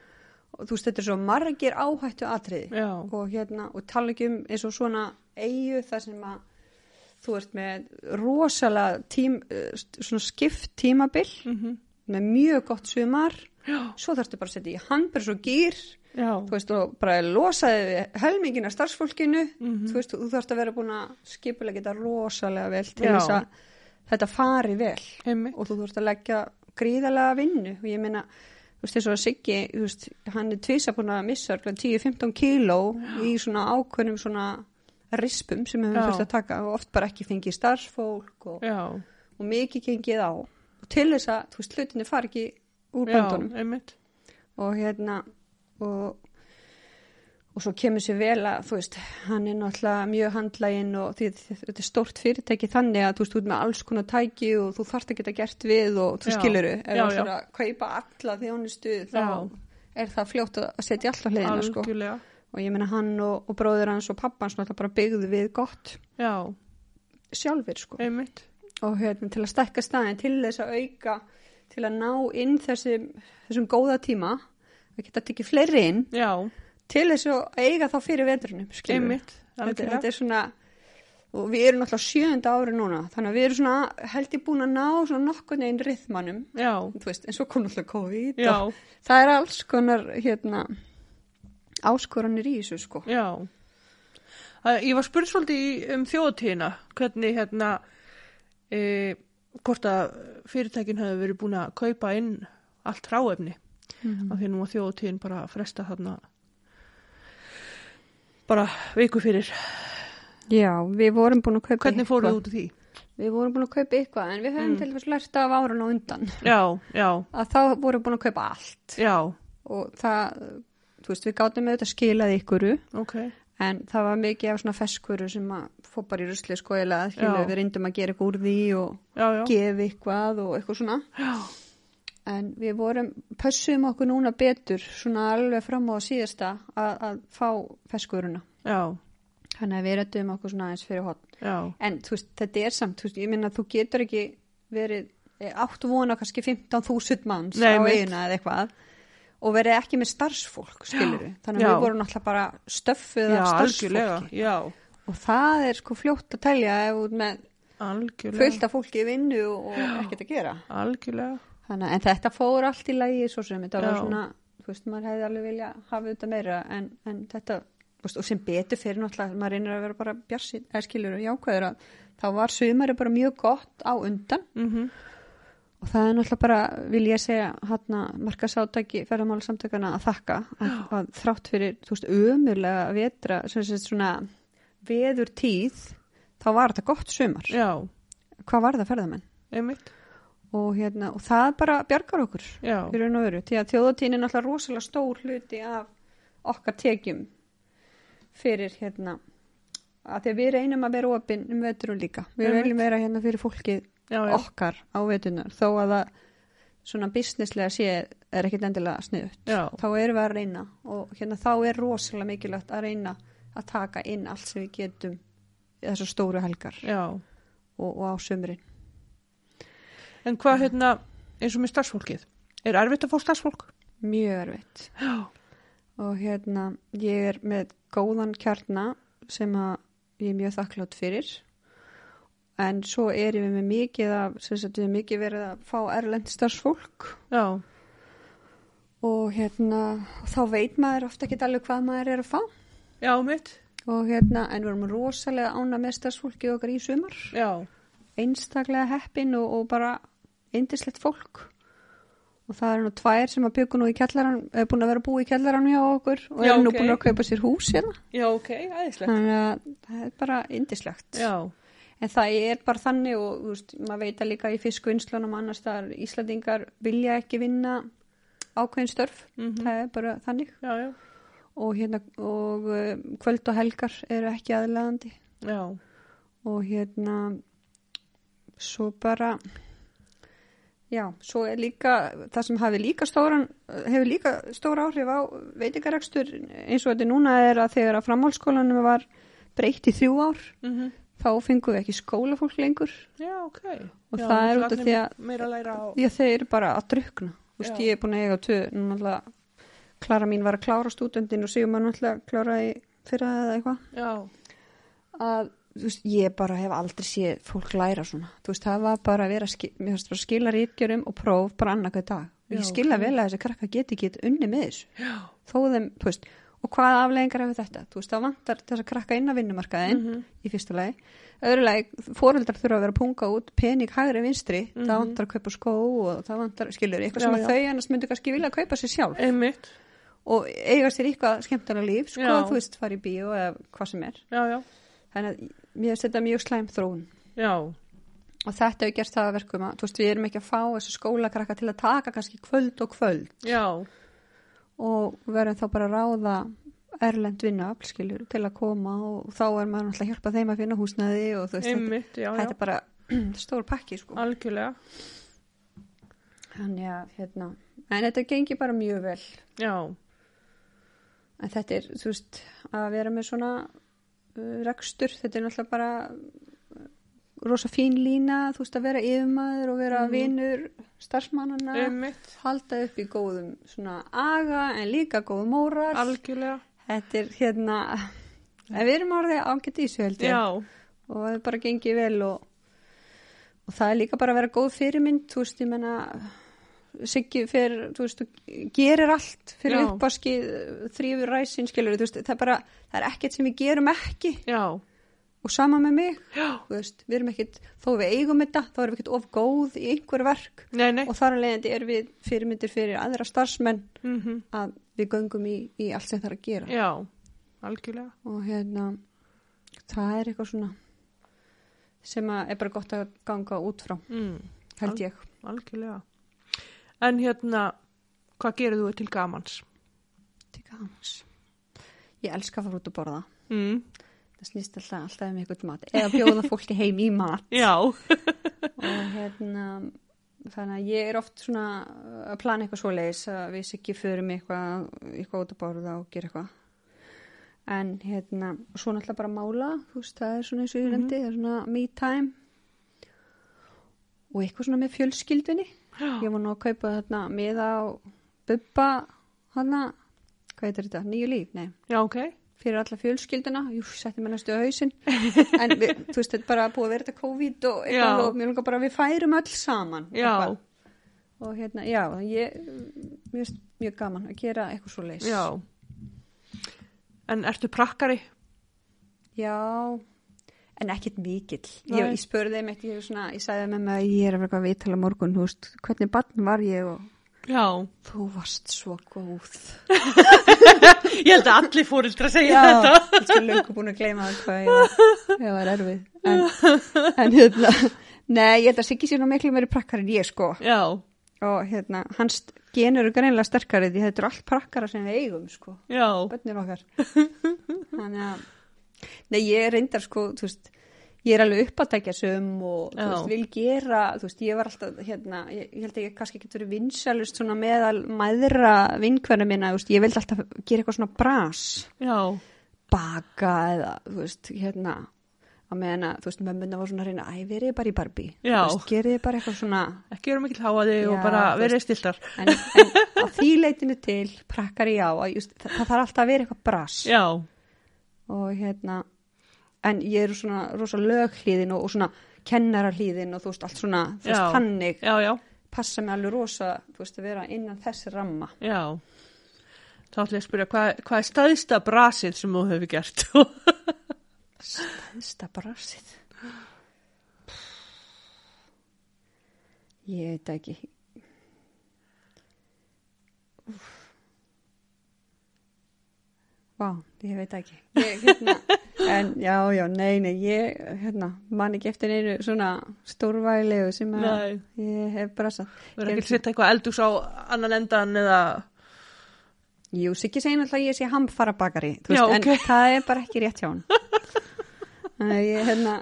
og þú veist, þetta er svo margir áhættu atriði
já,
og hérna, og tala ekki um eins og svona eigu þar sem að þú ert með rosalega tím, eh, st- svona skipt tímabil
mhm,
með mjög gott sumar
já,
svo þarftu bara að setja í handburs og gýr
já,
þú veist, og bara losaði við helmingina starfsfólkinu,
Mhm.
þú veist, og þú þarft að vera búin að skipulega geta rosalega vel til
Já.
þess að þetta fari vel
einmitt,
og þú þurft að leggja gríðalega vinnu og ég meina, þú veist, þess að Siggi þú veist, hann er tvisa búin að missa örugglega 10-15 kíló í svona ákveðnum svona rispum sem hefur
Já.
þurft að taka og oft bara ekki fengið starfsfólk og,
já,
og mikið gengið á og til þess að, þú veist, hlutinni fari ekki úr
já,
böndunum
einmitt,
og hérna og og svo kemur sér vel að, þú veist, hann er náttúrulega mjög handlægin og því, þetta er stórt fyrirtæki þannig að þú veist, þú ert með alls konar tæki og þú þarft að geta gert við og þú
Já.
skiluru, ef
Já,
þú
já.
ætlar að kaupa alla þjónustu, þá
Já.
er það fljótt að setja alltaf hliðina, sko.
algjörlega,
Og ég meina hann og, og bróður hans og pappans náttúrulega bara byggðu við gott
já,
sjálfur, sko.
einmitt,
Og hérna, til að stekka staðin, til þess að auka, til að ná inn þessum, þessum góða tíma, að geta tekið fleiri inn,
já,
til þess að eiga þá fyrir vetrunum skilurðu.
einmitt,
þetta,
algjörlega,
þetta er svona og við erum náttúrulega sjönda ári núna þannig að við erum svona held ég búin að ná svona nokkurn veginn rithmanum
já,
þú veist, en svo kom náttúrulega COVID og
já,
það er alls konar hérna áskoranir í þessu sko
Já. Það, ég var spurð svolítið í- um þjóðtíðina, hvernig hérna, e, hvort að fyrirtækin hefði verið búin að kaupa inn allt ráefni,
Mhm.
af því nú að þjóðtíðin bara að fresta þarna bara viku fyrir.
já, við vorum búin að kaupa
Hvernig fóruð Mm. þið út úr því?
við vorum búin að kaupa eitthvað en við höfum til dæmis lært af árun og undan
Já, já,
að þá vorum við búin að kaupa allt
já,
og það, þú veist, við gátum auðvitað skilað ykkuru
ok,
En það var mikið af svona feskuru sem að fór bara í rusli sko eða skilur
Já.
við reyndum að gera eitthvað úr því og
já, já,
gefa eitthvað og eitthvað svona.
já,
En við vorum, pössum okkur núna betur svona alveg fram á síðasta að, að fá feskuruna.
já,
Þannig að við rettum okkur svona aðeins fyrir hotn.
já,
En þú veist, þetta er samt, þú veist, ég minna þú getur ekki verið eh, átt vona kannski 15.000 manns
Nei,
á
mitt.
eina eða eitthvað og verið ekki með starfsfólk, skilur við. Þannig
Já.
að við vorum alltaf bara stöffuð
já,
af starfsfólki.
algjörlega, já,
Og það er sko fljótt að telja ef út með
algjörlega,
fullt af fólki í vinnu og ekkert að gera.
algjörlega,
Þannig, að- en þetta fór allt í lagi svo sem þetta var
Já.
svona, þú veist, maður hefði alveg vilja hafa þetta meira en, en þetta, þú veist, og sem betur fyrir náttúrulega, maður reynir að vera bara bjarsinn, eða skilur og jákvæður að þá var sumari bara mjög gott á undan
mhm,
og það er náttúrulega bara, vil ég segja, hérna, hann að markasátæki ferðamála samtökana að þakka að, að þrátt fyrir, þú veist, ömurlega vetra, sem sem svona veður tíð þá var þetta gott sumar
já,
hvað var það ferðamenn
einmitt,
og, hérna, og það bara bjargar okkur
já,
í raun og veru, því að þjóðatíðin er náttúrulega rosalega stór hluti af okkar tekjum fyrir hérna að því að við reynum að vera opinn um veturum líka við
Einmitt.
viljum vera hérna fyrir fólkið
já, já,
okkar á vetunar þó að það svona businesslega sé er ekkit endilega sniðut
já,
þá erum við að reyna og hérna þá er rosalega mikilvægt að reyna að taka inn allt sem við getum í þessar stóru helgar
já.
og, og á sömurinn
En hvað hérna, eins og með starfsfólkið, er erfitt að fá starfsfólk?
mjög erfitt
Já,
og hérna ég er með góðan kjarna sem að ég er mjög þakklátt fyrir en svo erum við með mikið að, sem sagt við erum mikið verið að fá erlend starfsfólk
já,
og hérna þá veit maður ofta ekki alveg hvað maður er að fá
já, um mitt,
og hérna en við erum rosalega ána með starfsfólkið okkar í sumar
já,
einstaklega heppin og, og bara indislegt fólk og það eru nú tvær sem að byggja nú í kjallaran er búin að vera að búa í kjallaran hjá okkur og
Já,
eru nú
ok.
búin að kaupa sér hús hérna
já, ok, aðeinslega.
þannig að það er bara indislegt
Já,
en það er bara þannig og þú veist, maður veit að líka í fiskvinnslunum annars þar Íslandingar vilja ekki vinna ákveðin störf
mhm,
það er bara þannig
já, já,
og, hérna, og eh, kvöld og helgar eru ekki aðlegandi
já,
og hérna svo bara já, svo er líka það sem hafi líka stóran hefur líka stóra áhrif á veitingarekstur eins og þetta er núna er að þegar að framhaldsskólanum var breytt í þrjú ár
mhm,
þá fengum við ekki skólafólk lengur
já, ok.
Og
já,
það er
svo
út af
allir
því að-
Meira að læra á,
því að þeir eru bara að drukna Þú veist,
Já.
ég er búin að eiga tvö núna alltaf, Klara mín var að klára stúdendin og síðan maður náttúrulega kláraði fyrir það eða eitthvað
já,
að þú veist, ég bara hef aldrei séð fólk læra svona, þú veist, það var bara að vera að skil- mér fannst bara að skila rítgjörum og próf bara annarkað dag, og
Já,
ég skila
ok.
vel að þessi krakka geti ekki unni með þessu
já,
þó þeim, þú veist, og hvaða afleðingar hefur þetta, þú veist, það vantar þess að krakka inn á vinnumarkaðin
Mhm.
í fyrsta lagi öðru lagi, foreldrar þurfa að vera að punga út pening hægri vinstri,
Mhm.
það vantar að kaupa skó og það vantar, skilur, eitthvað
Já,
sem að
já.
þau annars myndu kannski vilja að kaupa sér sjálf
einmitt,
og eiga sér eitthvað skemmtana líf, sko,
Já.
þú veist, fara í bíó eða hvað sem er
já, já,
þannig að mér finnst þetta mjög slæm þróun
já,
og þetta hefur gert það að verkum að þú veist, við erum ekki að fá þessu skólakrakka til að taka kannski kvöld og kvöld
já,
og við verðum þá bara að ráða erlend vinnuafl, skilur, til að koma og þá er maður náttúrulega að hjálpa þeim að finna húsnaði og þú veist, þetta,
einmitt, já, já,
þetta er bara (clears throat) stór pakki, sko
algjörlega,
þannig að, hérna, en þetta gengi bara mjög vel
já,
en þetta er, þú veist, að vera með svona uh, rekstur, þetta er náttúrulega bara uh, rosa fín lína, þú veist, að vera yfirmaður og vera
Mhm.
vinur starfsmannana
einmitt,
halda upp í góðum svona aga en líka góðum órar
algjörlega,
þetta er hérna en við erum orðið ágætt í þessu held ég
já,
og það er bara gengið vel og, og það er líka bara að vera góð fyrirmynd þú veist, ég menna Siggi fyrir, þú veist, þú gerir allt fyrir
Já.
uppaski, þrýfur ræsin skilur, þú veist, það er bara, það er ekkert sem við gerum ekki
já,
og sama með mig,
já,
þú veist, við erum ekkert þó við eigum þetta, þá erum við ekkert of góð í einhver verk
nei, nei,
og þar að leiðandi erum við fyrirmyndir fyrir aðra starfsmenn
mhm,
að við göngum í, í allt sem það er að gera
já, algjörlega.
og hérna það er eitthvað svona sem að er bara gott að ganga út frá
Mm,
held ég
algjörlega. En hérna, hvað gerir þú til gamans?
til gamans ég elska að fara út að borða
Mm,
það snýst alltaf alltaf um eitthvað mat eða bjóða fólki heim í mat
já,
og hérna þannig að ég er oft svona að plana eitthvað svoleiðis að við sikki förum í eitthvað, eitthvað út að borða og gera eitthvað en hérna, og svo náttúrulega bara mála þú veist, það er svona eins og ég
Mhm.
rendi það er svona me time og eitthvað svona með fjölskyldunni
já,
ég var nú að kaupa þarna miða á bubba hana, hvað heitir þetta, nýju líf, nei
já, ok,
fyrir alla fjölskylduna, jú, setti mér næstu á
(laughs)
hausinn, en við, þú veist, þetta er bara búið að vera þetta COVID og eitthvað
Já.
og mér langar bara að við færum öll saman
já,
eitthvað. og hérna, já, ég mér finnst mjög gaman að gera eitthvað svo leys
já. En ertu prakkari?
en ekkit mikill ég,
Nei.
ég spurði þeim eitt, ég, svona, ég sagði með mig að ég er að vera eitthvað viðtala morgun, þú veist, hvernig barn var ég og
Já,
Þú varst svo góð.
ég held að allir fórildra segja þetta.
ég skal löngu búin að gleyma það hvað (laughs) ég var, ég var erfið. En, en hérna, nei, ég held að Siggi sé nú miklu meiri prakkar en ég sko.
Já,
Og hérna, hans gen eru greinlega sterkari því þetta eru allt prakkara sem við eigum sko.
já,
bönnir (laughs) okkar þannig að nei ég er reyndar sko þú veist ég er alveg uppátækja söm og þú
Já.
veist, vil gera, þú veist, ég var alltaf hérna, ég, ég held að ég kannski getur verið vinsælust svona meðal mæðra vinkverna minna, þú veist, ég vildi alltaf gera eitthvað svona bras,
já,
baka eða, þú veist, hérna að meðan að, þú veist, mömmuna var svona að reyna, æ, verið bara í Barbie, þú
Já.
veist, gerið bara eitthvað svona
ekki vera mikill háaði og
Já,
bara
þú
verið stiltar.
en, en á því leitinu til prakkar ég á, að, just, það, það þarf alltaf að vera eitthvað bras
Já,
og hérna en ég er svona rosa löghlíðin og, og svona kennararhlíðin og þú veist allt svona, þú veist,
Já.
hannig
já, já,
passa mig alveg rosa, þú veist, að vera innan þessi ramma
já. Þá ætlum ég að spyrja, hvað, hvað er staðista brasið sem þú hefur gert?
stæðsta brasið ég veit það ekki Úff. vá, ég veit það ekki
(laughs)
ég, hérna, en já, já, nei, nei ég, hérna, man ekki eftir einu svona stórvælegu sem að
Nei,
Ég hef brasað.
verður ekki að setja eitthvað eldús á annan endan eða...
Jú, Siggi segir náttúrulega að ég sé hamfara bakari, þú
Já,
veist,
ok. (laughs)
en það er bara ekki rétt hjá hann. Þannig að ég, hérna,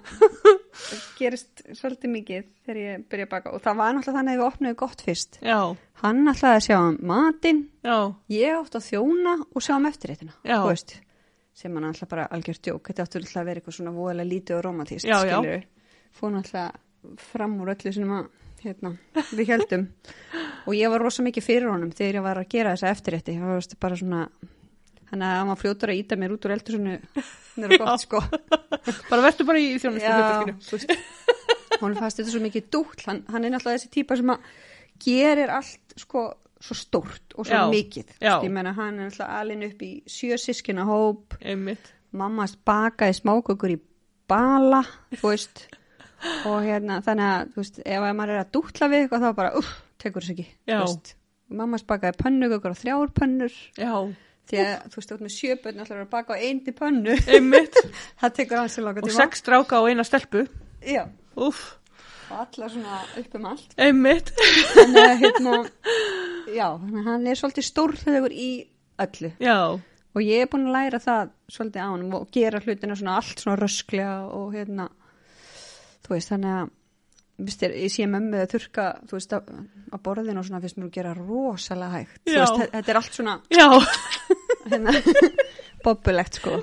gerist svolítið mikið þegar ég byrja að baka og það var náttúrulega þannig að við opnuðu gott fyrst.
Já,
Hann náttúrulega að sjá um matinn,
já,
ég átti að þjóna og sjá um eftirréttina,
Já.
þú veist, sem hann náttúrulega bara algjört djók. Þetta áttu náttúrulega að vera eitthvað svona voðalega lítið og romantist,
Já, já.
skilur við. Fór náttúrulega fram úr öllu sem að, hérna, við
(laughs)
heldum. og ég var rosa mikið fyrir honum þegar ég var að gera þessa eftirrétti. Það var veist, bara svona, þannig að hann var fljótur að íta mér út úr eldur svona,
(laughs)
það er gott, sko.
bara verður bara í þjónustu hlutaskinu.
þú veist, honum fannst þetta svo mikið dúll, hann, hann er náttúrulega þessi típa sem að gerir allt sko svo stórt og svo
Já,
mikið. Sko,
já.
Ég meina hann er náttúrulega alin upp í sjö sískina hóp,
Einmitt.
mamma hans bakaði smákökur í bala, þú veist, og hérna þannig að, þú veist, ef að maður er að dúlla við eitthvað þá bara, uff, tekur þess ekki,
Já.
þú veist. Mamma hans bakaði pönnukökur og þrjár pönnur,
Já,
því að, þú veist, út með sjö pönnur ætlar að baka á einni pönnu,
einmitt.
(laughs) það tekur hans í langa
og
tíma.
sex stráka og eina stelpu.
Já.
Úff,
og allar svona upp um allt
einmitt.
þannig að hérna já, þannig að hann er svolítið stórhaugur í öllu
Já,
og ég er búin að læra það svolítið á hann og gera hlutina svona allt svona rösklega og hérna þú veist, þannig að Vist, ég, ég sé mömmu að þurka þú veist, að, að borðin og svona finnst mér að gera rosalega hægt Þú
Já.
veist, þe- þetta er allt svona
já,
hérna, bobbulegt sko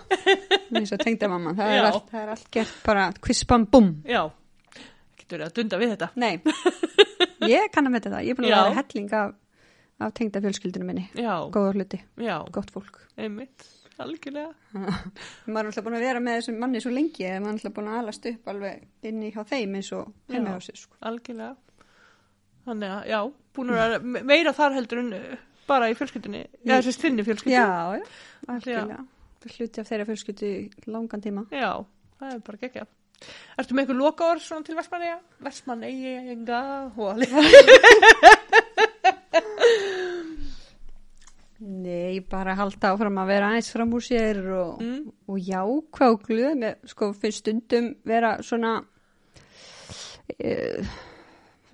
eins og tengda mamma það
Já.
er, allt, það er allt gert bara kvispam bum
já. Getur verið að dunda við þetta.
(laughs) Nei, ég kann að metta það. Ég er búin að
Já.
vera helling af, af tengda fjölskyldinu minni.
Já,
Góða hluti,
já,
gott fólk.
einmitt. Algjörlega.
Maður er alltaf búin að vera með þessum manni svo lengi eða maður er alltaf búin að alast upp alveg inni hjá þeim eins og
Já.
heima hjá sér. Sko.
algjörlega þannig að já, búin að vera me- meira þar heldur en uh, bara í fjölskyldinni eða þessi stinni fjölskyldinni
Já, já, algjörlega. Hluti af þeirra fjölskyldu í langan tíma.
já, það er bara gekkja Ertu með einhver loka orð svona til Vestmanneia? Vestmanneia, enga
(laughs) Nei, bara halda áfram að vera aðeins fram úr sér og,
Mm.
og jákvæð og glöð með, sko, finnst stundum vera svona eh,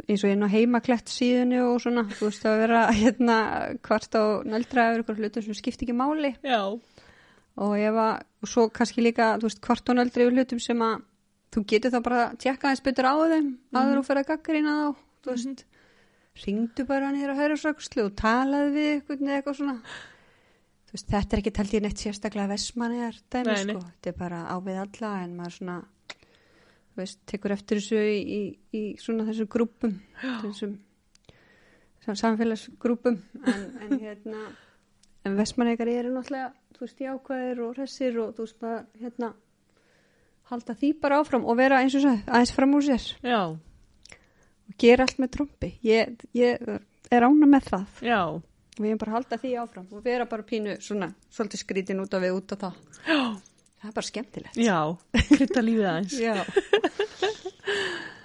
eins og ég er nú heimaklett síðunni og svona, þú veist að vera hérna hvart á nöldra yfir ykkur hlutum sem skipti ekki máli
Já,
og ef að, og svo kannski líka, þú veist, hvart á nöldra yfir hlutum sem að þú getur þá bara að tjekka aðeins betur á þeim áður og fyrir að gaggrina þá, þú veist ringdu bara niður á hörjarsökslu og talaði við eitthvað eða eitthvað svona þú veist, þetta er ekki taldið neitt sérstaklega vesmanniðar dæmi,
Nei, nei.
sko þetta er bara á við alla en maður svona þú veist, tekur eftir þessu í, í, í svona þessum grúpum þessum sam- samfélagsgrúpum en, en hérna en vesmanniðar eru náttúrulega þú veist, jákvæðir og hressir og þú veist, maður, hérna halda því bara áfram og vera eins og svo aðeins fram úr sér
já,
og gera allt með trombi ég, ég er ána með það
já
og ég er bara að halda því áfram og vera bara pínu svona, svolítið skrítin út af við út af það það er bara skemmtilegt (laughs)
Já, krytta lífið aðeins
Já.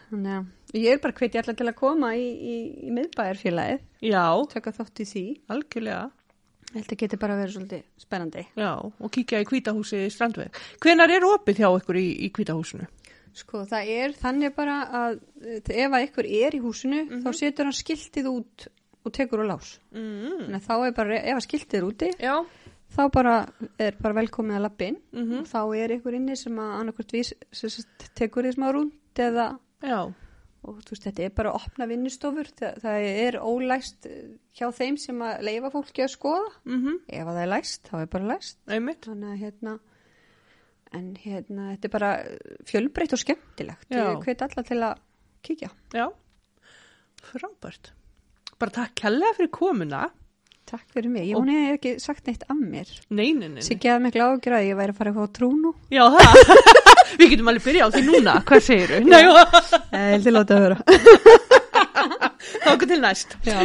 Þannig að ég er bara hvetja allar til að koma í, í, í miðbæjarfélagið,
Já,
taka þátt í því.
algjörlega.
Ég held að geti bara verið svolítið spennandi.
Já, og kíkja í kvítahúsi í strandveg. Hvenar er opið hjá ykkur í, í kvítahúsinu?
Sko, það er þannig bara að eh, ef að ykkur er í húsinu, þá setur hann skiltið út og tekur á lás.
Mm.
Þannig að þá er bara, ef að skiltið er úti,
Já.
þá bara er bara velkomið að lappa inn.
Mm
og Þá er ykkur inni sem að annarkvort vís, sem sagt, tekur því smá rúnd eða
Já,
og þú veist, þetta er bara að opna vinnustofur það, það er ólæst eh, hjá þeim sem að leifa fólki að skoða
mm
ef að það er læst, þá er bara læst
einmitt.
þannig að hérna en hérna, þetta er bara fjölbreytt og skemmtilegt
Já.
ég hveit alla til að kíkja
Já, frábært. Bara takk kærlega fyrir komuna.
Takk fyrir mig,
Og-
ég hún hefði ekki sagt neitt að mér
Nei, nei, nei. nei.
Siggi hafði miklu ágjur að ég væri að fara eitthvað á trúnu
Já, (laughs) það. Við getum alveg byrjað á því núna. Hvað segir þú? (laughs) Nei, já.
Ég held að láta að vera
þá okkur til næst.
Já,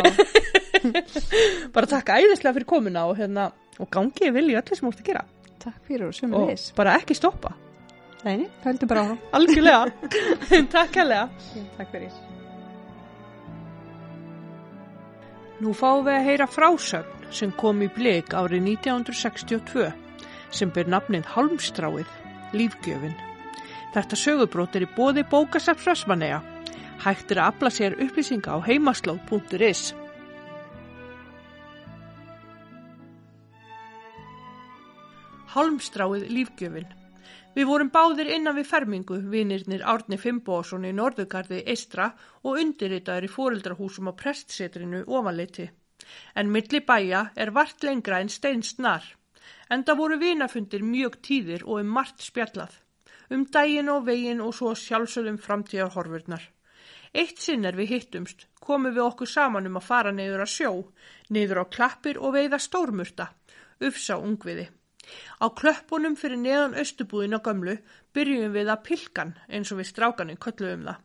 (laughs) Bara takk æðislega fyrir komuna og hérna, og gangi ég vilji öllu sem þú ert að gera.
takk fyrir og sömur
Og
leis
bara ekki stoppa.
Neini, hældu bara á
Algjörlega. (laughs) takk kærlega.
Takk fyrir
Nú fáum við að heyra frásögn sem kom í blik árið 1962 sem byr nafnið Halmstráið, lífgjöfin. Þetta sögubrót er í bóði bókasafs Vestmanneja. Hægt er að afla sér upplýsinga á heimaslóð.is. Halmstráið, lífgjöfin. Við vorum báðir innan við fermingu, vinirnir Árni Fimboðsson í Norðugarði Eistra og undirritaður í fóreldrahúsum á prestsetrinu ofanleiti. En milli bæja er vart lengra en steinsnar. Enda voru vinafundir mjög tíðir og um margt spjallað. Um daginn og veginn og svo sjálfsögðum framtíðarhorfurnar. Eitt sinn er við hittumst, komum við okkur saman um að fara niður að sjó, niður á klappir og veiða stórmurta, ufsa ungviði. Á klöppunum fyrir neðan östubúðin á gömlu byrjum við að pilkan eins og við strákanin kölluðum það.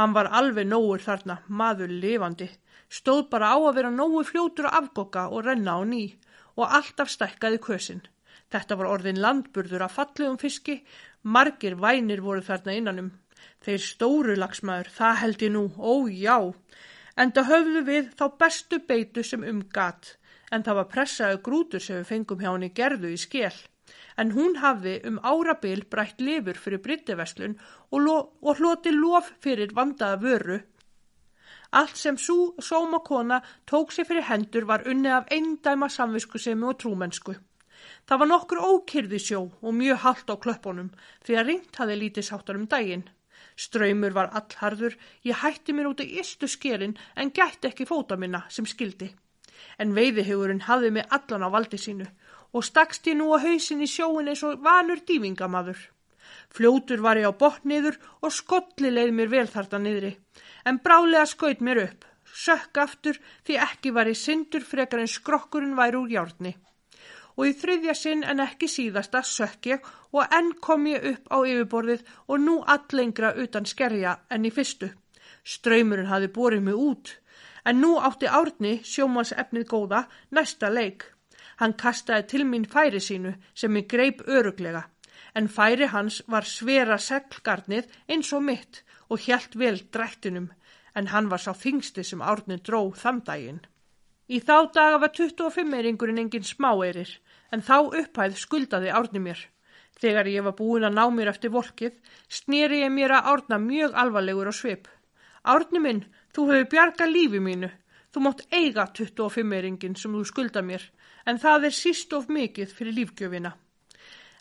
Hann var alveg nógur þarna, maður lifandi, stóð bara á að vera nógu fljótur að afgokka og renna á ný og alltaf stækkaði kösin. Þetta var orðin landburður af fallegum fiski, margir vænir voru þarna innanum. Þeir stóru lagsmaður, það held ég nú, ó já. Enda höfðu við þá bestu beitu sem um gat, en það var pressaðu grútur sem við fengum hjá henni gerðu í skél. En hún hafði um árabil brætt lifur fyrir bryttiveslun og, lo og hloti lof fyrir vandaða vöru Allt sem sú sómakona tók sér fyrir hendur var unnið af eindæma samviskusemi og trúmennsku. Það var nokkur ókyrði sjó og mjög halt á klöppunum því að ringt hafði lítið sáttar um daginn. Ströymur var allharður, ég hætti mér út í ystu skerin en gætti ekki fóta minna sem skildi. En veiðihugurinn hafði mig allan á valdi sínu og stakst ég nú á hausin í sjóin eins og vanur dývingamaður. Fljótur var ég á botn niður og skolli leið mér vel þarna niðri, en brálega skaut mér upp, sökk aftur því ekki var ég syndur frekar en skrokkurinn væri úr járni. Og í þriðja sinn en ekki síðasta sökk ég og enn kom ég upp á yfirborðið og nú allengra utan skerja enn í fyrstu. Ströymurinn hafði borið mig út, en nú átti Árni, sjómans efnið góða, næsta leik. Hann kastaði til mín færi sínu sem ég greip öruglega, en færi hans var svera seglgarnið eins og mitt og hjælt vel drættinum, en hann var sá þingsti sem Árni dró þamdægin. Í þá daga var 25 eiringurinn engin smáeirir, en þá upphæð skuldaði Árni mér. Þegar ég var búin að ná mér eftir volkið, snýri ég mér að Árna mjög alvarlegur á svip. Árni minn, þú hefur bjargað lífi mínu. Þú mátt eiga 25 eiringin sem þú skulda mér, en það er síst of mikið fyrir lífgjöfina.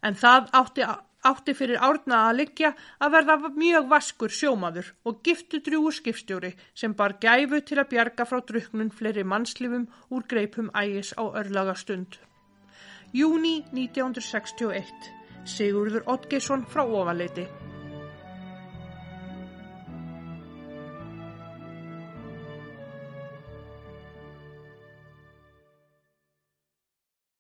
En það átti, átti fyrir árna að liggja að verða mjög vaskur sjómaður og giftu drjúu skipstjóri sem bar gæfu til að bjarga frá druknun fleiri mannslifum úr greipum ægis á örlaga stund. Júni 1961. Sigurður Oddgeisson frá Ofaleiti.